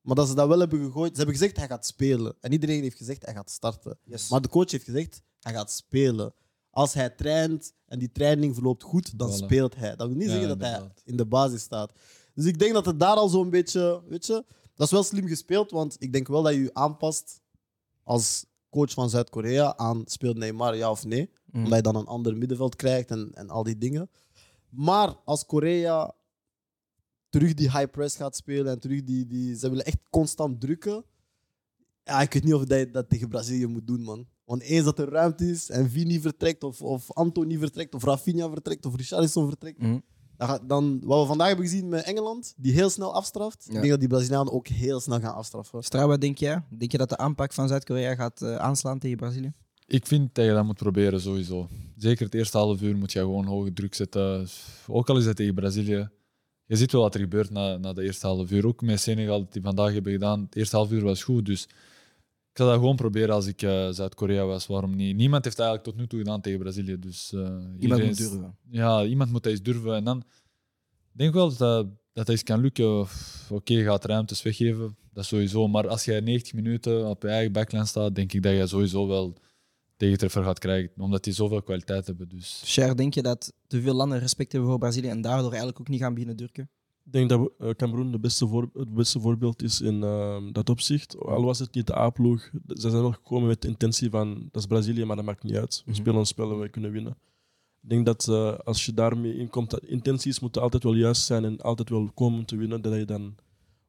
Speaker 2: Maar dat ze dat wel hebben gegooid. Ze hebben gezegd hij gaat spelen. En iedereen heeft gezegd hij gaat starten. Maar de coach heeft gezegd hij gaat spelen. Als hij traint en die training verloopt goed, dan
Speaker 5: Voilà.
Speaker 2: speelt hij. Dat wil niet
Speaker 5: Ja,
Speaker 2: zeggen dat
Speaker 5: inderdaad.
Speaker 2: hij in de basis staat. Dus ik denk dat het daar al zo'n beetje, weet je, dat is wel slim gespeeld, want ik denk wel dat je je aanpast als coach van Zuid-Korea aan speelt Neymar ja of nee.
Speaker 5: Mhm.
Speaker 2: Omdat je dan een ander middenveld krijgt en, en al die dingen. Maar als Korea terug die high press gaat spelen en terug die, die ze willen echt constant drukken. Ja, ik weet niet of dat je dat tegen Brazilië moet doen, man. Want eens dat er ruimte is en Vini vertrekt, of, of Anthony vertrekt, of Rafinha vertrekt, of Richarlison vertrekt.
Speaker 1: Mhm.
Speaker 2: Dan, gaat- dan, wat we vandaag hebben gezien met Engeland, die heel snel afstraft. Ik
Speaker 1: Ja.
Speaker 2: denk dat die Brazilianen ook heel snel gaan afstraffen.
Speaker 1: Stra, wat denk jij? Denk je dat de aanpak van Zuid-Korea gaat eh, aanslaan tegen Brazilië?
Speaker 5: Ik vind dat je dat moet proberen, sowieso. Zeker het eerste half uur moet je gewoon hoge druk zetten. Ook al is dat tegen Brazilië. Je ziet wel wat er gebeurt na, na de eerste half uur. Ook met Senegal, die vandaag hebben gedaan. Het eerste half uur was goed, dus... Ik zou dat gewoon proberen als ik eh, Zuid-Korea was. Waarom niet? Niemand heeft eigenlijk tot nu toe gedaan tegen Brazilië. Dus, eh,
Speaker 1: Iemand
Speaker 5: iedereen
Speaker 1: moet
Speaker 5: is-
Speaker 1: durven.
Speaker 5: ja, iemand moet dat eens durven. En dan ik denk wel dat dat, dat eens kan lukken. Of, Oké, je gaat ruimtes weggeven, dat sowieso. Maar als jij 90 minuten op je eigen backline staat, denk ik dat je sowieso wel tegentreffer gaat krijgen. Omdat die zoveel kwaliteit hebben. Dus
Speaker 1: Cher, denk je dat te veel landen respect hebben voor Brazilië en daardoor eigenlijk ook niet gaan beginnen durken?
Speaker 6: Ik denk dat we- eh, Cameroen de beste voor, het beste voorbeeld is in ehm, dat opzicht. Al was het niet de A-ploeg, ze zijn wel gekomen met de intentie van dat is Brazilië, maar dat maakt niet uit. We
Speaker 1: Mhm.
Speaker 6: spelen ons spel en we kunnen winnen. Ik denk dat eh, als je daarmee inkomt, dat intenties moeten altijd wel juist zijn en altijd wel komen om te winnen, dat je dan,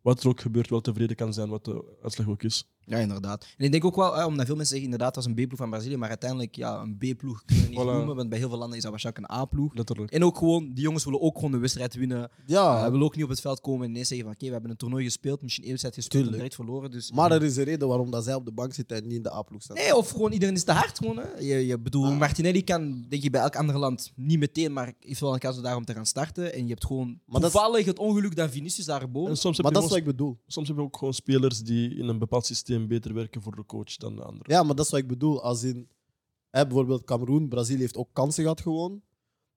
Speaker 6: wat er ook gebeurt, wel tevreden kan zijn wat de uitslag ook is.
Speaker 1: Ja, inderdaad. En ik denk ook wel, hè, omdat veel mensen zeggen inderdaad, het was een B-ploeg van Brazilië, maar uiteindelijk, ja, een B-ploeg kunnen we niet
Speaker 6: Voilà.
Speaker 1: noemen, want bij heel veel landen is dat waarschijnlijk een A-ploeg.
Speaker 6: Letterlijk.
Speaker 1: En ook gewoon, die jongens willen ook gewoon de wedstrijd winnen.
Speaker 2: Ja,
Speaker 1: Hij wil willen ook niet op het veld komen en nee zeggen van, oké, we hebben een toernooi gespeeld, misschien één wedstrijd gespeeld en
Speaker 2: Tuurlijk.
Speaker 1: direct verloren. Dus...
Speaker 2: Maar er is een reden waarom dat zij op de bank zitten en niet in de A-ploeg staan.
Speaker 1: Nee, of gewoon iedereen is te hard. Gewoon, hè. Je, je bedoel,
Speaker 2: Ah.
Speaker 1: Martinelli kan, denk je, bij elk ander land niet meteen, maar heeft wel een kans om daarom te gaan starten. En je hebt gewoon
Speaker 2: Maar dat is-
Speaker 1: toevallig het ongeluk dat Vinicius daarboven...
Speaker 6: En soms heb,
Speaker 2: maar
Speaker 6: je
Speaker 2: dat is wat
Speaker 6: gewoon,
Speaker 2: ik bedoel.
Speaker 6: soms heb je ook gewoon spelers die in een bepaald systeem beter werken voor de coach dan de anderen.
Speaker 2: Ja, maar dat is wat ik bedoel. Als in hè, bijvoorbeeld Cameroen, Brazilië heeft ook kansen gehad gewoon.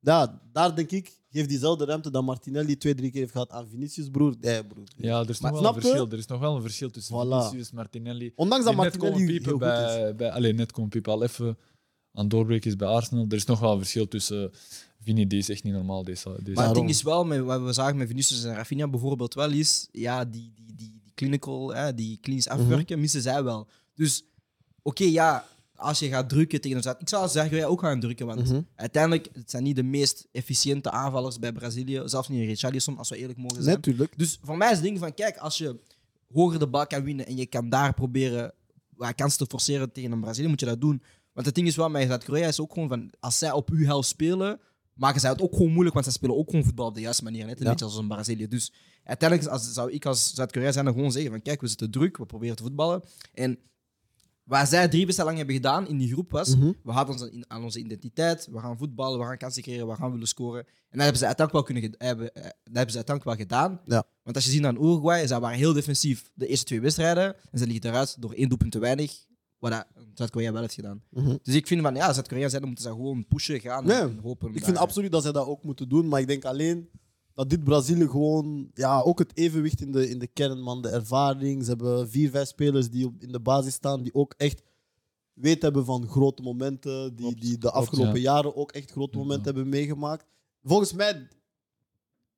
Speaker 2: Ja, daar denk ik, geeft diezelfde ruimte dat Martinelli twee, drie keer heeft gehad aan Vinicius, broer. Nee, broer.
Speaker 5: ja, er is
Speaker 2: Maar
Speaker 5: nog wel
Speaker 2: snap
Speaker 5: een
Speaker 2: je?
Speaker 5: verschil. Er is nog wel een verschil tussen
Speaker 2: Voilà.
Speaker 5: Vinicius, Martinelli.
Speaker 2: Ondanks dat
Speaker 5: Die net komen
Speaker 2: Martinelli heel
Speaker 5: piepen
Speaker 2: goed is.
Speaker 5: bij, bij alleen net komen piepen al even aan het doorbreken is bij Arsenal. Er is nog wel een verschil tussen eh, Vini, die is echt niet normaal deze, deze
Speaker 1: Maar het
Speaker 2: Daarom.
Speaker 1: ding is wel, met, wat we zagen met Vinicius en Rafinha bijvoorbeeld wel is, ja, die, die, die, die clinical, hè, die klinisch afwerken, missen zij wel. Dus, oké, ja, als je gaat drukken tegen een Zuid... Ik zou zeggen, jij ook gaan drukken, want
Speaker 2: Mhm.
Speaker 1: uiteindelijk het zijn niet de meest efficiënte aanvallers bij Brazilië. Zelfs niet Richarlison, als we eerlijk mogen zijn.
Speaker 2: Natuurlijk.
Speaker 1: Dus voor mij is het ding van, kijk, als je hoger de bal kan winnen en je kan daar proberen ja, kansen te forceren tegen een Brazilië, moet je dat doen. Want het ding is wel, met Zuid-Korea is ook gewoon van, als zij op uw helft spelen, maken zij het ook gewoon moeilijk, want zij spelen ook gewoon voetbal op de juiste manier, net een
Speaker 2: Ja.
Speaker 1: beetje als een Brazilië. Dus uiteindelijk als, zou ik als Zuid-Korea zijn dan gewoon zeggen van, kijk, we zitten druk, we proberen te voetballen. En waar zij drie wedstrijden lang hebben gedaan in die groep was,
Speaker 2: Mhm.
Speaker 1: we houden ons aan- aan onze identiteit, we gaan voetballen, we gaan kansen creëren, we gaan willen scoren. En dat hebben ze uiteindelijk wel, kunnen, ged- hebben, eh, dat hebben ze uiteindelijk wel gedaan.
Speaker 2: Ja.
Speaker 1: Want als je ziet aan Uruguay, zij waren heel defensief de eerste twee wedstrijden. En ze liggen eruit door één doelpunt te weinig. Wat dat Zuid-Korea wel heeft gedaan.
Speaker 2: Mhm.
Speaker 1: Dus ik vind van ja, Zuid-Korea zijn, dan moeten ze gewoon pushen, gaan
Speaker 2: Nee,
Speaker 1: en hopen.
Speaker 2: Ik
Speaker 1: daar-
Speaker 2: vind absoluut dat zij dat ook moeten doen, maar ik denk alleen dat dit Brazilië gewoon, ja, ook het evenwicht in de, in de kern, man, de ervaring. Ze hebben vier, vijf spelers die op, in de basis staan, die ook echt weet hebben van grote momenten, die,
Speaker 5: Klopt,
Speaker 2: die de
Speaker 5: klopt,
Speaker 2: afgelopen
Speaker 5: ja.
Speaker 2: jaren ook echt grote
Speaker 5: Ja.
Speaker 2: momenten hebben meegemaakt. Volgens mij,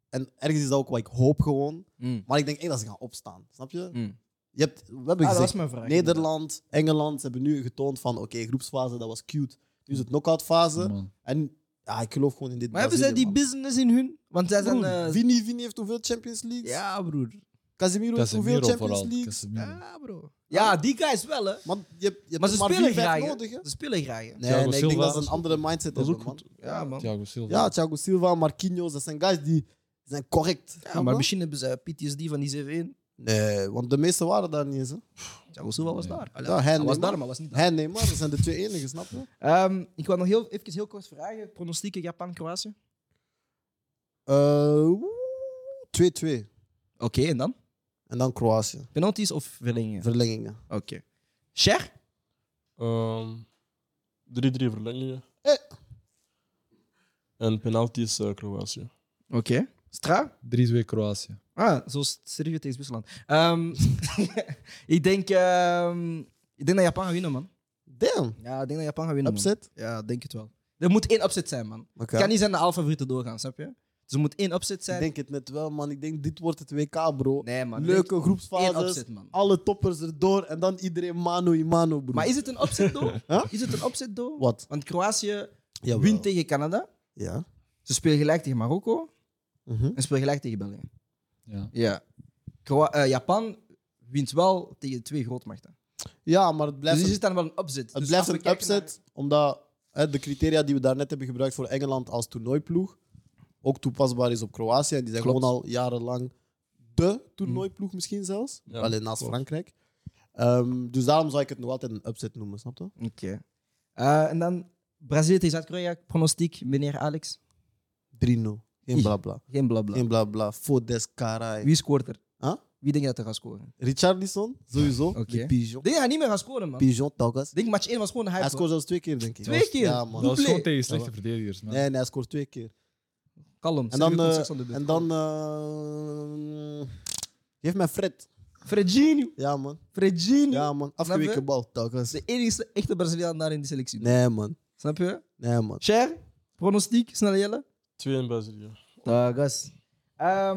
Speaker 2: en ergens is dat ook wat ik hoop gewoon,
Speaker 1: Mm.
Speaker 2: maar ik denk echt dat ze gaan opstaan, snap je?
Speaker 1: Mm.
Speaker 2: je hebt, we hebben
Speaker 1: Ah, dat
Speaker 2: gezegd,
Speaker 1: was mijn vraag.
Speaker 2: Nederland, Engeland, ze hebben nu getoond van, oké, groepsfase, dat was cute. Nu is het knock-outfase.
Speaker 5: man.
Speaker 2: En ja, ik geloof gewoon in dit
Speaker 1: Maar hebben zij
Speaker 2: Brazilië,
Speaker 1: die
Speaker 2: man.
Speaker 1: business in hun? Want zij zijn.
Speaker 2: Broer,
Speaker 1: eh,
Speaker 2: Vini, Vini heeft hoeveel Champions League?
Speaker 1: ja, broer.
Speaker 2: Casemiro heeft eh, hoeveel
Speaker 5: Casemiro
Speaker 2: Champions
Speaker 5: vooral.
Speaker 2: League?
Speaker 5: Casemiro.
Speaker 1: Ja, bro. Hmm. Ja, die guys wel, hè?
Speaker 2: Man, je hebt, je hebt
Speaker 1: Maar ze
Speaker 2: maar
Speaker 1: spelen
Speaker 2: vier, vijf
Speaker 1: graag. hè.
Speaker 2: nodig, hè?
Speaker 1: Ze spelen graag. hè.
Speaker 2: Nee,
Speaker 5: Thiago
Speaker 2: nee, ik denk
Speaker 5: Silva.
Speaker 2: dat ze een andere mindset
Speaker 6: Dat is ook
Speaker 2: hebben, man.
Speaker 6: goed.
Speaker 1: Ja, man.
Speaker 5: Thiago Silva.
Speaker 2: Ah. Ja, Thiago Silva, Marquinhos, dat zijn guys die zijn correct.
Speaker 1: Ja, maar misschien hebben ze eh, PTSD van die CV1.
Speaker 2: Nee, want de meeste waren daar niet eens, hè?
Speaker 1: Thiago Silva was
Speaker 5: Nee.
Speaker 1: daar. Allee,
Speaker 2: Ja, hij
Speaker 1: hij
Speaker 2: en
Speaker 1: was
Speaker 2: Neymar.
Speaker 1: daar, maar was niet daar.
Speaker 2: Hij en Neymar, dat zijn de twee enigen, snap je?
Speaker 1: Ehm, ik wil nog heel, even heel kort vragen. Pronostieken Japan-Kroatië?
Speaker 2: Eh, oeh, 2-2.
Speaker 1: Oké, en dan?
Speaker 2: en dan Kroatië.
Speaker 1: Penalties of verlengingen?
Speaker 2: Verlengingen.
Speaker 1: Oké. Cher?
Speaker 6: Ehm, 3-3 verlengingen.
Speaker 2: Eh.
Speaker 6: En penalties eh Kroatië.
Speaker 1: Oké. Stra?
Speaker 5: 3-2 Kroatië.
Speaker 1: Ah, zoals Servië tegen Zwitserland. Ehm, *laughs* ik, denk, ehm, ik denk dat Japan gaat winnen, man.
Speaker 2: Damn,
Speaker 1: Ja, ik denk dat Japan gaat winnen, man.
Speaker 2: upset.
Speaker 1: Ja, ik denk het wel. Er moet één opzet zijn, man.
Speaker 2: Oké.
Speaker 1: Het Hmm. kan niet zijn dat alle favorieten doorgaan, snap je? Dus er moet één opzet
Speaker 2: Ik
Speaker 1: zijn.
Speaker 2: denk het net wel, man. Ik denk, dit wordt het WK, bro.
Speaker 1: nee, man.
Speaker 2: Leuke
Speaker 1: Eén
Speaker 2: groepsfases.
Speaker 1: opzet, man.
Speaker 2: Alle toppers erdoor en dan iedereen mano in mano, bro.
Speaker 1: Maar is het een opzet door?
Speaker 2: *laughs* Huh?
Speaker 1: Is het een opzet door?
Speaker 2: Wat?
Speaker 1: Want Kroatië
Speaker 2: Ja,
Speaker 1: wint tegen Canada.
Speaker 2: Ja.
Speaker 1: Ze spelen gelijk tegen Marokko
Speaker 2: Mhm.
Speaker 1: en spelen gelijk tegen België.
Speaker 5: Ja.
Speaker 1: Ja. Kroa- eh, Japan wint wel tegen de twee grootmachten.
Speaker 2: ja, maar het blijft,
Speaker 1: dus is
Speaker 2: een,
Speaker 1: het dan wel een opzet?
Speaker 2: het
Speaker 1: Dus
Speaker 2: blijft
Speaker 1: als we
Speaker 2: een
Speaker 1: kijken
Speaker 2: upset, omdat hè, de criteria die we daarnet hebben gebruikt voor Engeland als toernooiploeg ook toepasbaar is op Kroatië. En die zijn
Speaker 1: Klopt. Mhm.
Speaker 2: gewoon al jarenlang de toernooiploeg misschien zelfs.
Speaker 6: Ja,
Speaker 2: Alleen naast
Speaker 6: klopt.
Speaker 2: Frankrijk. Ehm, dus daarom zou ik het nog altijd een upset noemen, snap je?
Speaker 1: naar- Oké. Eh, en dan Brazilië tegen Zuid-Korea. Pronostiek, meneer Alex.
Speaker 2: 3-0. Geen blabla.
Speaker 1: Geen blabla.
Speaker 2: Geen blabla. Voor des carai.
Speaker 1: Wie scoort er?
Speaker 2: Huh?
Speaker 1: Wie denk je dat er gaat scoren?
Speaker 2: Richarlison, sowieso.
Speaker 1: Oké.
Speaker 2: De Pigeon.
Speaker 1: Ik Denk dat hij niet meer gaat scoren, man. Ik
Speaker 2: Pigeon, telkens.
Speaker 1: denk match 1 was gewoon een hype.
Speaker 2: Hij
Speaker 1: hoor.
Speaker 2: scoort zelfs twee keer, denk ik.
Speaker 1: Twee keer?
Speaker 2: Ja, man.
Speaker 5: Dat was gewoon
Speaker 1: Dubbele.
Speaker 5: tegen slechte verdedigers. man.
Speaker 2: Nee, nee, hij scoort twee keer.
Speaker 1: Kalm.
Speaker 2: En
Speaker 1: zet
Speaker 2: dan...
Speaker 1: uw
Speaker 2: eh,
Speaker 1: concept onder de
Speaker 2: en
Speaker 1: druk.
Speaker 2: dan eh, geef mij Fred.
Speaker 1: Fredinho.
Speaker 2: Ja, man.
Speaker 1: Fredinho.
Speaker 2: Ja, man. Afgeweken bal, telkens.
Speaker 1: De enige echte Braziliaan daar in die selectie.
Speaker 2: Nee, man.
Speaker 1: Snap je?
Speaker 2: Nee, man.
Speaker 1: Cher, pronostiek, snelle Jelle.
Speaker 6: Twee in Brazilië.
Speaker 1: Tagas.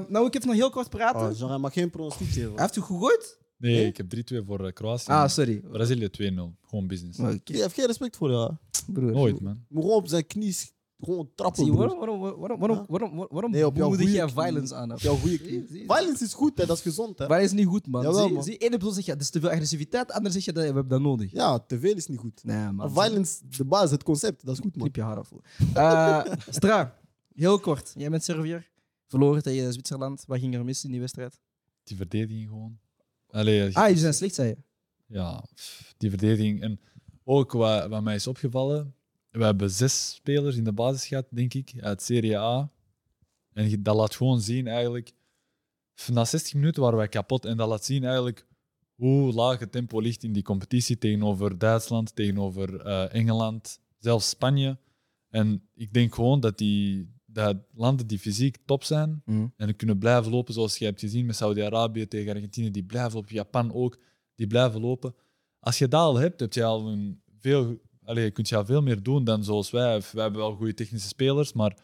Speaker 1: nou, ik heb nog heel kort praten.
Speaker 2: Oh, Jean, hij mag geen pronostiek geven.
Speaker 1: Hij heeft u gegooid?
Speaker 5: Nee, ik heb 3-2 voor eh, Kroatië.
Speaker 1: Ah, sorry.
Speaker 5: Brazilië 2-0. Gewoon business.
Speaker 1: Oké,
Speaker 2: Je heeft geen respect voor jou.
Speaker 1: broer.
Speaker 5: Nooit, man.
Speaker 2: Moet gewoon op zijn knie s- gewoon trappen,
Speaker 1: Zie,
Speaker 2: broer.
Speaker 1: waarom, waarom, waarom, waarom, waarom, waarom
Speaker 2: Nee, op jouw
Speaker 1: moedig
Speaker 2: goede
Speaker 1: jij
Speaker 2: knie.
Speaker 1: violence aan?
Speaker 2: Op jouw goede knie.
Speaker 1: Zie, zie.
Speaker 2: Violence is goed, hè. Dat is gezond, hè.
Speaker 1: Violence is niet goed, man.
Speaker 2: Jawel,
Speaker 1: zie,
Speaker 2: man.
Speaker 1: zie, ene persoon zegt, ja, dat is te veel agressiviteit. Ander zegt, ja, dat, we hebben dat nodig.
Speaker 2: Ja, te veel is niet goed.
Speaker 1: Nee,
Speaker 2: Maar
Speaker 1: man.
Speaker 2: violence, de baas, het concept, dat is goed, man.
Speaker 1: Knip je haar af. hoor. Eh, Stra, heel kort. Jij bent Servier. Verloren tegen Zwitserland. Wat ging er mis in die wedstrijd?
Speaker 5: Die verdediging gewoon. Allee, eh,
Speaker 1: Ah, jullie zijn slecht, zei je.
Speaker 5: ja, pff, die verdediging. En ook wat, wat mij is opgevallen, we hebben zes spelers in de basis gehad, denk ik, uit Serie A. En je- dat laat gewoon zien eigenlijk, pff, na 60 minuten waren wij kapot. En dat laat zien eigenlijk hoe laag het tempo ligt in die competitie tegenover Duitsland, tegenover eh, Engeland, zelfs Spanje. En ik denk gewoon dat die dat landen die fysiek top zijn
Speaker 1: Mhm.
Speaker 5: en die kunnen blijven lopen, zoals je hebt gezien met Saudi-Arabië tegen Argentinië, die blijven op Japan ook die blijven lopen. Als je dat al hebt, heb je al een veel, allez, kun je al veel meer doen dan zoals wij. Wij hebben wel goede technische spelers, maar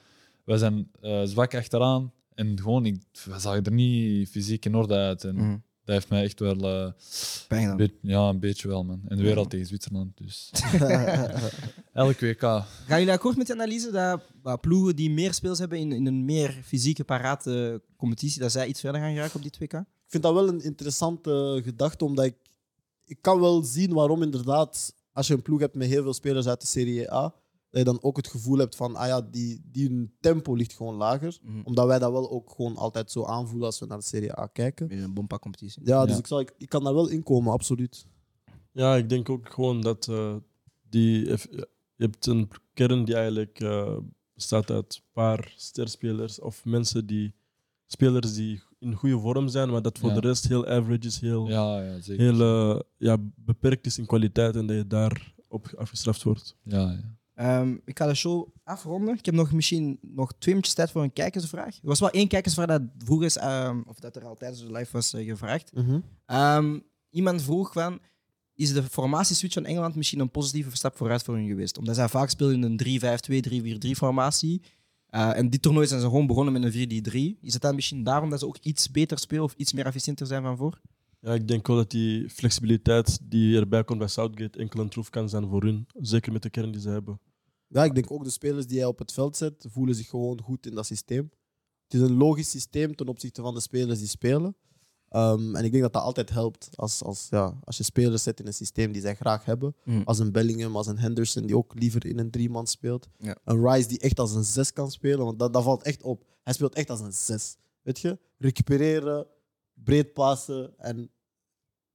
Speaker 5: wij zijn eh, zwak achteraan. En gewoon, ik, we zagen er niet fysiek in orde uit. En
Speaker 1: Mhm.
Speaker 5: dat heeft mij echt wel... eh,
Speaker 1: Pijn
Speaker 5: een
Speaker 1: gedaan.
Speaker 5: beetje- ja, een beetje wel, man. En weer al tegen Zwitserland, dus... Elk WK.
Speaker 1: Gaan jullie akkoord met de analyse dat dat ploegen die meer speels hebben in, in een meer fysieke parate competitie, dat zij iets verder gaan geraken op dit WK?
Speaker 2: ik vind dat wel een interessante gedachte, omdat ik, ik kan wel zien waarom inderdaad, als je een ploeg hebt met heel veel spelers uit de Serie A, dat je dan ook het gevoel hebt van, ah ja, die, die hun tempo ligt gewoon lager.
Speaker 1: Mhm.
Speaker 2: Omdat wij dat wel ook gewoon altijd zo aanvoelen als we naar de Serie A kijken.
Speaker 1: In een bompa-competitie.
Speaker 2: Ja, dus
Speaker 5: Ja.
Speaker 2: Ik, zal, ik, ik kan daar wel in komen, absoluut.
Speaker 6: Ja, ik denk ook gewoon dat eh, die. Je hebt een kern die eigenlijk eh, bestaat uit een paar sterspelers of mensen die. Spelers die in goede vorm zijn, maar dat voor
Speaker 5: Ja.
Speaker 6: de rest heel average is, heel,
Speaker 5: Ja, ja zeker.
Speaker 6: heel eh, ja, beperkt is in kwaliteit en dat je daarop afgestraft wordt.
Speaker 5: Ja, ja.
Speaker 1: Ehm, ik ga de show afronden. Ik heb nog misschien nog twee minuutjes tijd voor een kijkersvraag. Er was wel één kijkersvraag dat vroeg is, ehm, of dat er al tijdens de live was eh, gevraagd. Ehm, iemand vroeg van, is de formatieswitch van Engeland misschien een positieve stap vooruit voor hun geweest? Omdat zij vaak speelden in een 3-5-2, 3-4-3 formatie. Eh, en dit toernooi zijn ze gewoon begonnen met een 4-3-3. Is het dan misschien daarom dat ze ook iets beter spelen of iets meer efficiënter zijn van voor?
Speaker 6: Ja, ik denk wel dat die flexibiliteit die erbij komt bij Southgate enkel een troef kan zijn voor hun. Zeker met de kern die ze hebben.
Speaker 2: Ja, ik denk ook de spelers die hij op het veld zet, voelen zich gewoon goed in dat systeem. Het is een logisch systeem ten opzichte van de spelers die spelen. Ehm, en ik denk dat dat altijd helpt als, als, ja, als je spelers zet in een systeem die zij graag hebben.
Speaker 1: Mm.
Speaker 2: Als een Bellingham, als een Henderson die ook liever in een drie-man speelt.
Speaker 1: Ja.
Speaker 2: Een Rice die echt als een zes kan spelen, want dat, dat valt echt op. Hij speelt echt als een zes. Weet je? Recupereren, breed passen en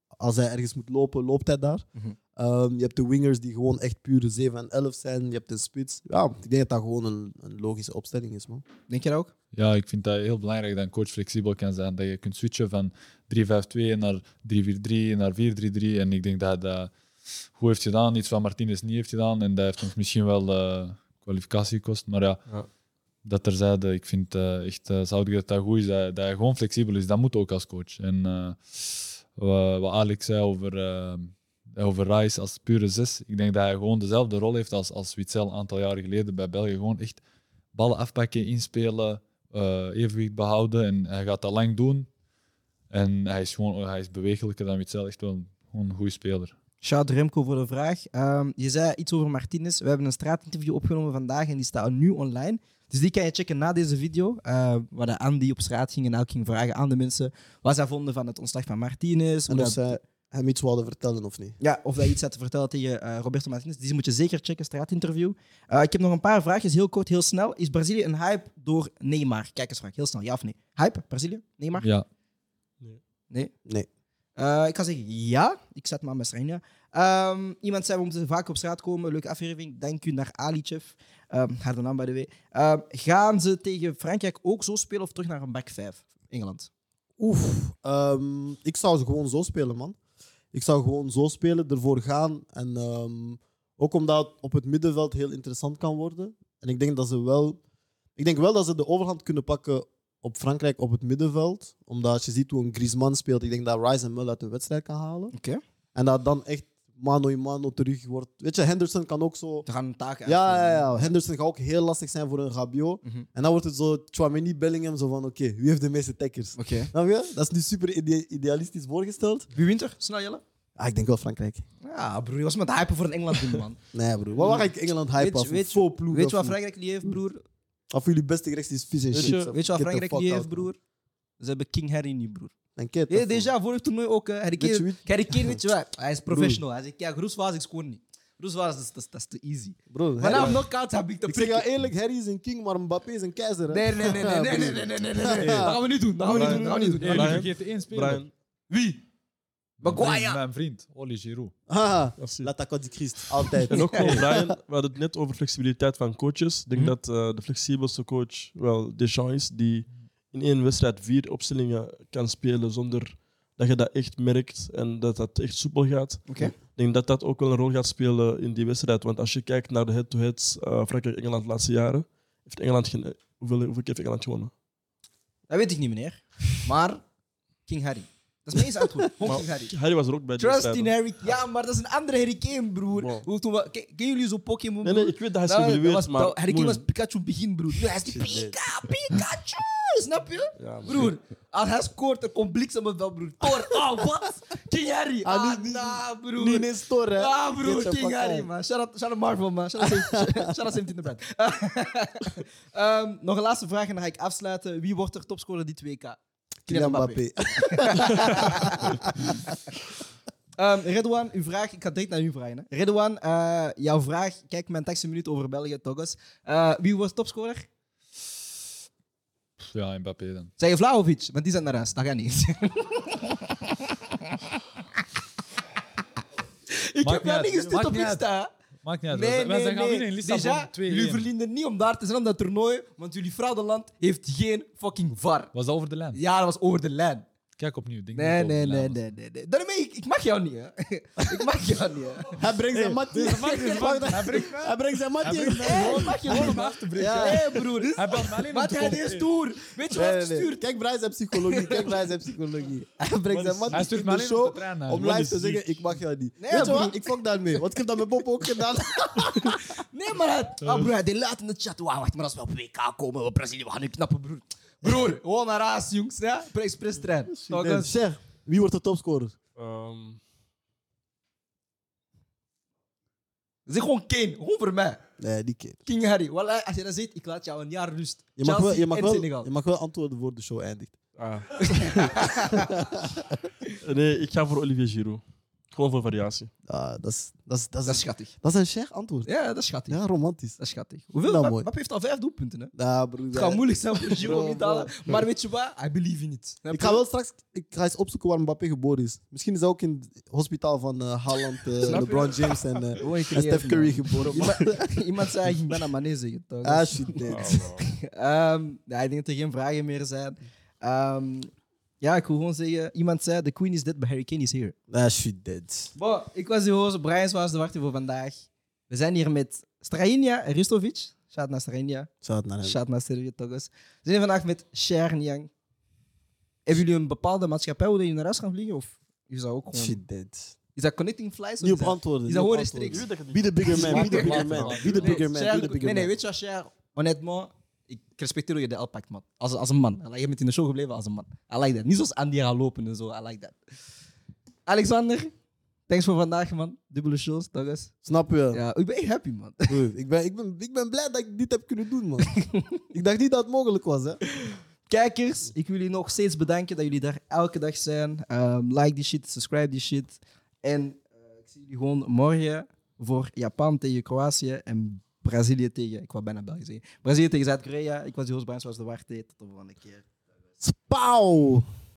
Speaker 2: als hij ergens moet lopen, loopt hij daar.
Speaker 1: Mhm.
Speaker 2: Ehm, je hebt de wingers die gewoon echt pure 7 en 11 zijn. Je hebt de spits. Ja, ik denk dat dat gewoon een, een logische opstelling is, man.
Speaker 1: Denk je dat ook?
Speaker 5: Ja, ik vind dat heel belangrijk dat een coach flexibel kan zijn. Dat je kunt switchen van 3-5-2 naar 3-4-3 naar 4-3-3. En ik denk dat dat goed heeft gedaan. Iets wat Martinez niet heeft gedaan. En dat heeft ons misschien wel eh, kwalificatie gekost. Maar ja,
Speaker 6: Ja.
Speaker 5: dat terzijde. Ik vind eh, echt, eh Southgate dat goed is. Dat, dat hij gewoon flexibel is. Dat moet ook als coach. En eh, wa- wat Alex zei over eh, over Rice als pure zes. Ik denk dat hij gewoon dezelfde rol heeft als, als Witzel een aantal jaren geleden bij België. Gewoon echt ballen afpakken, inspelen, eh, evenwicht behouden. En hij gaat dat lang doen. En hij is gewoon hij is bewegelijker dan Witzel. Echt wel een, gewoon een goede speler.
Speaker 1: Shout Remco voor de vraag. Ehm, je zei iets over Martinez. We hebben een straatinterview opgenomen vandaag en die staat nu online. Dus die kan je checken na deze video. eh, waar de Andy op straat ging en ook ging vragen aan de mensen wat zij vonden van het ontslag van Martinez.
Speaker 2: En
Speaker 1: hoe
Speaker 2: of
Speaker 1: dat-
Speaker 2: zij hem iets wilden vertellen of niet.
Speaker 1: ja, of dat iets had te vertellen tegen eh, Roberto Martinez. Die moet je zeker checken, straatinterview. Eh, ik heb nog een paar vraagjes, heel kort, heel snel. Is Brazilië een hype door Neymar? Kijk eens, Frank, heel snel. Ja of nee? Hype, Brazilië, Neymar?
Speaker 5: Ja,
Speaker 1: Nee?
Speaker 2: Nee.
Speaker 1: Eh, ik kan zeggen ja. Ik zat maar met Srenja. Ehm, iemand zei, we moeten vaak op straat komen. Leuke aflevering. Dank u naar Alicev. Ehm harde naam, by the way. Ehm, gaan ze tegen Frankrijk ook zo spelen of terug naar een back 5? Engeland.
Speaker 2: Oef. ehm, ik zou ze gewoon zo spelen, man. Ik zou gewoon zo spelen, ervoor gaan. En ehm, ook omdat het op het middenveld heel interessant kan worden. En ik denk dat ze wel... Ik denk wel dat ze de overhand kunnen pakken op Frankrijk op het middenveld. Omdat als je ziet hoe een Griezmann speelt, ik denk dat Rice hem wel uit de wedstrijd kan halen.
Speaker 1: Oké.
Speaker 2: En dat dan echt mano in mano terug wordt. Weet je, Henderson kan ook zo...
Speaker 1: We gaan een taak
Speaker 2: Ja, ja,
Speaker 1: uitvoeren.
Speaker 2: ja. Henderson gaat ook heel lastig zijn voor een Rabiot.
Speaker 1: Mhm.
Speaker 2: En dan wordt het zo Chouameni, Bellingham, zo van oké, wie heeft de meeste tackers?
Speaker 1: Oké.
Speaker 2: Snap je? Dat is nu super ide- idealistisch voorgesteld.
Speaker 1: Wie wint er? Snel, Jelle?
Speaker 2: Ah, ik denk wel Frankrijk.
Speaker 1: Ja, broer. Je was met hypen voor een Engeland winnen,
Speaker 2: *laughs*
Speaker 1: man.
Speaker 2: Nee, broer. Waar ga ik Engeland hype
Speaker 1: Weet je-
Speaker 2: af?
Speaker 1: weet je-
Speaker 2: Voor ploeg
Speaker 1: Weet
Speaker 2: of
Speaker 1: je wat
Speaker 2: niet?
Speaker 1: Frankrijk die heeft, broer?
Speaker 2: Of jullie beste gerecht is vis en
Speaker 6: Weet
Speaker 2: shit.
Speaker 6: je-
Speaker 2: zo.
Speaker 1: Weet je wat
Speaker 2: Get the
Speaker 1: Frankrijk
Speaker 2: fuck
Speaker 1: die
Speaker 2: out,
Speaker 1: heeft,
Speaker 2: man.
Speaker 1: broer? Ze hebben King Harry nu, broer.
Speaker 2: En get the
Speaker 1: Ja,
Speaker 2: fuck.
Speaker 1: deze jaar, vorig toernooi ook. hè. Harry
Speaker 2: Weet je
Speaker 1: Kane,
Speaker 2: wie-
Speaker 1: Harry Kane, weet je wel, Hij is professional. Hij zegt, ja, Groeswaas, ik scoor niet. Groeswaas, dat is- dat is- dat is te easy.
Speaker 2: Broer,
Speaker 1: Maar nou-
Speaker 2: Harry-
Speaker 1: na knock-out heb ik te
Speaker 2: ik zeg jou
Speaker 1: prikken.
Speaker 2: eerlijk, Harry is een king, maar Mbappé is een keizer. Hè?
Speaker 1: Nee, nee, nee, nee, nee, nee, nee, nee, nee, nee, nee. Dat gaan we niet doen. Dat gaan we niet doen. Dat gaan we niet doen.
Speaker 5: jullie
Speaker 6: Brian.
Speaker 5: vergeten één speler.
Speaker 6: Brian,
Speaker 1: Wie?
Speaker 5: Mijn vriend-
Speaker 1: Maguire.
Speaker 5: Mijn vriend, Oli Giroud.
Speaker 2: Ah,
Speaker 6: merci.
Speaker 2: L'Attaque du Christ, altijd.
Speaker 1: *laughs*
Speaker 6: En ook gewoon Brian, we hadden het net over flexibiliteit van coaches. Ik denk dat eh, de flexibelste coach wel Deschamps is, die in één wedstrijd vier opstellingen kan spelen zonder dat je dat echt merkt en dat dat echt soepel gaat.
Speaker 1: Oké.
Speaker 6: Ik denk dat dat ook wel een rol gaat spelen in die wedstrijd. Want als je kijkt naar de head-to-heads eh, Frankrijk-Engeland de laatste jaren, heeft Engeland geen, hoeveel, hoeveel keer heeft Engeland gewonnen?
Speaker 1: Dat weet ik niet, meneer. Maar King Harry. Dat is mijn eerste antwoord. *laughs* Gewoon King Harry.
Speaker 6: Harry was er ook bij die
Speaker 1: Trust
Speaker 6: wedstrijd,
Speaker 1: in
Speaker 6: hoor.
Speaker 1: Harry. Ja, maar dat is een andere Harry Kane, broer.
Speaker 6: Wow.
Speaker 1: Hoe toen we- Ken kennen jullie zo'n Pokémon?
Speaker 6: Nee, nee,
Speaker 1: broer?
Speaker 6: ik weet dat hij is
Speaker 1: Nou, dat
Speaker 6: geëvalueerd,
Speaker 1: was-
Speaker 6: maar...
Speaker 1: dat- Harry Kane was
Speaker 6: moeilijk.
Speaker 1: Pikachu begin, broer. Nu hij is die
Speaker 2: Shit,
Speaker 1: Pika, Pikachu. Snap je?
Speaker 6: Ja, maar-
Speaker 1: Broer, als hij scoort, er komt bliksem op wel, broer. Thor, oh, wat? King Harry.
Speaker 2: Ah,
Speaker 1: Ah,
Speaker 2: niet- niet-
Speaker 1: nah, broer.
Speaker 2: Niet eens door, hè?
Speaker 1: Ah,
Speaker 2: Get
Speaker 1: broer,
Speaker 2: your
Speaker 1: King
Speaker 2: fuck
Speaker 1: Harry,
Speaker 2: out.
Speaker 1: man. Shout out, shout out Marvel, man. Shout out
Speaker 2: *laughs*
Speaker 1: Saint- shout out 17 de Brand. *laughs* Ehm, nog een laatste vraag en dan ga ik afsluiten. Wie wordt er topscorer dit WK?
Speaker 2: Kylian Mbappé.
Speaker 1: *laughs* Ehm, Redouan, uw vraag. Ik ga direct naar u vragen. Hè. Redouan, eh, jouw vraag. Kijk, mijn tekst een minuut over België, Togos. Eh, wie wordt topscorer?
Speaker 5: Pff, Ja, Mbappé dan.
Speaker 1: Zeg je Vlaovic, want die zijn naar huis. Dat gaat niet. *laughs* ik
Speaker 5: Maakt
Speaker 1: heb
Speaker 5: niet
Speaker 1: daar
Speaker 5: uit.
Speaker 1: niet gestuurd
Speaker 5: Maakt
Speaker 1: op
Speaker 5: niet uit.
Speaker 1: Insta.
Speaker 5: Maakt niet uit.
Speaker 1: Nee,
Speaker 5: wij,
Speaker 1: nee,
Speaker 5: zijn gaan
Speaker 1: nee.
Speaker 5: winnen in Lissabon
Speaker 1: Déjà,
Speaker 5: 2-1.
Speaker 1: jullie verdienen niet om daar te zijn op dat toernooi, want jullie fraudeland heeft geen fucking VAR.
Speaker 5: Was dat over de lijn?
Speaker 1: Ja, dat was over de lijn.
Speaker 5: Kijk opnieuw. Denk
Speaker 1: Nee,
Speaker 5: niet dat het
Speaker 1: nee,
Speaker 5: over de
Speaker 1: nee,
Speaker 5: lijn was.
Speaker 1: nee, nee. nee. Daarmee, ik, ik mag jou niet, hè. *laughs* ik mag jou niet,
Speaker 5: *laughs*
Speaker 1: hè.
Speaker 2: Hij brengt zijn mattie. Hij brengt zijn mattie.
Speaker 1: Hey, ik mag jou niet, man.
Speaker 2: Ja.
Speaker 1: Hey, broer.
Speaker 5: Hij belt me alleen om
Speaker 1: Wat
Speaker 5: te
Speaker 1: hij
Speaker 5: komen-
Speaker 1: is stoer. Weet je wat
Speaker 2: Nee,
Speaker 1: hij
Speaker 2: nee, nee.
Speaker 1: stuurt?
Speaker 2: Kijk, Brian zijn psychologie. Kijk, Brian zijn psychologie. Hij brengt zijn
Speaker 5: Hij
Speaker 2: mattie
Speaker 5: stuurt
Speaker 2: in de
Speaker 5: me alleen om
Speaker 2: show
Speaker 5: te trainen.
Speaker 2: om
Speaker 5: Wat
Speaker 2: live
Speaker 5: is
Speaker 2: te
Speaker 5: die?
Speaker 2: zeggen, ik mag jou niet.
Speaker 1: Nee,
Speaker 2: Weet je
Speaker 1: broer.
Speaker 2: wat? Ik fuck daarmee. Want ik heb dat met Bob ook
Speaker 1: *laughs*
Speaker 2: gedaan.
Speaker 1: Nee, maar hij... Ah, broer, hij deed laat in de chat. Wauw, wacht, maar als we op WK komen, we Brazilië, we gaan nu knappen, broer. Broer, gewoon naar huis, jongens, hè. Express trein.
Speaker 2: Nee, Zeg, wie wordt de topscorer?
Speaker 6: Ehm,
Speaker 1: Zeg gewoon Kane. Gewoon voor mij.
Speaker 2: Nee, die keer.
Speaker 1: King Harry, wallah, als je dat ziet, ik laat jou een jaar rust.
Speaker 2: Je mag, wel,
Speaker 1: Chelsea
Speaker 2: je, mag
Speaker 1: en
Speaker 2: wel,
Speaker 1: Senegal.
Speaker 2: je mag wel antwoorden voor de show eindigt.
Speaker 6: Ah. *laughs* nee, ik ga voor Olivier Giroud. Gewoon voor variatie.
Speaker 2: Ah, dat, is, dat, is, dat, is,
Speaker 1: Dat is schattig.
Speaker 2: dat is een cher antwoord.
Speaker 1: Ja, dat is schattig.
Speaker 2: Ja, romantisch.
Speaker 1: Dat is schattig. Hoeveel?
Speaker 2: Nou,
Speaker 1: Mbappé
Speaker 2: mooi.
Speaker 1: Mbappé heeft al vijf doelpunten. Hè?
Speaker 2: Nah, broer, eh,
Speaker 1: Het gaat
Speaker 2: ja.
Speaker 1: moeilijk zijn voor Giro om
Speaker 2: Bro,
Speaker 1: niet te halen. Maar weet je wat? I believe in it.
Speaker 2: Ik ga wel straks ik ga eens opzoeken waar Mbappé geboren is. Misschien is hij ook in het hospitaal van eh, Haaland, eh,
Speaker 1: Snap je?
Speaker 2: LeBron James en,
Speaker 1: *laughs*
Speaker 2: eh,
Speaker 1: Oh, ik
Speaker 2: en Steph Curry geboren. man.
Speaker 1: Iemand zei, hij ging bijna Mané zeggen. toch? Dus,
Speaker 2: Ah, shit. nee.
Speaker 1: Ehm, ja, ik denk dat er geen vragen meer zijn. Ehm, ja, ik wil gewoon zeggen, iemand zei, the queen is dead, but Harry Kane is here.
Speaker 2: Ah, shit, dead.
Speaker 1: Bon, ik was uw host, Brian Swaas de Warte voor vandaag. We zijn hier met Strajinja Ristovic. Shout naar Strajinja.
Speaker 2: Shout naar hem.
Speaker 1: Shout naar Servië Togos. We zijn vandaag met Sharon Yang. Hebben jullie een bepaalde maatschappij waar jullie naar huis gaan vliegen? Of je zou ook gewoon...
Speaker 2: Shit, dead.
Speaker 1: Is dat connecting flies? of
Speaker 2: Niet op
Speaker 1: is dat-
Speaker 2: antwoorden.
Speaker 1: Is dat
Speaker 2: niet op
Speaker 1: gewoon
Speaker 2: antwoorden.
Speaker 1: rechtstreeks?
Speaker 2: Be the bigger man, be the bigger man, be the bigger man, be
Speaker 1: Cher,
Speaker 2: the bigger
Speaker 1: nee, nee,
Speaker 2: man.
Speaker 1: weet je wat, Cher? Honnêtement, ik respecteer hoe je de L pakt, man. Als, als een man. Allee, Je bent in de show gebleven als een man. I like that. Niet zoals Andy gaan lopen en zo. I like that. Alexander, thanks voor vandaag, man. Dubbele shows, Douglas.
Speaker 2: Snap je?
Speaker 1: Ja, ik ben echt happy, man.
Speaker 2: Broer, ik, ben, ik, ben, ik ben blij dat ik dit heb kunnen *laughs* doen, man. ik dacht niet dat het mogelijk was, hè.
Speaker 1: Kijkers, ik wil jullie nog steeds bedanken dat jullie daar elke dag zijn. Ehm, like die shit, subscribe die shit. En eh, ik zie jullie gewoon morgen voor Japan tegen Kroatië en Brazilië tegen... Ik wou bijna België zeggen. Brazilië tegen Zuid-Korea. Ik was die host, Brian Zoals de Warte. Tot de volgende keer.
Speaker 2: Spauw!